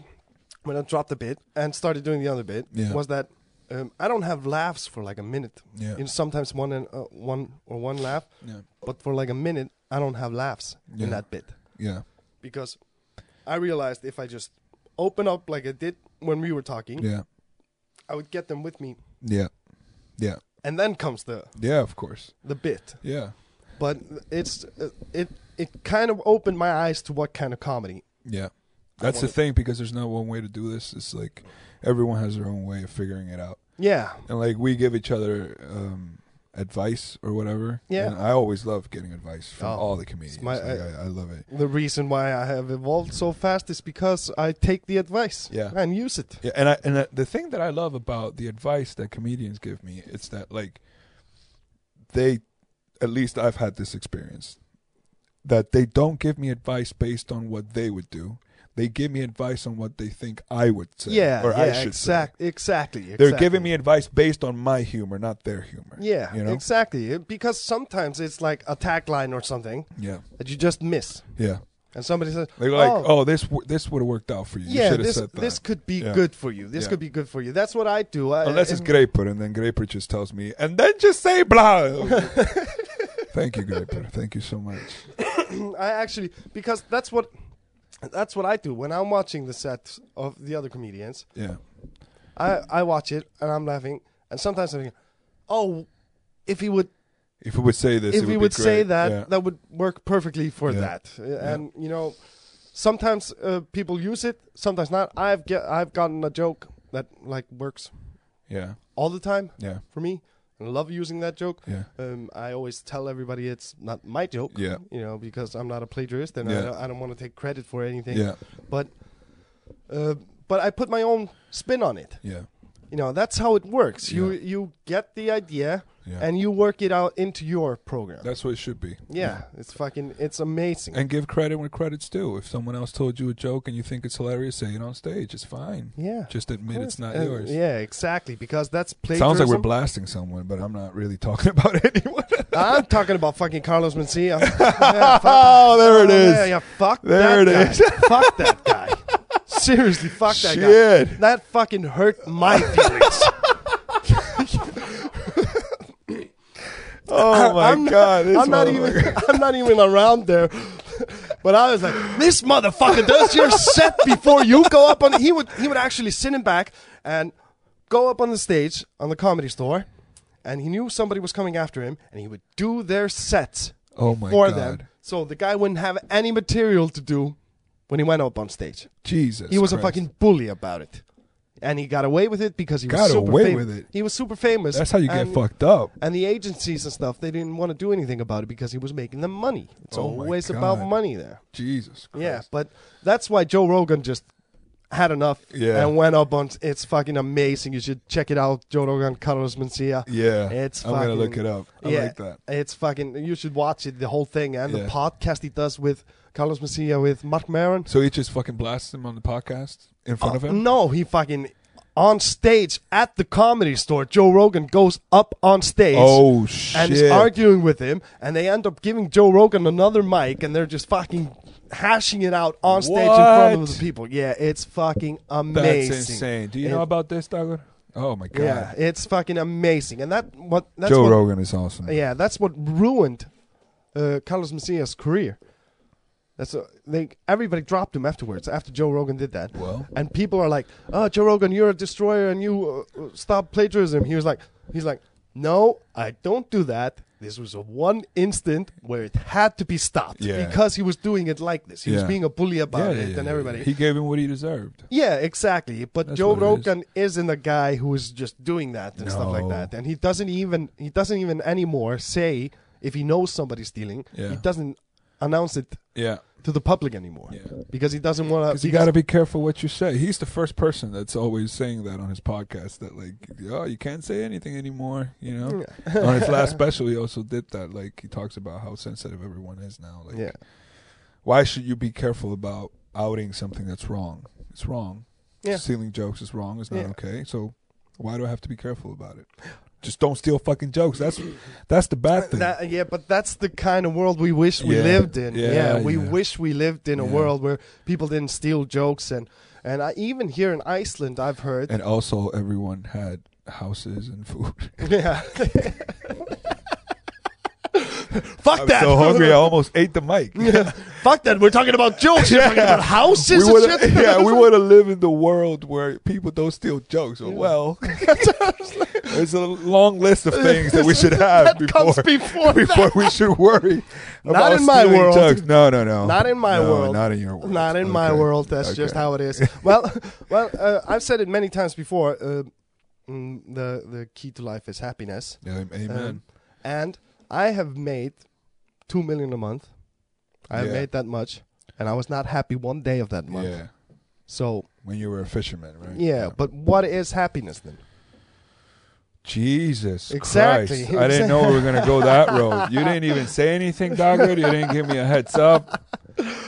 when I dropped the bit and started doing the other bit Yeah. was that um, I don't have laughs for like a minute. Yeah. You know, sometimes one and uh, one or one laugh, Yeah. but for like a minute I don't have laughs in Yeah. that bit Yeah. because I realized if I just open up like I did when we were talking, Yeah. I would get them with me, Yeah. Yeah. and then comes the Yeah, of course. the bit. Yeah. But it's uh, it it kind of opened my eyes to what kind of comedy Yeah. That's the wanna- thing because there's not one way to do this. It's like everyone has their own way of figuring it out. Yeah, And like we give each other um advice or whatever. Yeah. And I always love getting advice from Oh, all the comedians. my- Like, I, I love it. the reason why I have evolved so fast is because I take the advice Yeah. and use it. Yeah, and I and the- the thing that I love about the advice that comedians give me, it's that like they at least I've had this experience that they don't give me advice based on what they would do. They give me advice on what they think I would say yeah, or yeah, I should say. exact, exactly, exactly. They're giving me advice based on my humor, not their humor. yeah, you know. exactly. It- Because sometimes it's like a tagline or something yeah, that you just miss, yeah. and somebody says, They're like, "Oh, oh, this w- this would have worked out for you. you yeah, should have this said that. this could be Yeah. good for you. This Yeah. could be good for you." That's what I do. I, Unless it's and- Graper, and then Graper just tells me, and then just say blah. Thank you, Graper. Thank you so much. I actually because that's what that's what I do when I'm watching the set of the other comedians. Yeah, I I watch it and I'm laughing, and sometimes I'm thinking, "Oh, if he would." if we would say this, if it we be would say great. that, Yeah. that would work perfectly for Yeah. that. Uh, And you know, sometimes uh, people use it, sometimes not. I've get, I've gotten a joke that like works yeah, all the time yeah, for me. I love using that joke. yeah, Um, I always tell everybody it's not my joke. Yeah. You know, because I'm not a plagiarist and I Yeah. don't, I don't want to take credit for anything. yeah, But uh, but I put my own spin on it. yeah, You know, that's how it works. You you get the idea, Yeah. and you work it out into your program. That's what it should be. yeah, it's fucking, it's amazing. And give credit where credit's due. If someone else told you a joke and you think it's hilarious, say it on stage. It's fine. yeah, Just admit it's not And- yours. Yeah, exactly, because that's plagiarism. Sounds like we're blasting someone, but I'm not really talking about anyone. I'm talking about fucking Carlos Mencia. Oh, there it Oh, is. Yeah, yeah, fuck There that it guy. is. fuck that guy. Seriously, fuck that guy. Shit. That fucking hurt my feelings. Oh my I'm not- god! this I'm not motherfucker. even. I'm not even around there. But I was like, this motherfucker does your set before you go up on. He would. He would actually sit him back and go up on the stage on the comedy store, and he knew somebody was coming after him, and he would do their sets Oh my for god. them, so the guy wouldn't have any material to do when he went up on stage. Jesus. he was a Christ. fucking bully about it, and he got away with it because he was Got super away fam- with it. He was super famous. That's how you get and- fucked up. And the agencies and stuff, they didn't want to do anything about it because he was making them money. It's Oh my always about God. money there. Jesus. Christ. Yeah, but that's why Joe Rogan just had enough Yeah. and went up on. It's fucking amazing. You should check it out. Joe Rogan, Carlos Mencia. Yeah. It's I'm gonna fucking- look it up. I yeah, like that. It's fucking. You should watch it, the whole thing, and the Yeah. podcast he does with Carlos Mencia with Mark Maron. So he just fucking blasts him on the podcast in Uh, front of him. No, he fucking on stage at the comedy store. Joe Rogan goes up on stage. Oh shit. and is arguing with him, and they end up giving Joe Rogan another mic, and they're just fucking hashing it out on stage in front of What? the people. Yeah, it's fucking That's amazing. insane. Do you It- know about this, Douglas? Oh my god. Yeah, it's fucking amazing, and that what that's Joe what, Rogan is awesome. Yeah, that's what ruined uh, Carlos Mencia's career. That's uh, they everybody dropped him afterwards after Joe Rogan did that. Well. and people are like, "Oh, Joe Rogan, you're a destroyer, and you uh, uh, stop plagiarism." He was like, "He's like, no, I don't do that. This was a one instant where it had to be stopped Yeah. because he was doing it like this. He was Yeah. being a bully Yeah, about yeah, it, yeah, and yeah. everybody." He gave him what he deserved. Yeah, exactly. But That's Joe what it is. Rogan is. not a guy who is just doing that and stuff like No. that, and he doesn't even he doesn't even anymore say if he knows somebody's stealing. Yeah. He doesn't announce it Yeah. to the public anymore Yeah. Uh, because he doesn't want Because to. you got to be careful what you say. He's the first person that's always saying that on his podcast. That like, oh, you can't say anything anymore. You know. on his last special, he also did that. Like he talks about how sensitive everyone is now. Like, Yeah. why should you be careful about outing something that's wrong? It's wrong. Yeah. Stealing jokes is wrong. It's not Yeah. okay. So why do I have to be careful about it? Just don't steal fucking jokes. That's that's the bad thing. That- yeah, but that's the kind of world we wish we Yeah. lived in. Yeah, Yeah, we yeah. wish we lived in a Yeah. world where people didn't steal jokes and and I, even here in Iceland, I've heard. and also, everyone had houses and food. yeah. Fuck that! so hungry, I almost ate the mic. Fuck that. We're talking about jokes. You're talking about houses we and wanna, shit. yeah, we want to live in the world where people don't steal jokes. Well, there's a long list of things that we should have that before comes before, before that. we should worry. Not about in my stealing world. Jokes. No, no, no. Not in my No, world. Not in your world. Not in my Okay. world. That's just Okay. how it is. Well, well, uh, I've said it many times before. Uh, mm, the the key to life is happiness, Yeah, amen. Um, and I have made two million a month. I have Yeah. made that much, and I was not happy one day of that month. yeah, So when you were a fisherman, right? yeah, but what is happiness then? Jesus Exactly. Christ. I didn't know we were going to go that road. You didn't even say anything, Dogger. You didn't give me a heads up.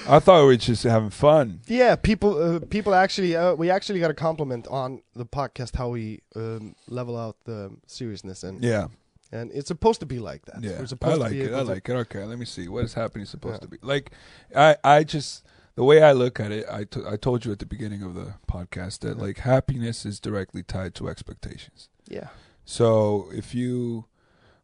I thought we were just having fun. Yeah, people, uh, people actually, uh, we actually got a compliment on the podcast how we um, level out the seriousness and Yeah. and it's supposed to be like that. Yeah, We're supposed I like to be it. able I to- like it. Okay, let me see what is happening. Supposed Yeah. to be like, I I just the way I look at it. I to- I told you at the beginning of the podcast that Yeah. like happiness is directly tied to expectations. Yeah, So if you,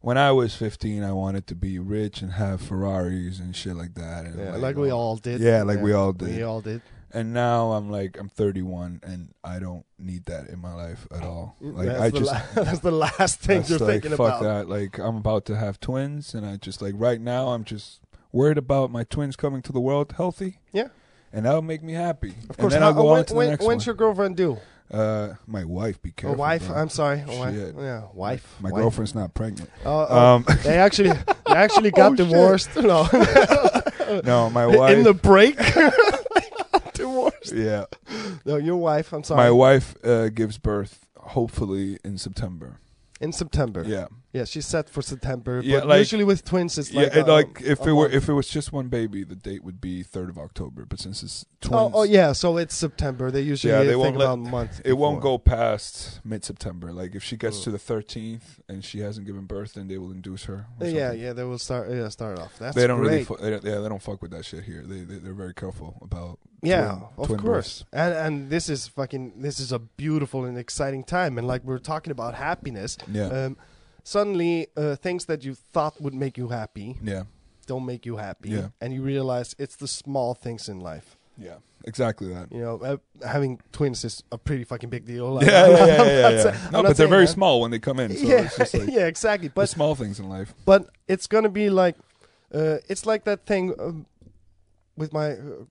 when I was fifteen, I wanted to be rich and have Ferraris and shit like that. And yeah, like, we all did. Yeah, like we all did. We all did. And now I'm like I'm 31 and I don't need that in my life at all. Like that's, I the just la- that's the last thing That's you're like, thinking fuck about. that. Like I'm about to have twins, and I just like right now I'm just worried about my twins coming to the world healthy. Yeah. and that'll make me happy. Of course. and then how- uh, I'll go when, on to the when- next when's one. your girlfriend due? uh, my wife, be Or careful. wife? bro. I'm sorry. a Wife. Shit. Yeah, wife. my wife. girlfriend's not pregnant. Oh, oh, Um, they actually, they actually got Oh, shit. divorced. No, no, my wife. in the break. They got divorced. yeah, No, your wife. I'm sorry. my wife uh, gives birth hopefully in September. in September. Yeah, Yeah, she's set for September. Yeah, but like- usually with twins, it's like yeah, and uh, like if a it were month. if it was just one baby, the date would be third of October. But since it's oh, twins, oh, yeah, so it's September. They usually Yeah, they think won't let- about months. it won't before. go past mid September. Like if she gets to the thirteenth and she hasn't given birth, then they will induce her. Yeah, or something. yeah, they will start. Yeah, start off. That's they don't great. really. Fu- they don't, yeah, they don't fuck with that shit here. They, they they're very careful about. Yeah, twin- of twin course. And and this is fucking this is a beautiful and exciting time. And like we are talking about happiness, births. Yeah, um, suddenly uh, things that you thought would make you happy yeah, don't make you happy, Yeah. and you realize it's the small things in life. yeah. Exactly that. You know, uh, having twins is a pretty fucking big deal. Like, Yeah, I'm yeah, yeah, not- yeah, I'm not yeah. sa- I'm No, not but they're saying very that. small when they come in. So yeah, it's just like yeah, exactly. the But small things in life. but it's gonna be like uh, it's like that thing um, with my uh,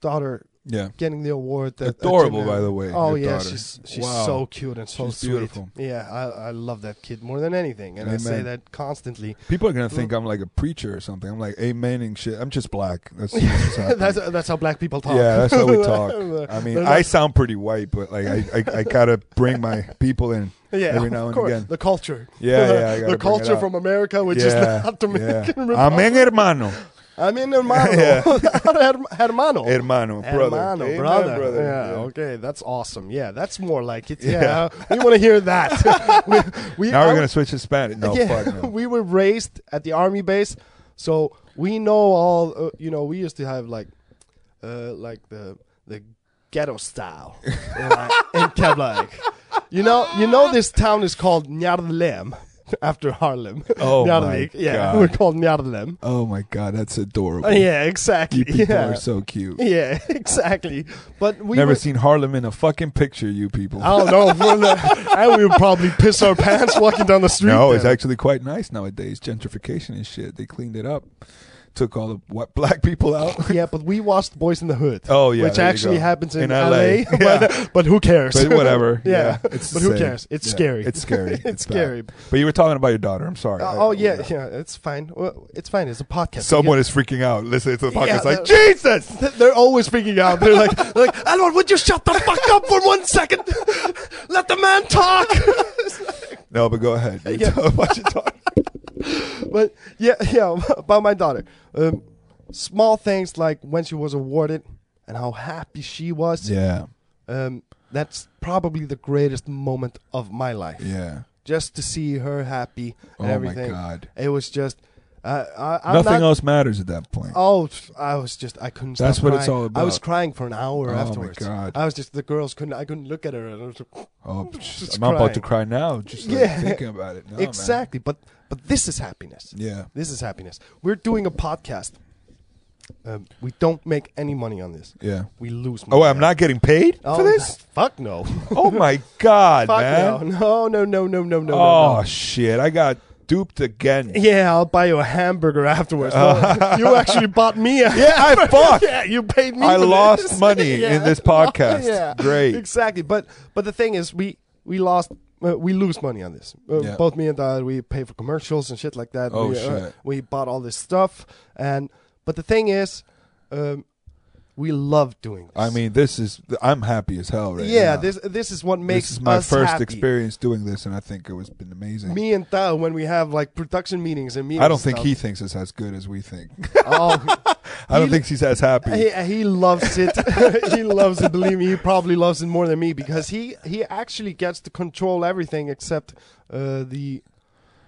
daughter Yeah. getting the award. That Adorable, Jim- by the way, Oh your yeah, daughter. she's she's Wow. so cute and so She's sweet. beautiful. Yeah, I, I love that kid more than anything, and I say Amen. that constantly. People are gonna think I'm like a preacher or something. I'm like amening shit. I'm just black. That's, that's what's happening. that's that's how black people talk. Yeah, that's how we talk. I mean, They're I like- sound pretty white, but like I, I, I gotta bring my people in. yeah, every now of and course. again. the culture. Yeah, yeah, I gotta bring the it culture out. from America, which is not Dominican yeah. Republic. Amen, hermano, I mean, hermano, Yeah. Her- hermano. hermano, brother, Hermano, Amen, brother. brother. Yeah, Yeah. okay, that's awesome. Yeah, that's more like it. Yeah, Yeah. we want to hear that. we, we, Now I- we're gonna switch to Spanish. No, yeah, fuck no. we were raised at the army base, so we know all. Uh, you know, we used to have like, uh, like the the ghetto style in, like, in Keflavik. You know, you know, this town is called Njarlem after Harlem. Oh my Njarlvik, yeah, God. we're called Njarlem. oh my god, that's adorable. Uh, yeah, exactly. you people yeah. are so cute. yeah, exactly. But we Never were, seen Harlem in a fucking picture, you people. I don't know. we're the- and we would probably piss our pants walking down the street. no, it's then. actually quite nice nowadays. Gentrification and shit. They cleaned it up, took all the what black people out. Yeah, but we watched Boys in the Hood. Oh, yeah, which there you actually go. happens in, In LA. LA. But, but who cares? but whatever. yeah, it's the but who same. cares? It's Yeah, scary. It's scary. It's bad. scary. But you were talking about your daughter. I'm sorry. Uh, I- oh yeah, yeah, it's fine. Well, it's fine. It's a podcast. Someone is freaking out listening to the Yeah, podcast. like, that- Jesus. Th- They're always freaking out. They're like, they're like, Elon, would you shut the fuck up for one second? Let the man talk. No, but go ahead. You Yeah. tell them what you're talking- but yeah, yeah, about my daughter. Um, small things like when she was awarded and how happy she was. Yeah, Um, that's probably the greatest moment of my life. yeah. just to see her happy Oh and everything. my god. It was just, uh, I, I'm Nothing not, else matters at that point. Oh, I was just, I couldn't. That's stop what it's crying. all I was about. crying for an hour Oh my afterwards. God. I was just the girls couldn't. I couldn't look at her. And I was like, Oh, psh, Just I'm not about to cry crying. now. Just like, Yeah. thinking about it. No, Oh, man. exactly, but but this is happiness. Yeah. This is happiness. We're doing a podcast. Um, we don't make any money on this. Yeah. We lose money. Oh, I'm not getting paid Oh, for this. Fuck no. Oh my god, fuck man. no. No, no, no, no, no, no. oh no. shit, I got duped again. Yeah, I'll buy you a hamburger afterwards. No, you actually bought me a Yeah, I fucked. Yeah, you paid me. I for lost this. money in this podcast. Great. exactly. But but the thing is, we we lost. Uh, we lose money on this. Uh, Yeah. Both me and Dad, we pay for commercials and shit like that. Oh, we, uh, shit. we bought all this stuff, and but the thing is, um, we love doing this. I mean, this is I'm happy as hell right yeah, now. this this is what makes this is my us first happy. experience doing this, and I think it was been amazing. Me and Dad, when we have like production meetings and meetings, I don't and think stuff, he thinks it's as good as we think. Oh, I don't He- think he's as happy. He, he loves it. he loves it. Believe me, he probably loves it more than me because he he actually gets to control everything except uh, the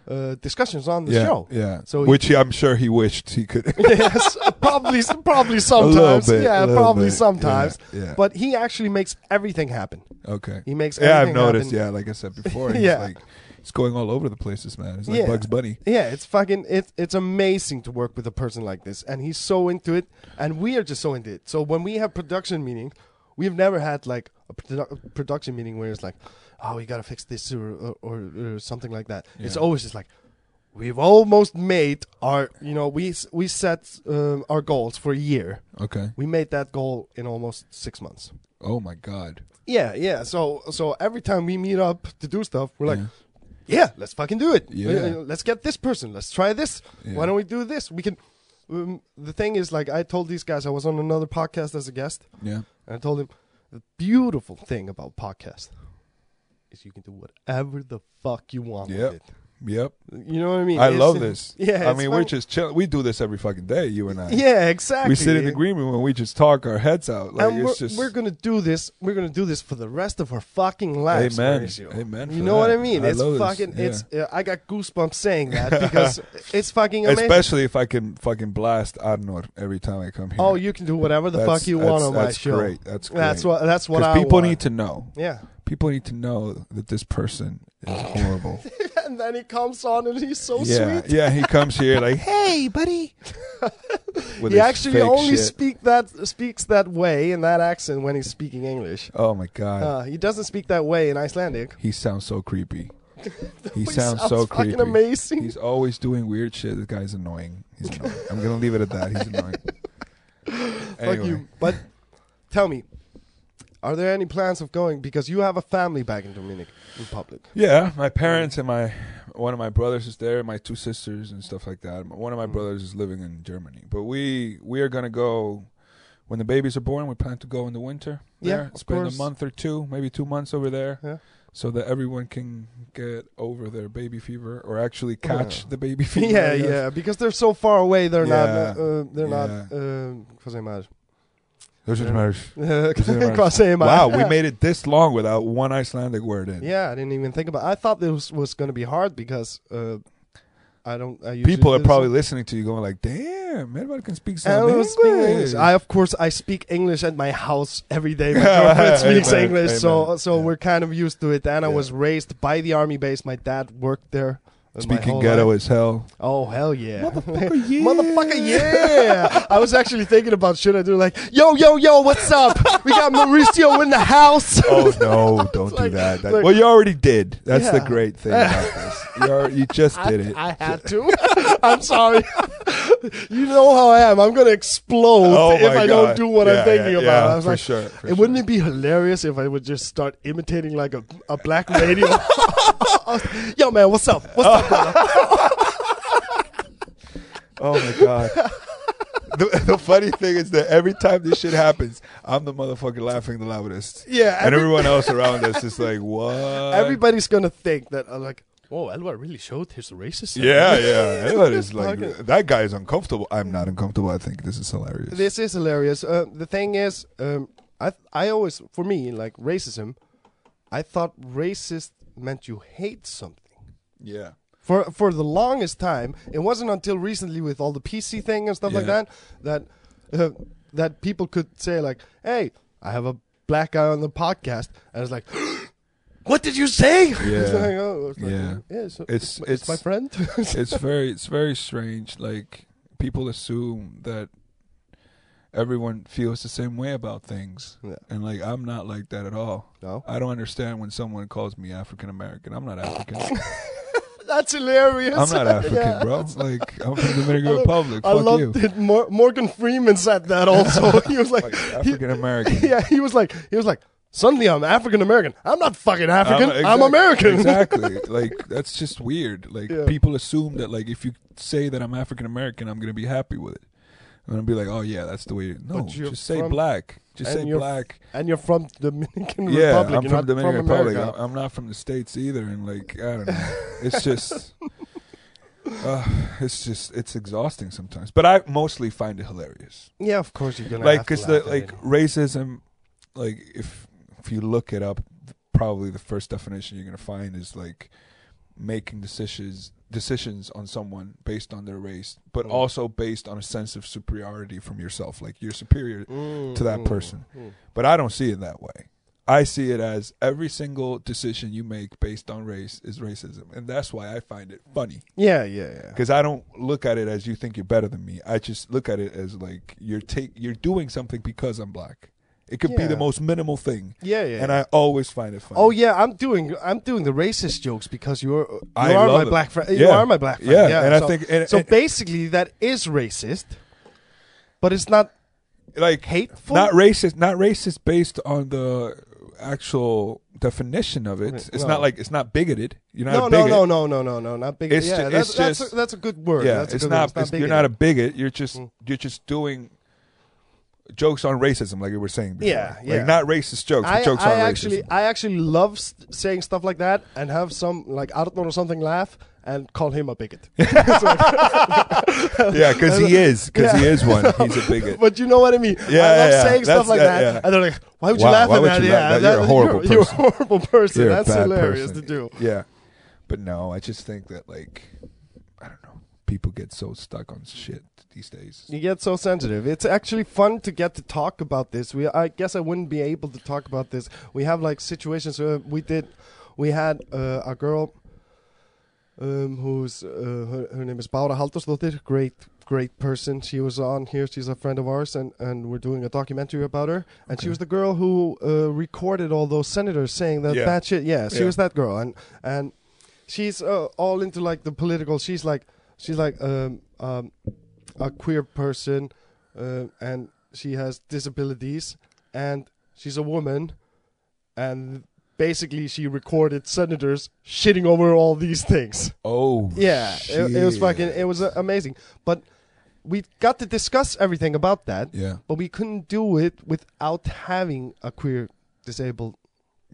uh, discussions on the yeah, show. yeah. So he- which I'm sure he wished he could. yes, probably probably sometimes. bit, yeah, a little probably bit. sometimes. Yeah, yeah. But he actually makes everything happen. okay. He makes Yeah, I've everything noticed. happen. Yeah, like I said before, he's Yeah. like he's going all over the place. This man, he's like Yeah. Bugs Bunny. Yeah, it's fucking it's it's amazing to work with a person like this, and he's so into it, and we are just so into it. So when we have production meetings, we've never had like a produ- production meeting where it's like, oh, we gotta fix this or or, or, or something like that. It's Yeah. always just like. We've almost made our, you know, we s- we set um, our goals for a year. Okay. We made that goal in almost six months. Oh my God. Yeah, yeah. So so every time we meet up to do stuff, we're like, Yeah. yeah, let's fucking do it. Yeah. Uh, Let's get this person. Let's try this. Yeah. Why don't we do this? We can. Um, the thing is, like, I told these guys I was on another podcast as a guest, Yeah. and I told them the beautiful thing about podcast is you can do whatever the fuck you want Yep. with it. Yep. You know what I mean? I It's- love this. Yeah, I it's mean, fun- we're just chilling. We do this every fucking day, you and I. yeah, exactly. We sit in the green room and we just talk our heads out. Like and we're, it's just. we're gonna do this. We're gonna do this for the rest of our fucking lives, Amen. Mauricio. Amen You for know what I that. mean? I it's love this. fucking. Yeah. It's. Uh, I got goosebumps saying that because it's fucking amazing. Especially if I can fucking blast Arnor every time I come here. oh, you can do whatever the That's- fuck you that's- want on my that's show. great. That's great. That's what. That's what I Because people want. need to know. Yeah. People need to know that this person is horrible. and then he comes on and he's so yeah, sweet. yeah. He comes here like, "Hey, buddy." With He his actually fake only shit. speak that speaks that way in that accent when he's speaking English. Oh my god, Uh, he doesn't speak that way in Icelandic. he sounds so creepy. He, sounds sounds, so fucking creepy. amazing. He's always doing weird shit. This guy's annoying. He's annoying. I'm gonna leave it at that. He's annoying. Fuck Anyway. you. But tell me, are there any plans of going? Because you have a family back in Dominican Republic. Yeah, my parents and my one of my brothers is there, my two sisters and stuff like that. One of Mm-hmm. my brothers is living in Germany, but we we are gonna go when the babies are born. We plan to go in the winter. Yeah, there, of spend course. a month or two, maybe two months over there, Yeah. so that everyone can get over their baby fever or actually catch Yeah. the baby fever. Yeah, I guess. yeah. Because they're so far away, they're not. Yeah. Uh, they're Yeah. not. Uh, Jose Mar. Those are Yeah. the matters. Mar. Jose Mar. Wow, we made it this long without one Icelandic word in. Yeah, I didn't even think about. I thought this was going to be hard because uh, I don't. I usually People are do this- probably listening to you going like, "Damn, everybody can speak I some don't English." speak English. I of course I speak English at my house every day. My girlfriend speaks Amen, English, so amen. so Yeah. we're kind of used to it. And I Yeah. was raised by the army base. My dad worked there. uh, my Speaking whole ghetto life. as hell. Oh hell yeah. Motherfucker, yeah. Motherfucker, yeah! I was actually thinking about should I do like, yo, yo, yo, what's up? We got Mauricio in the house. Oh no! Don't like- do that. That- like- well, you already did. That's the Yeah. great thing about this. You, are, you just did it. I had to. I'm sorry. you know how I am. I'm gonna explode Oh, if my I God. don't do what Yeah, I'm thinking yeah, about. yeah, I was for like, sure, for it wouldn't it be hilarious if I would just start imitating like a, a black radio? Yo, man, what's up? What's up? Oh my god. The, the funny thing is that every time this shit happens, I'm the motherfucker laughing the loudest. Yeah, and every- everyone else around us is like, "What?" Everybody's gonna think that I'm like, whoa, Elwar really showed his racism. Yeah, yeah. Everybody's like, uh, Fucking- "That guy is uncomfortable." I'm not uncomfortable. I think this is hilarious. This is hilarious. Uh, the thing is, um, I I always for me like racism, I thought racist meant you hate something. yeah. for for the longest time. It wasn't until recently with all the PC thing and stuff like Yeah. that that uh, that people could say like, "Hey, I have a black guy on the podcast," and it's like. What did you say? It's like, oh, it's like, Yeah. yeah, so It's- my- my it's- friend. it's very it's very strange like people assume that everyone feels the same way about things Yeah. and like i'm not like that at all no, i don't understand when someone calls me african american i'm not african that's hilarious. i'm not african Yeah. bro like i'm from the dominican I love- republic I fuck love you that Mor- Morgan Freeman said that also. he was like, he- african american yeah, he was like, he was like, suddenly I'm African American. I'm not fucking African. I'm, American. exactly. Like that's just weird. Like Yeah. people assume that like if you say that I'm African American, I'm gonna be happy with it. I'm gonna be like, oh yeah, that's the way. No, But you're just say from- black. Just say and you're black. And you're from Dominican Yeah, Republic. I'm you're from not Dominican from Republic. Uh, America. I- I'm not from the states either, and like I don't know. It's just, uh, it's just, it's exhausting sometimes. But I mostly find it hilarious. Yeah, of course you're gonna Like, have to cause laugh at the like it. racism, like if if you look it up, probably the first definition you're gonna find is like making decisions decisions on someone based on their race, but also based on a sense of superiority from yourself. Like you're superior Mm, to Mm-hmm. that person. But I don't see it that way. I see it as every single decision you make based on race is racism. And that's why I find it funny Yeah, yeah, yeah. because I don't look at it as you think you're better than me. I just look at it as like you're take you're doing something because I'm black. It could be Yeah. the most minimal thing. Yeah, yeah. And I always find it funny. Oh yeah, I'm doing I'm doing the racist jokes because you're you I are love my it. black friend. You Yeah. are my black friend. Yeah, and I so, think- and- so. and- basically, that is racist, but it's not like hateful. not racist, not racist based on the actual definition of it. Okay, It's no. not like it's not bigoted. You're not no, a no, bigot. no, no, no, no, no, not big. It's yeah, ju- that's, it's that's, just- a, that's a good word. Yeah, that's a it's good not. word. it's- you're not a bigoted. Mm. bigot. You're just you're just doing jokes on racism, like we were saying. Before. Yeah, yeah. Like not racist jokes, I, but jokes I on actually racism. I actually love st- saying stuff like that and have some like Arthur or something laugh and call him a bigot. Yeah, because he is. Because he is one. He's a bigot. but you know what I mean. Yeah, I love yeah, saying that's- stuff like that, yeah, yeah. and they're like, "Why would you Wow, laugh why at would that? you yeah, laugh at that? You're a horrible You're, a person. horrible person. You're a that's bad hilarious person. to do. Yeah. But no, I just think that like I don't know. People get so stuck on shit these days. You get so sensitive. It's actually fun to get to talk about this. We, I guess, I wouldn't be able to talk about this. We have like situations where we did, we had uh, a girl, um, who's uh, her, her name is Bára Haldursdóttir. Great, great person. She was on here. She's a friend of ours, and and we're doing a documentary about her. And she was the girl who uh, recorded all those senators saying that Yeah. bad shit. Yeah, she Yeah. was that girl, and and she's uh, all into like the political. She's like she's like um um a queer person, uh, and she has disabilities, and she's a woman, and basically she recorded senators shitting over all these things. Oh Yeah, it, it was shit. fucking it was uh, amazing, but we got to discuss everything about that, Yeah. but we couldn't do it without having a queer disabled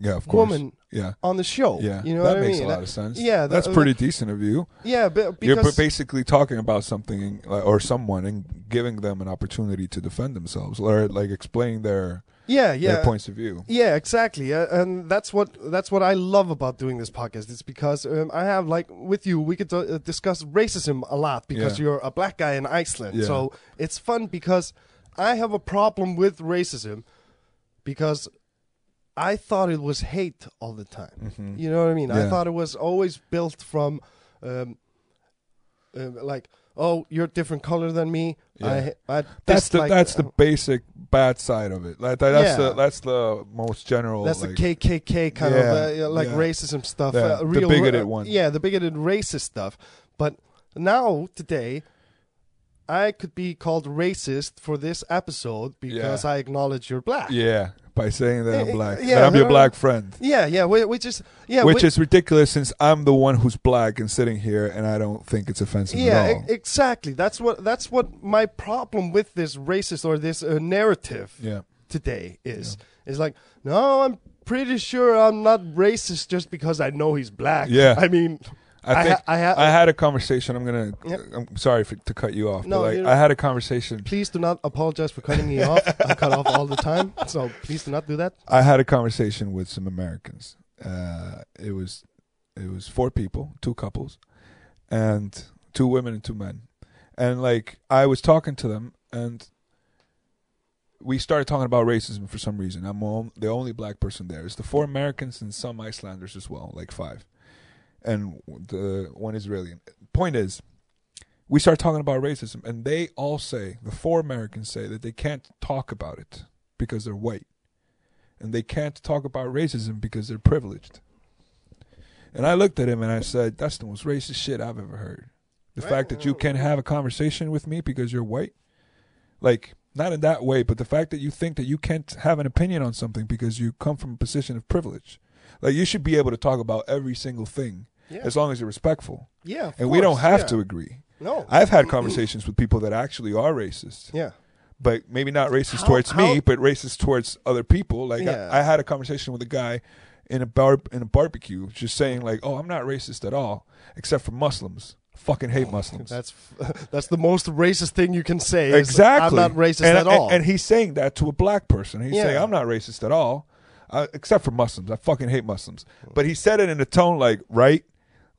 Yeah, of course. woman Yeah. on the show. Yeah. you know That what makes I mean? a lot of sense. Yeah, That's that- pretty decent of you. Yeah, but You're ba- because basically talking about something uh, or someone and giving them an opportunity to defend themselves or like explain their yeah, yeah, their points of view. Yeah, exactly, uh, and that's what that's what I love about doing this podcast. It's because um, I have like with you, we could uh, discuss racism a lot because Yeah. you're a black guy in Iceland, Yeah. so it's fun because I have a problem with racism because I thought it was hate all the time. Mm-hmm. You know what I mean? I Yeah. thought it was always built from, um, um, like, oh, you're a different color than me. Yeah. I, I That's the dislike- that's the basic bad side of it. Like that, that's uh, Yeah. the that's the most general. uh, That's like- the KKK kind of Yeah, uh, like yeah. racism stuff. Yeah, uh, the real, bigoted uh, one. Yeah, the bigoted racist stuff. But now today, I could be called racist for this episode because I acknowledge you're black. Yeah, by saying that Eh, eh, I'm black, yeah, that I'm your no. black friend. yeah, yeah. whi- Which is yeah, which whi- is ridiculous since I'm the one who's black and sitting here and I don't think it's offensive yeah, at e- all. exactly. That's what that's what my problem with this racist or this uh, narrative yeah. today is. It's like no, I'm pretty sure I'm not racist just because I know he's black. Yeah. I mean. I I think ha- I ha- I had a conversation. I'm gonna. Yep. I'm sorry for, to cut you off. No, but like, you're- I had a conversation. Please do not apologize for cutting me off. I cut off all the time, so please do not do that. I had a conversation with some Americans. Uh, it was it was four people, two couples, and two women and two men. And like I was talking to them, and we started talking about racism for some reason. I'm all, the only black person there. It's the four Americans and some Icelanders as well, like five, and the one Israeli. Point is, we start talking about racism, and they all say the four Americans say that they can't talk about it because they're white and they can't talk about racism because they're privileged. And I looked at him and I said, That's the most racist shit I've ever heard. The fact that you can't have a conversation with me because you're white. Like, not in that way, but the fact that you think that you can't have an opinion on something because you come from a position of privilege. Like, you should be able to talk about every single thing Yeah. as long as you're respectful. Yeah, of And we don't course, have yeah. to agree. No. I've had conversations with people that actually are racist yeah. but maybe not racist How- towards me, how- but racist towards other people. Like Yeah. I, I had a conversation with a guy in a bar in a barbecue, just saying like, "Oh, I'm not racist at all, except for Muslims. Fucking hate Muslims." Oh, That's that's the most racist thing you can say. is, exactly. I'm not racist And- at all. And, and he's saying that to a black person. He's Yeah. saying, "I'm not racist at all, uh, except for Muslims. I fucking hate Muslims." But he said it in a tone like, "Right."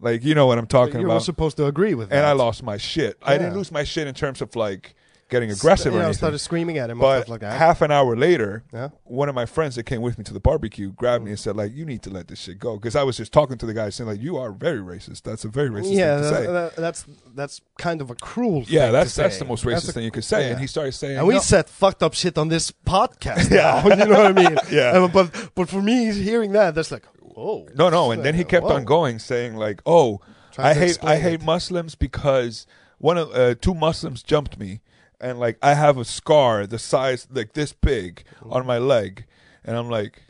Like you know what I'm talking you were about, supposed to agree with that. and I lost my shit. I didn't Yeah. lose my shit in terms of like getting aggressive You or know, I anything. started screaming at him and But stuff like that. half an hour later, Yeah. one of my friends that came with me to the barbecue grabbed me and said, "Like, you need to let this shit go," because I was just talking to the guy saying, "Like, you are very racist. That's a very racist yeah, thing to that, say." that- that's that's kind of a cruel. thing yeah, to that's that's say. the most That's racist a- thing you could say. yeah. And he started saying, And we "No." said fucked up shit on this podcast. Yeah, you know what I mean. Yeah. Uh, but but for me, hearing that, that's like, oh No, no. And then he kept Whoa. on going, saying like, "Oh, Trying I to hate I explain hate it. Muslims because one of uh, two Muslims jumped me, and like I have a scar the size like this big on my leg, and I'm like,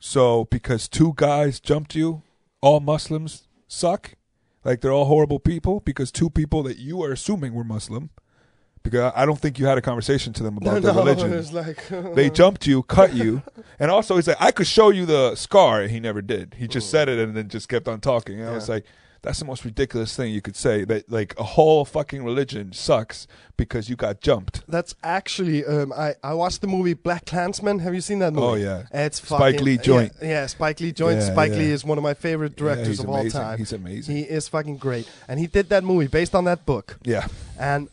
so because two guys jumped you, all Muslims suck, like they're all horrible people because two people that you are assuming were Muslim." Because I I don't think you had a conversation to them about their no, religion it's like they jumped you, cut you, and also he's like, I could show you the scar, and he never did. He just said it and then just kept on talking. And I was like, That's the most ridiculous thing you could say. That like a whole fucking religion sucks because you got jumped. That's actually um, I I watched the movie Black Klansman. Have you seen that movie? Oh yeah, It's Spike fucking- Lee joint. Yeah, yeah, Spike Lee joint. Yeah, Spike yeah. Lee is one of my favorite Yeah, directors he's of amazing. all time. He's amazing. He is fucking great, and he did that movie based on that book, yeah, and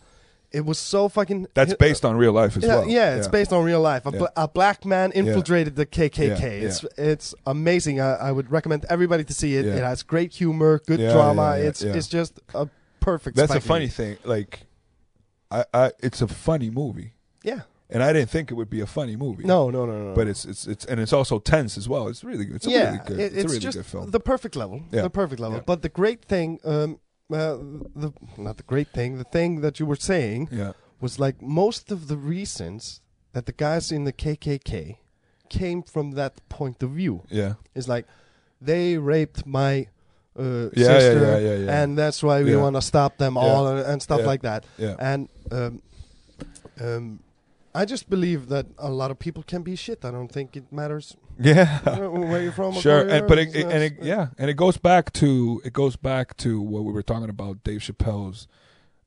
it was so fucking. that's based on real life as yeah, well. yeah, it's based on real life. A, Yeah. bla- a black man infiltrated the KKK. Yeah, yeah. It's it's amazing. I, I would recommend everybody to see it. Yeah. It has great humor, good Yeah, drama. yeah, yeah, it's yeah. it's just a perfect. That's Spike a funny Lee. thing. Like, I, I, it's a funny movie, Yeah. and I didn't think it would be a funny movie. No, no, no, no. no. but it's it's it's and it's also tense as well. It's really good. It's a yeah, really good. it- it's, a really just good film. the perfect level. Yeah. The perfect level. Yeah. But the great thing, um, uh, the not the great thing, the thing that you were saying yeah, was like most of the reasons that the guys in the KKK came from that point of view. yeah, It's like they raped my uh, Yeah, yeah, sister, yeah, yeah, yeah. and that's why we Yeah. want to stop them Yeah. all and, and stuff Yeah. like that. yeah. And um, um, I just believe that a lot of people can be shit. I don't think it matters yeah. where where you're from. or Sure, where and you're- but it, it- it's- and it, yeah, and it goes back to it goes back to what we were talking about Dave Chappelle's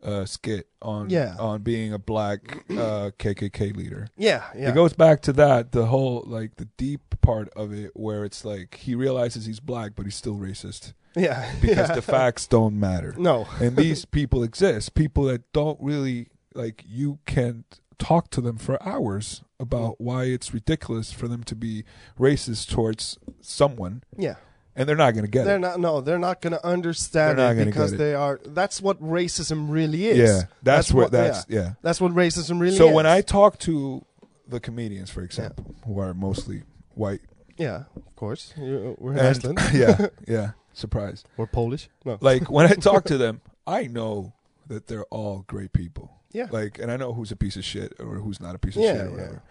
uh, skit on Yeah. on being a black uh, KKK leader. yeah, yeah. It goes back to that the whole like the deep part of it where it's like he realizes he's black but he's still racist yeah, because yeah. the facts don't matter. No, and these people exist people that don't really like you can't talk to them for hours about why it's ridiculous for them to be racist towards someone yeah, and they're not going to get they're it not. No, they're not going to understand They're not it gonna because get it. they are. That's what racism really is. yeah that's, where what- that's yeah. yeah, That's what racism really so is. when i talk to the comedians for example who are mostly white yeah, of course, You- we're in and- Iceland. yeah yeah surprise We're Polish. No, like when i talk to them i know that they're all great people yeah, like and i know who's a piece of shit or who's not a piece of Yeah, shit or yeah. whatever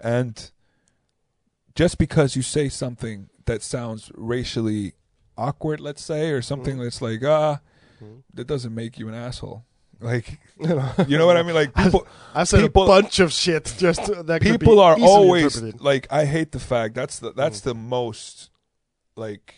and just because you say something that sounds racially awkward let's say or something Mhm. that's like ah Mhm. that doesn't make you an asshole like you know, you know what i mean like people I've said People- a bunch of shit. Just that could be people are easily always interpreted. Mm. like i hate the fact that's the that's the most like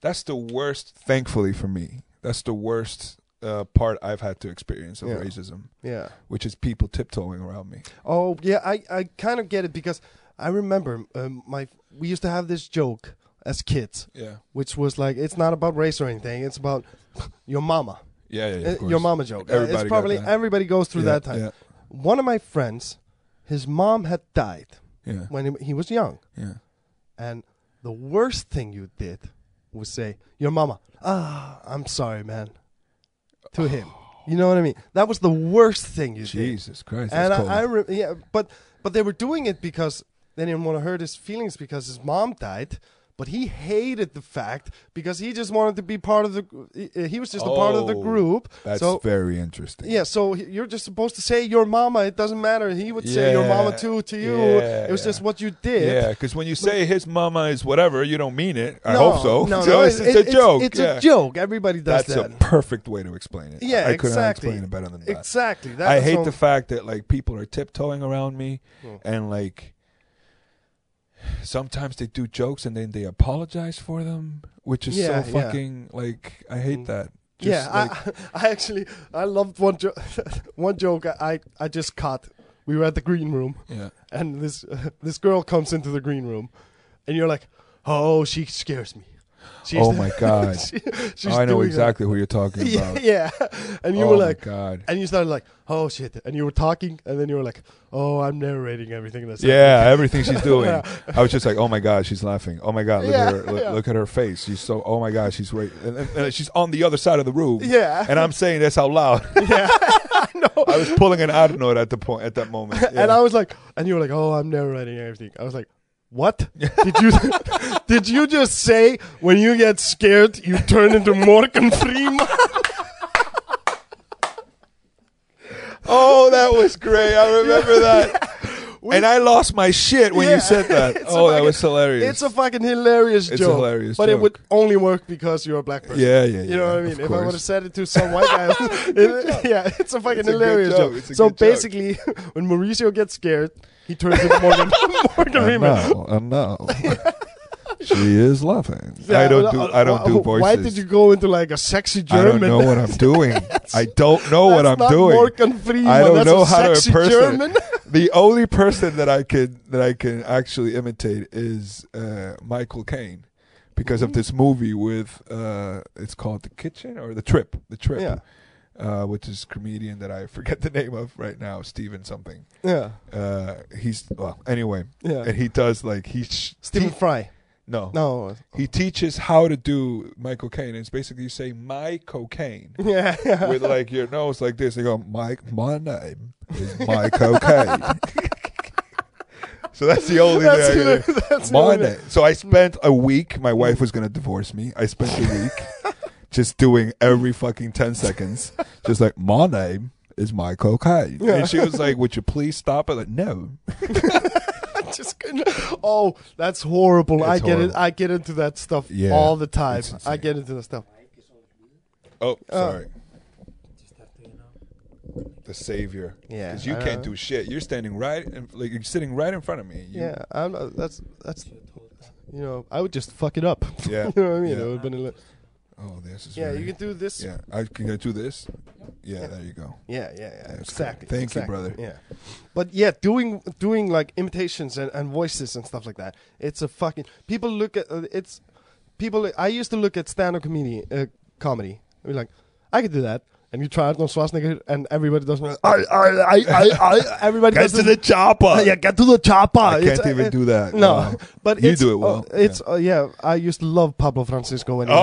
that's the worst thankfully for me that's the worst uh, part i've had to experience of Yeah. racism Yeah. which is people tiptoeing around me Oh yeah, I I kind of get it because I remember um, my we used to have this joke as kids, yeah which was like it's not about race or anything. It's about your mama, yeah yeah, yeah Uh, of course. your mama joke. Uh, Everybody it's got probably that. everybody goes through Yeah, that time. One of my friends, his mom had died Yeah, yeah, when he, he was young, yeah. and the worst thing you did was say your mama. Ah, I'm sorry, man. To him, you know what I mean. That was the worst thing you did. Jesus Christ, and that's I, I cold. re- yeah, but but they were doing it because they didn't want to hurt his feelings because his mom died. But he hated the fact because he just wanted to be part of the. gr- he- He was just a part of the Oh, group. that's so very interesting. yeah, so he- you're just supposed to say your mama. It doesn't matter. He would say your mama Yeah, too to you. yeah, it was yeah. just what you did. yeah, because when you say his mama is whatever, you don't mean it. I No, hope so. No, So no, it's, it- it's it- a joke. It's, yeah. a joke. Everybody does That's that. a perfect way to explain it. yeah, I couldn't exactly. explain it better than that. Exactly. That I was hate all- the fact that like people are tiptoeing around me, Mm. and like sometimes they do jokes and then they apologize for them, which is Yeah, so yeah. fucking like I hate Mm. that. Just, yeah, like, I, I actually I loved one jo- one joke I, I just caught. We were at the green room, yeah, and this uh, this girl comes into the green room, and you're like, "Oh, she scares me." She's Oh my God. Oh, she- she's I know doing that. exactly who you're talking about. Yeah, yeah. and you oh were like, my God. and you started like, "Oh shit," and you were talking, and then you were like, "Oh, I'm narrating everything that's Yeah, everything she's doing. Yeah. I was just like, oh my god, she's laughing. Oh my god, look Yeah, at her, look, yeah. look at her face. She's so. Oh my god, she's right. And, and- and she's on the other side of the room. happening." yeah, And I'm saying this out loud. yeah, I know. I was pulling an ad note at the point at that moment. Yeah. And I was like, and you were like, oh, I'm narrating everything. I was like, what? Did you did you just say when you get scared you turn into Morgan Freeman? oh, that was great. I remember that. We- and I lost my shit when Yeah. you said that. It's a Oh, that fucking- was hilarious. It's a fucking hilarious It's a joke. hilarious but it joke. would only work because you're a black person. yeah, yeah, yeah. You know what I of mean? If I course. would have said it to some white guy, it, yeah, it's a fucking It's a good hilarious joke. joke. It's a So good joke. basically, when Mauricio gets scared, he turns into Morgan, Morgan and Freeman. now, and now. she is laughing. I don't do I don't do voices. uh, Why did you go into like a sexy I German? don't know what I'm doing. I don't know what I'm That's not doing. Morgan Freeman. I don't That's know a how to sexy impersonate. German. the only person that I can that I can actually imitate is uh, Michael Caine because Mm-hmm. of this movie with uh, it's called The Kitchen or The Trip, The Trip, Yeah. uh, which is comedian that I forget the name of right now, Steven something. Yeah, Uh, he's well anyway, yeah. and he does like he sh- Stephen te- Fry. no. No. He teaches how to do my cocaine. It's basically you say my cocaine Yeah. with like your nose like this. They go, Mike, my name is my cocaine. so that's the only that's thing. I can the- that's the do. my only- name. So I spent a week. My wife was gonna divorce me. I spent a week just doing every fucking ten seconds, just like my name is my cocaine. Yeah. And she was like, "Would you please stop it?" Like, no. I just couldn't. Oh, that's horrible. I It's get it. horrible. I get into that stuff Yeah, all the time. it's insane. I get into that stuff. Oh, Oh. sorry. The savior. Yeah, Because you I can't know. do shit. You're standing right, in, like you're sitting right in front of me. You- Yeah, I'm not, that's that's you know I would just fuck it up. Yeah. you know what I mean. Yeah. It would've been a li- Oh, this is. yeah, very- you can do this. Yeah, Yeah, I can I do this. Yeah, there you go. yeah, yeah. great. exactly. Thank you, exactly, brother. Yeah, but yeah, doing doing like imitations and, and voices and stuff like that. It's a fucking people look at uh, it's people. I used to look at stand-up comedy uh, comedy. I'd be like, I could do that. And you try Arnold Schwarzenegger, and everybody does. "Ah, I, I, I, I, I, everybody does this- chopper. yeah, get to the chopper. I It's- can't even uh, do that. No, Wow. but You it's, do it well. oh, it's uh, yeah. I used to love Pablo Francisco when. he- Oh,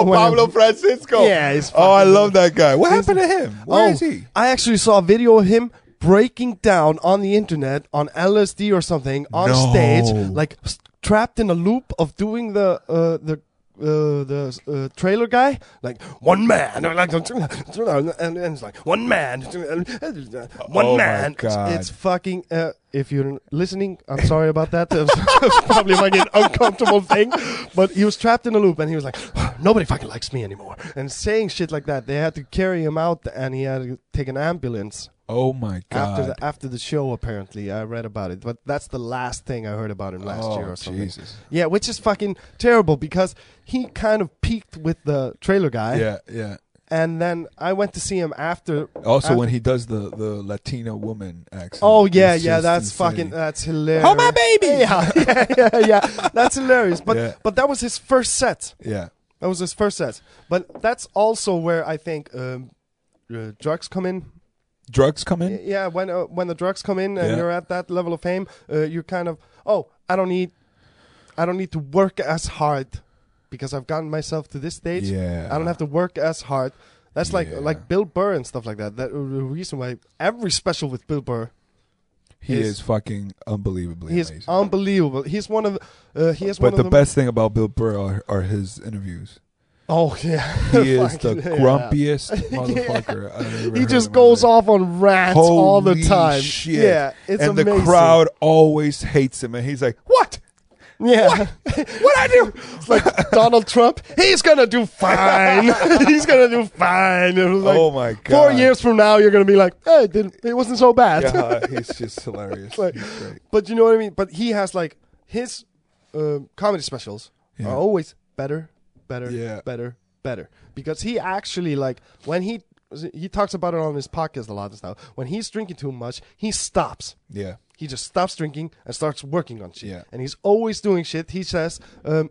uh, when Pablo Francisco. Yeah, he's oh, I fucking- love that guy. What happened to him? Where oh, is he? I actually saw a video of him breaking down on the internet on LSD or something on No. stage, like s- trapped in a loop of doing the uh, the. Uh, the uh, trailer guy, like one man, and, and it's like one man, one Oh my man. It's- God. It's fucking. Uh, if you're listening, I'm sorry about that. It was, probably a fucking uncomfortable thing. But he was trapped in a loop, and he was like, "Nobody fucking likes me anymore." And saying shit like that, they had to carry him out, and he had to take an ambulance Oh my god. after the after the show. Apparently, I read about it, but that's the last thing I heard about him last oh, year or something. Jesus. Yeah, which is fucking terrible because he kind of peaked with the trailer guy, Yeah, yeah. and then I went to see him after. Also, after- when he does the the Latino woman accent. Oh yeah, it's yeah, just that's insane. fucking uh, that's hilarious. Oh my baby. Yeah, yeah, yeah, yeah. That's hilarious. But Yeah. but that was his first set. Yeah. That was his first set. But that's also where I think um, uh, drugs come in. Drugs come in. Y- Yeah, when uh, when the drugs come in and Yeah. you're at that level of fame, uh, you kind of oh, I don't need, I don't need to work as hard because I've gotten myself to this stage. Yeah. I don't have to work as hard. That's like Yeah. like Bill Burr and stuff like that. That the reason why every special with Bill Burr He He's- is fucking unbelievably He's amazing. unbelievable. He's one of uh, he is uh, one of but the the best thing about Bill Burr are, are his interviews. Oh yeah, He is Fuck, the yeah. grumpiest motherfucker. I've ever He heard just in my goes life. off on rants all the Holy time. shit. Yeah, it's and amazing. the crowd always hates him, and he's like, "What? Yeah, What I do?" it's like Donald Trump. He's gonna do fine. he's gonna do fine. It was like, oh my god! Four years from now, you're gonna be like, hey, it, didn't, it wasn't so bad. Yeah, he's just hilarious. Like- He's great. But you know what I mean. But he has like his um comedy specials Yeah. are always better, better, Yeah. better, better. Because he actually like when he he talks about it on his podcast a lot and stuff. When he's drinking too much, he stops. Yeah, He just stops drinking and starts working on shit. Yeah. And he's always doing shit. He says um,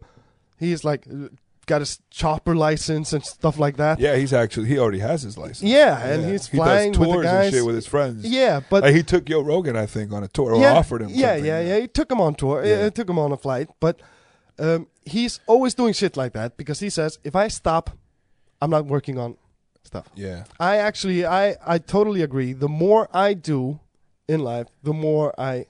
he's like uh, got his chopper license and stuff like that. yeah. He's actually he already has his license. Yeah, and he's he flying does with tours the guys. and shit with his friends. Yeah, but like he took Joe Rogan, I think, on a tour or yeah, offered him. Yeah, something. yeah, yeah. He took him on tour. Yeah. Uh, took him on a flight. But um, he's always doing shit like that because he says, if I stop, I'm not working on stuff. yeah. I actually, I, I totally agree. The more I do in life, the more I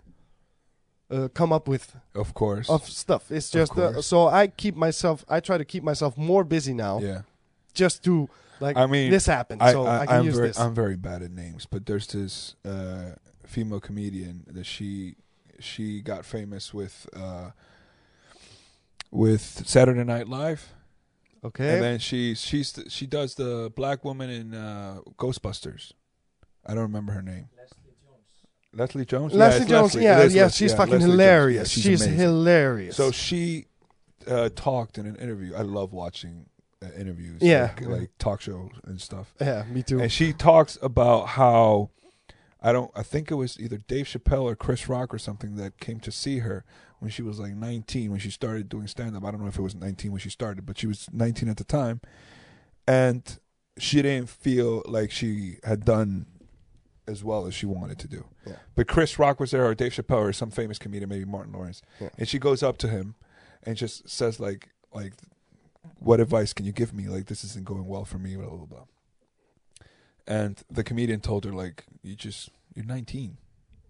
uh, come up with Of course. of stuff. It's Of just uh, course. so I keep myself. I try to keep myself more busy now, yeah. just to like. I mean, this happened, so I, can am use very, this. I'm very bad at names, but there's this uh, female comedian that she she got famous with uh, with Saturday Night Live, okay. and then she she's she does the black woman in uh, Ghostbusters. I don't remember her name. Leslie Jones. Leslie Jones. Leslie it's Jones, yeah, It is yeah, Leslie, she's yeah, fucking Leslie Jones. Yeah, hilarious. she's she's amazing. hilarious. So she uh, talked in an interview. I love watching uh, interviews, Yeah. like, like talk shows and stuff. Yeah, me too. And she talks about how I don't. I think it was either Dave Chappelle or Chris Rock or something that came to see her when she was like 19 when she started doing stand up. I don't know if it was 19 when she started, but she was 19 at the time, and she didn't feel like she had done as well as she wanted to do. Yeah. But Chris Rock was there, or Dave Chappelle, or some famous comedian, maybe Martin Lawrence, Yeah. and she goes up to him and just says like like what advice can you give me? Like this isn't going well for me, blah blah blah. And the comedian told her like you just you're 19,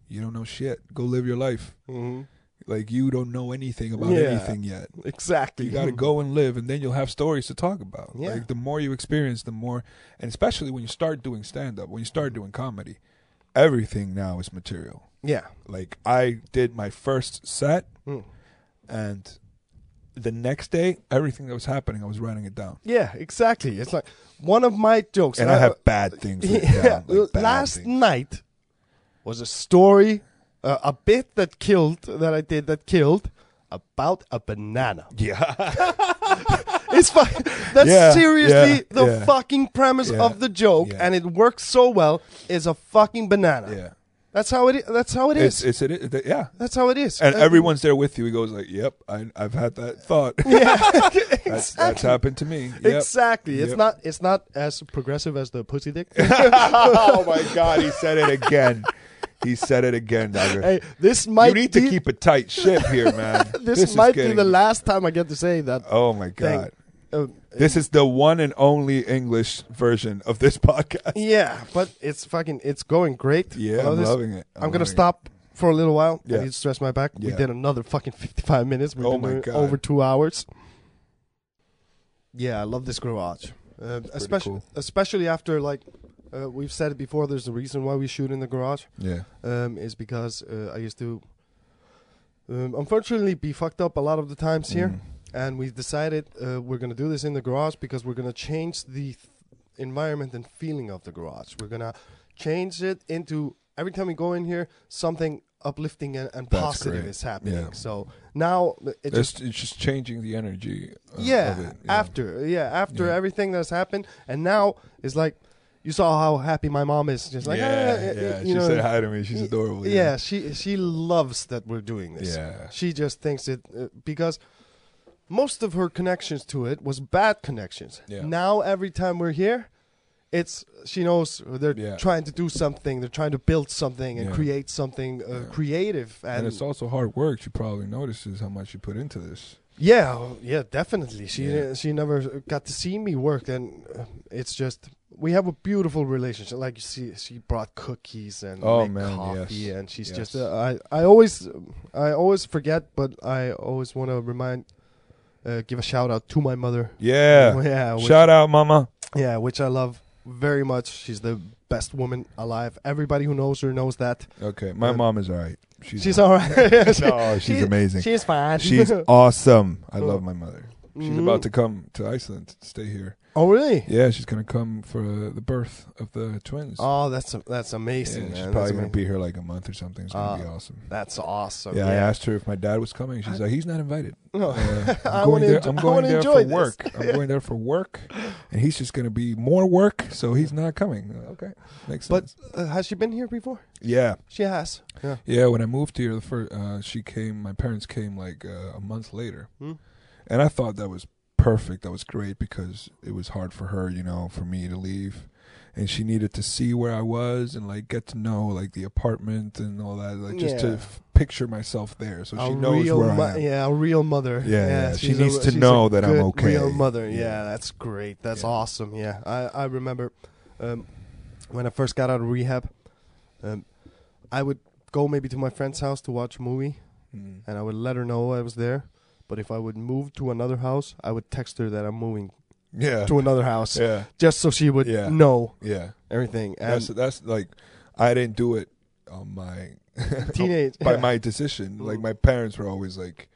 you don't know shit. Go live your life. Mhm. Like you don't know anything about Yeah. anything yet. Exactly. You got to go and live, and then you'll have stories to talk about. Yeah. Like the more you experience, the more, and especially when you start doing stand up, when you start doing comedy, everything now is material. Yeah. Like I did my first set, Mm. and the next day, everything that was happening, I was writing it down, Yeah, exactly. It's like one of my jokes. uh, and I have bad things. written yeah, down, like bad last things. night was a story, uh, a bit that killed that I did that killed about a banana. yeah, It's fine. That's Yeah, seriously yeah, the yeah. fucking premise Yeah, of the joke, yeah. and it works so well. Is a fucking banana. yeah. That's how it. i- That's how it is. It's it's it, it yeah. that's how it is. And Uh, everyone's there with you. He goes like, "Yep, I, I've had that thought. Yeah, that's, that's exactly. happened to me. Yep. Exactly. It's Yep. not. It's not as progressive as the pussy dick. oh my god, he said it again. He said it again, Dagger. hey, this might. you need to be- keep a tight ship here, man. This, is might be getting- the last time I get to say that. Oh my thing. god. Uh, This is the one and only English version of this podcast. yeah, but it's fucking. It's going great. Yeah, I love I'm this. loving it. I'm gonna loving it. stop for a little while. Yeah. I need to stretch my back. We Yeah. did another fucking 55 minutes. We've Oh been my doing God. over two hours. Yeah, I love this garage, uh, especially cool. especially after like uh, we've said it before. There's a reason why we shoot in the garage. Yeah. um, is because uh, I used to um, unfortunately be fucked up a lot of the times Mm. here, and we decided uh, we're gonna do this in the garage because we're gonna change the th- environment and feeling of the garage. We're gonna change it into every time we go in here something uplifting and, and That's positive great. is happening. Yeah. So now uh, it It's, just it's just changing the energy. uh, yeah, Of it. after yeah after Yeah. everything that's happened, and now it's like. You saw how happy my mom is. Just like yeah, "Ah, eh, eh," yeah. you She know. said hi to me. She's y- adorable. Yeah. she she loves that we're doing this. Yeah. She just thinks it uh, because most of her connections to it was bad connections. Yeah. Now every time we're here, it's she knows they're Yeah. trying to do something, they're trying to build something and Yeah. create something uh, Yeah. creative and, And it's also hard work. She probably notices how much you put into this. yeah, well, yeah, definitely. She Yeah. she never got to see me work, and uh, it's just we have a beautiful relationship. Like you see, she brought cookies and Oh, make man, coffee, yes. and she's Yes. just. Uh, I I always I always forget, but I always want to remind, uh, give a shout out to my mother. Yeah. yeah, which, Shout out, Mama. yeah, which I love very much. She's the best woman alive. Everybody who knows her knows that. Okay, my Uh, mom is all right. She's, all right. no, she's she- amazing. she's fine. She's awesome. I Oh. love my mother. She's Mhm. about to come to Iceland, to stay here. Oh really? Yeah, she's gonna come for uh, the birth of the twins. Oh, that's that's Yeah, amazing. she's man. That's probably gonna amazing. be here like a month or something. It's gonna Ah. be awesome. That's awesome. yeah, I asked her if my dad was coming. She's like, he's not invited. No. Uh, I I'm going wanna there. enjo- I'm I going wanna there enjoy for this. work. I'm going there for work, and he's just gonna be more work. So he's not coming. Okay, makes But- sense. Uh, has she been here before? yeah, She has. Yeah. yeah. When I moved here, the first uh, she came. My parents came like uh, a month later. Hmm? and I thought that was perfect. That was great because it was hard for her, you know, for me to leave, and she needed to see where I was and like get to know like the apartment and all that, like just to Yeah. f- picture myself there, so a she knows real where mo- I am. Yeah, a real mother. Yeah, yeah. She she's needs to she's know a that I'm good okay. Real mother. Yeah, Yeah. that's great. That's Yeah. awesome. Yeah, I I remember um, when I first got out of rehab, um, I would go maybe to my friend's house to watch a movie, Mm. and I would let her know I was there. But if I would move to another house, I would text her that I'm moving Yeah, to another house, yeah, just so she would Yeah. know yeah. everything. And That's that's like I didn't do it on my teenage by my decision. Like Mm. my parents were always like,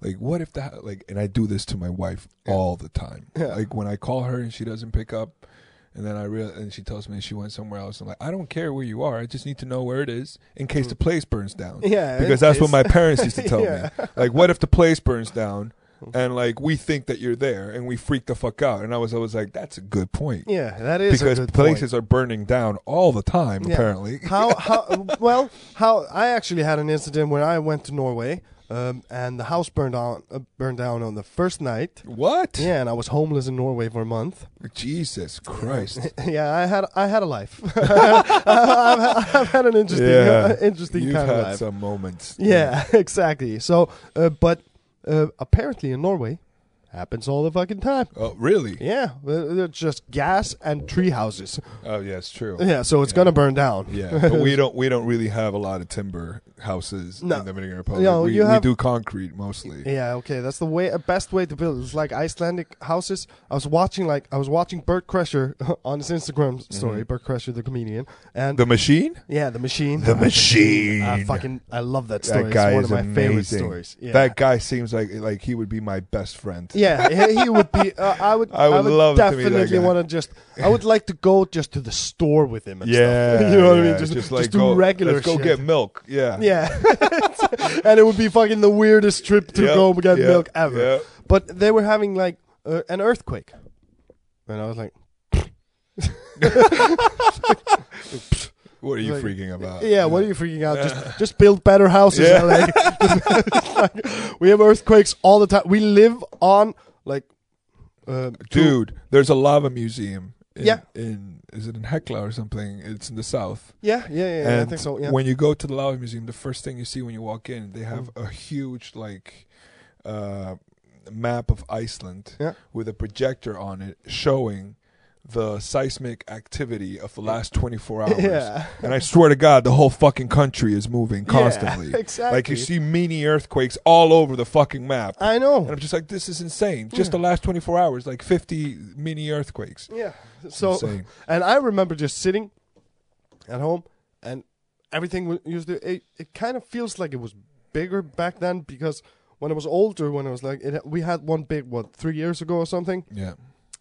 like what if that like? And I do this to my wife Yeah. all the time. Yeah. Like when I call her and she doesn't pick up, and then I real and she tells me she went somewhere else. I'm like, I don't care where you are. I just need to know where it is in case the place burns down. Mm. yeah, Because it- that's what it's- my parents used to tell Yeah. Mm. me. Like, what if the place burns down? and like we think that you're there, and we freak the fuck out. And I was always like, that's a good point Yeah, that is because a good point. places are burning down all the time. Yeah. Apparently, how how well how I actually had an incident when I went to Norway um, and the house burned down uh, burned down on the first night. what? Yeah, and I was homeless in Norway for a month. Jesus Christ! Yeah, I had I had a life. I've, I've had an interesting Yeah. interesting You've kind of had life. some moments. Yeah, exactly. So, uh, but uh, apparently in Norway, happens all the fucking time. Oh, really? Yeah, uh, they're just gas and tree houses. Oh, yeah, it's true. Yeah, so it's gonna burn down. Yeah, but we don't we don't really have a lot of timber houses No. in the Dominican Republic. No, we, you we have- do concrete mostly. Yeah, okay, that's the way a best way to build. It's like Icelandic houses. I was watching like I was watching Bert Kreischer on his Instagram story. Bert Kreischer, the comedian, and Mm-hmm. The machine? yeah, the machine. machine. I fucking I love that story. that guy it's one is of my favorite amazing. stories. Yeah. That guy seems like like he would be my best friend. yeah, he- he would be. Uh, I would. I would love to meet that definitely guy. want to just. I would like to go just to the store with him. And Yeah, stuff. you know what I yeah, mean. Just, just just like do go, regular. Let's go shit. get milk. Yeah, Yeah. and it would be fucking the weirdest trip to Yep, go get yep, milk ever. yep. But they were having like uh, an earthquake. And I was like, What are you Like- freaking about? yeah, what are you freaking out? Just just build better houses. Uh, Yeah. LA. It's like, we have earthquakes all the time. We live on like uh, two- dude? There's a lava museum. In, Yeah. in is it in Hecla or something? It's in the south. Yeah, yeah, yeah, yeah. I and think so. Yeah. when you go to the Lava Museum, the first thing you see when you walk in, they have Mm. a huge like uh, map of Iceland Yeah. with a projector on it showing the seismic activity of the last 24 hours. Yeah. And I swear to God, the whole fucking country is moving constantly. Yeah, exactly. Like you see mini earthquakes all over the fucking map. I and know. I'm just like, this is insane. Just the last 24 hours, like 50 mini earthquakes. Yeah. So insane. and I remember just sitting at home and everything wa- used to it, it kind of feels like it was bigger back then because when I was older when I was like it, we had one big what 3 years ago or something Yeah.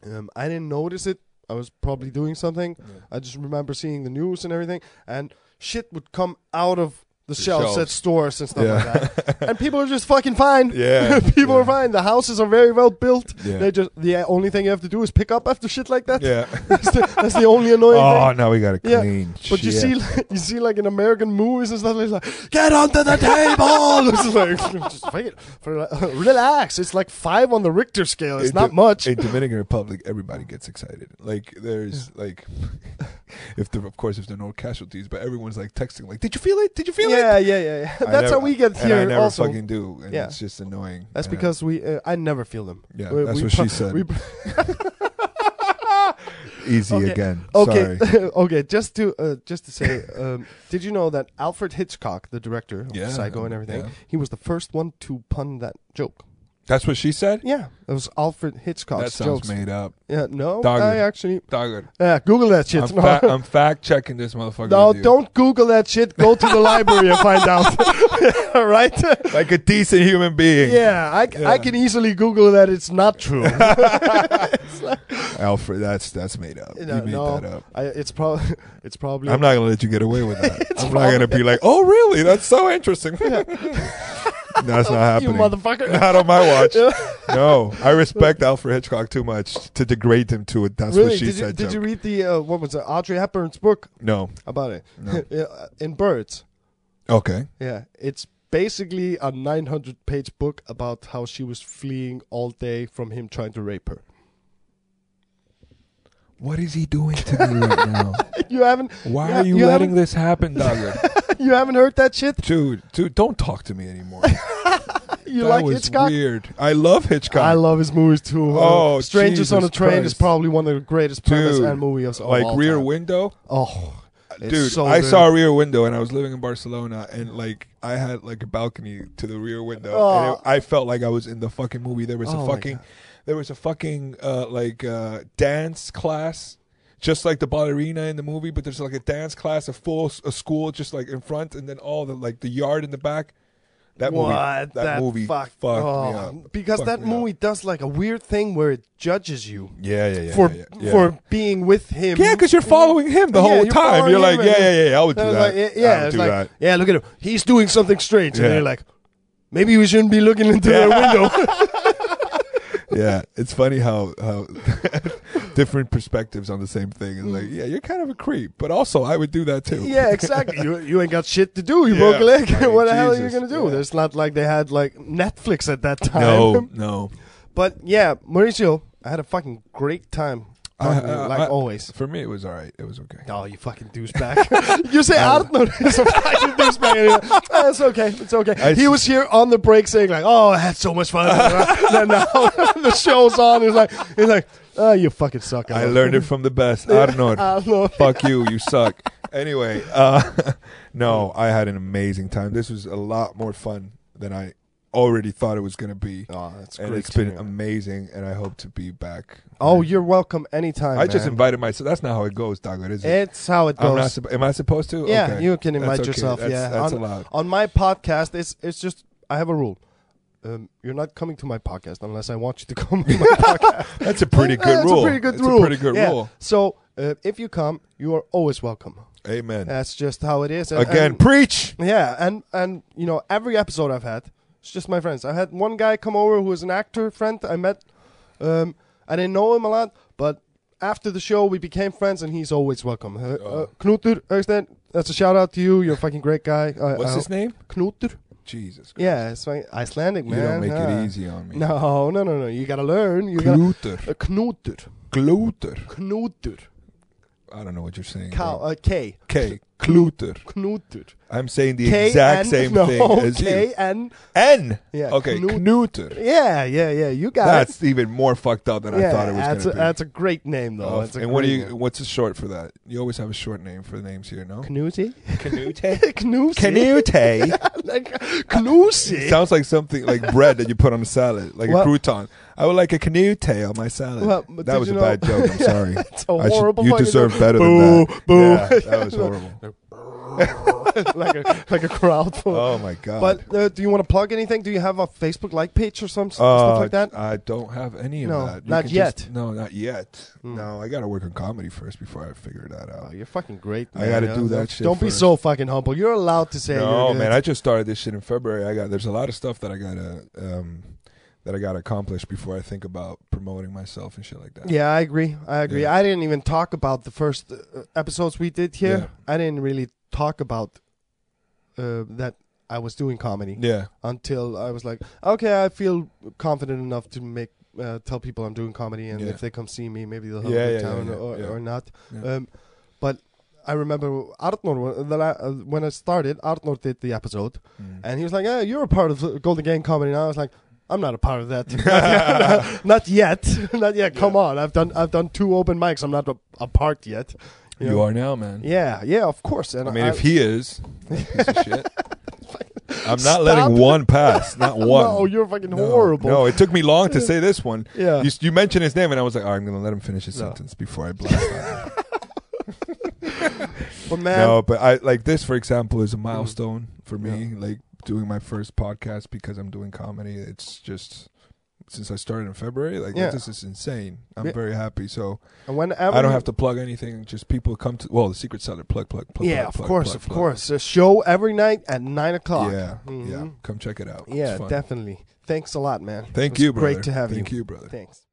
um, I didn't notice it. I was probably doing something. I just remember seeing the news and everything, and shit would come out of the, shelves, at shelves. stores and stuff like that. and people are just fucking fine. Yeah, people yeah. are fine. The houses are very well built. Yeah. They just the only thing you have to do is pick up after shit like that. Yeah. that's, the, that's the only annoying oh, thing. now we got to Yeah, clean. But you Shit. see, like, you see, like in American movies and stuff, it's like, get onto the table. it's like, just fuck it. relax. It's like five on the Richter scale. It's In not Do- much. In Dominican Republic, everybody gets excited. Like there's like, if there, of course if there are no casualties, but everyone's like texting like, "Did you feel it? Did you feel it?" yeah, yeah, yeah, yeah. I That's how never- we get And here. I never also, fucking do, and Yeah. it's just annoying. that's And I- because we. Uh, I never feel them. Yeah, We- that's we what pro- she said. we pro- easy okay, again. okay, Sorry. okay. Just to uh, just to say, um, did you know that Alfred Hitchcock, the director of Yeah, Psycho and everything, yeah. he was the first one to pun that joke. That's what she said. Yeah, it was Alfred that Hitchcock's sounds jokes. made up. Yeah, no, Dogger. I actually. Dogger. Yeah, Google that shit. I'm, No. fa- I'm fact checking this motherfucker. no, with you. don't Google that shit. Go to the library and find out. All right. Like a decent human being. Yeah, I, c- I Yeah. can easily Google that it's not true. Alfred. That's that's made up. No, you made no. that up. I, it's probably it's probably I'm not gonna let you get away with that. I'm not fine. gonna be like, oh really? That's so interesting. That's not you happening. motherfucker. not on my watch. no, I respect Alfred Hitchcock too much to degrade him to it. That's really? what she Did you, said. did you joke. read the uh, what was it? Audrey Hepburn's book no. about it Yeah, uh, in Birds. Okay. Yeah, it's basically a 900 page book about how she was fleeing all day from him trying to rape her. What is he doing to me right now? You haven't Why Yeah, are you, you letting this happen, Dogger? you haven't heard that shit? dude, dude, don't talk to me anymore. You that like was Hitchcock? weird. I love Hitchcock. I love his movies too. Uh, Oh, Strangers on a Jesus Train is Christ. probably one of the greatest premise Dude, and movies of like all Rear time. Window. Oh, it's dude so i good. saw rear window and i was living in barcelona and like i had like a balcony to the rear window and Oh. it, i felt like i was in the fucking movie there was Oh a my fucking there was a fucking uh like uh dance class just like the ballerina in the movie but there's like a dance class a full s- a school just like in front and then all the like the yard in the back that what movie that, movie fuck- fucked me oh, up because Fucked that me up. movie does like a weird thing where it judges you yeah yeah yeah for yeah, yeah. for being with him. yeah, because you're following him the Yeah, whole you're time. following You're him like, and- yeah, yeah, yeah, I would do And it's that. like, yeah, I yeah, would it's do like, that. yeah, look at him. He's doing something strange, and Yeah. you're like, maybe we shouldn't be looking into Yeah. their window. yeah, it's funny how how different perspectives on the same thing. It's like, yeah, you're kind of a creep, but also I would do that too. Mm. Yeah, exactly. you you ain't got shit to do. You Yeah. broke a leg. I mean, what the hell are you Jesus. gonna do? Yeah. It's not like they had like Netflix at that time. No, no. but yeah, Mauricio, I had a fucking great time. I- talking to you, I- like I- always. For me, it was all right. It was okay. Oh, you fucking douchebag. you say Uh, Arnold is a fucking douchebag. Anyway. Ah, it's okay. It's okay. I he s- was here on the break saying like, oh, I had so much fun. then now the show's on. He's like, he's like, oh, you fucking suck. I learned it from the best, Arnold. Arnold. Fuck you, you suck. Anyway, uh, no, I had an amazing time. This was a lot more fun than I already thought it was going to be, Oh, that's and great it's to been hear. amazing. And I hope to be back. Oh, you're welcome anytime. I just man. invited myself. That's not how it goes, Dago. Is it? It's how it I'm not. goes. supp- Am I supposed to? yeah, Okay. you can That's invite okay. yourself. That's- yeah, that's on, allowed. on my podcast, it's it's just I have a rule. Um, you're not coming to my podcast unless I want you to come. To my podcast. That's a pretty good That's rule. A pretty good That's rule. a pretty good Yeah. rule. So uh, if you come, you are always welcome. Amen. That's just how it is. uh, And- Again, and- preach. Yeah, and and you know every episode I've had, it's just my friends. I had one guy come over who was an actor friend I met. Um, I didn't know him a lot, but after the show we became friends, and he's always welcome. Uh, uh, Oh. Knutur Øystein, that's a shout out to you. You're a fucking great guy. Uh, What's his name? Knutur. Jesus. Christ. Yeah, it's like Icelandic man. You don't make huh? it easy on me. No, no, no, no. You gotta learn. You gotta. Kluter. Uh, Knutur. Kluter. Knutur. I don't know what you're saying. Cow, bro. uh, K. K. Kluter. Knutur. I'm saying the K exact N- same no, thing as K you. N. N. Yeah, Okay. Knut- Knuter. Yeah, yeah, yeah. You got it. That's even more fucked up than I thought it was that's going a, to be. that's a great name though. Oh, That's a and what do great you? name. What's the short for that? You always have a short name for names here, no? Knuti? Knute. Knusi? Canute. like Knusi? It sounds like something like bread that you put on a salad, like Well- a crouton. I would like a canute on my salad. Well, but did that was you a know- bad joke. I'm sorry. It's a I should- horrible. you fucking deserve name. better Boo, than that. Boo. Yeah, that was horrible. like a like a crowd full. Oh my god. but uh, do you want to plug anything? Do you have a Facebook like page or some s- stuff Uh, like that? I don't have any of No, that. not can yet. just- no, not yet. Hmm. No, I got to work on comedy first before I figure that Oh, out. you're fucking great. I man. gotta Yeah, do that don't- shit Don't be first. so fucking humble. You're allowed to say. no, you're good. man, I just started this shit in February. I got there's a lot of stuff that I gotta um, that I gotta accomplish before I think about promoting myself and shit like that. Yeah, I agree. I agree. Yeah. I didn't even talk about the first uh, episodes we did here. Yeah. I didn't really talk about uh, that I was doing comedy Yeah. until I was like, okay, I feel confident enough to make uh, tell people I'm doing comedy, and Yeah. if they come see me, maybe they'll have Yeah, a good yeah, time yeah, yeah, or, yeah. or not. Yeah. Um, but I remember Artnor when- that I, uh, when I started. Artnor did the episode, Mm. and he was like, "Yeah, you're a part of Golden Gang comedy." And I was like, "I'm not a part of that. not yet. not yet. Come on. I've done I've done two open mics. I'm not a, a part yet." You, know? are now, man. Yeah, yeah, of course. And I mean, if he is, piece of shit. I'm not letting Stop. one pass. Not one. no, you're fucking No, horrible. No, it took me long to say this one. yeah. You, you mentioned his name, and I was like, "All right, I'm going to let him finish his No. sentence before I blast." on him." but man, Mm. no, but I like this, for example, is a milestone for me. Like doing my first podcast because I'm doing comedy. It's just since I started in February. Like Yeah. this is insane. I'm Yeah. very happy. So and whenever I don't have to plug anything. Just people come to. Well, the secret seller plug plug plug. yeah, plug, of plug, course, plug, of plug. course. A show every night at nine o'clock. Yeah, yeah. Mhm. Come check it out. It's yeah, fun. definitely. Thanks a lot, man. It Thank was you, brother. Great to have Thank you. you, brother. Thanks.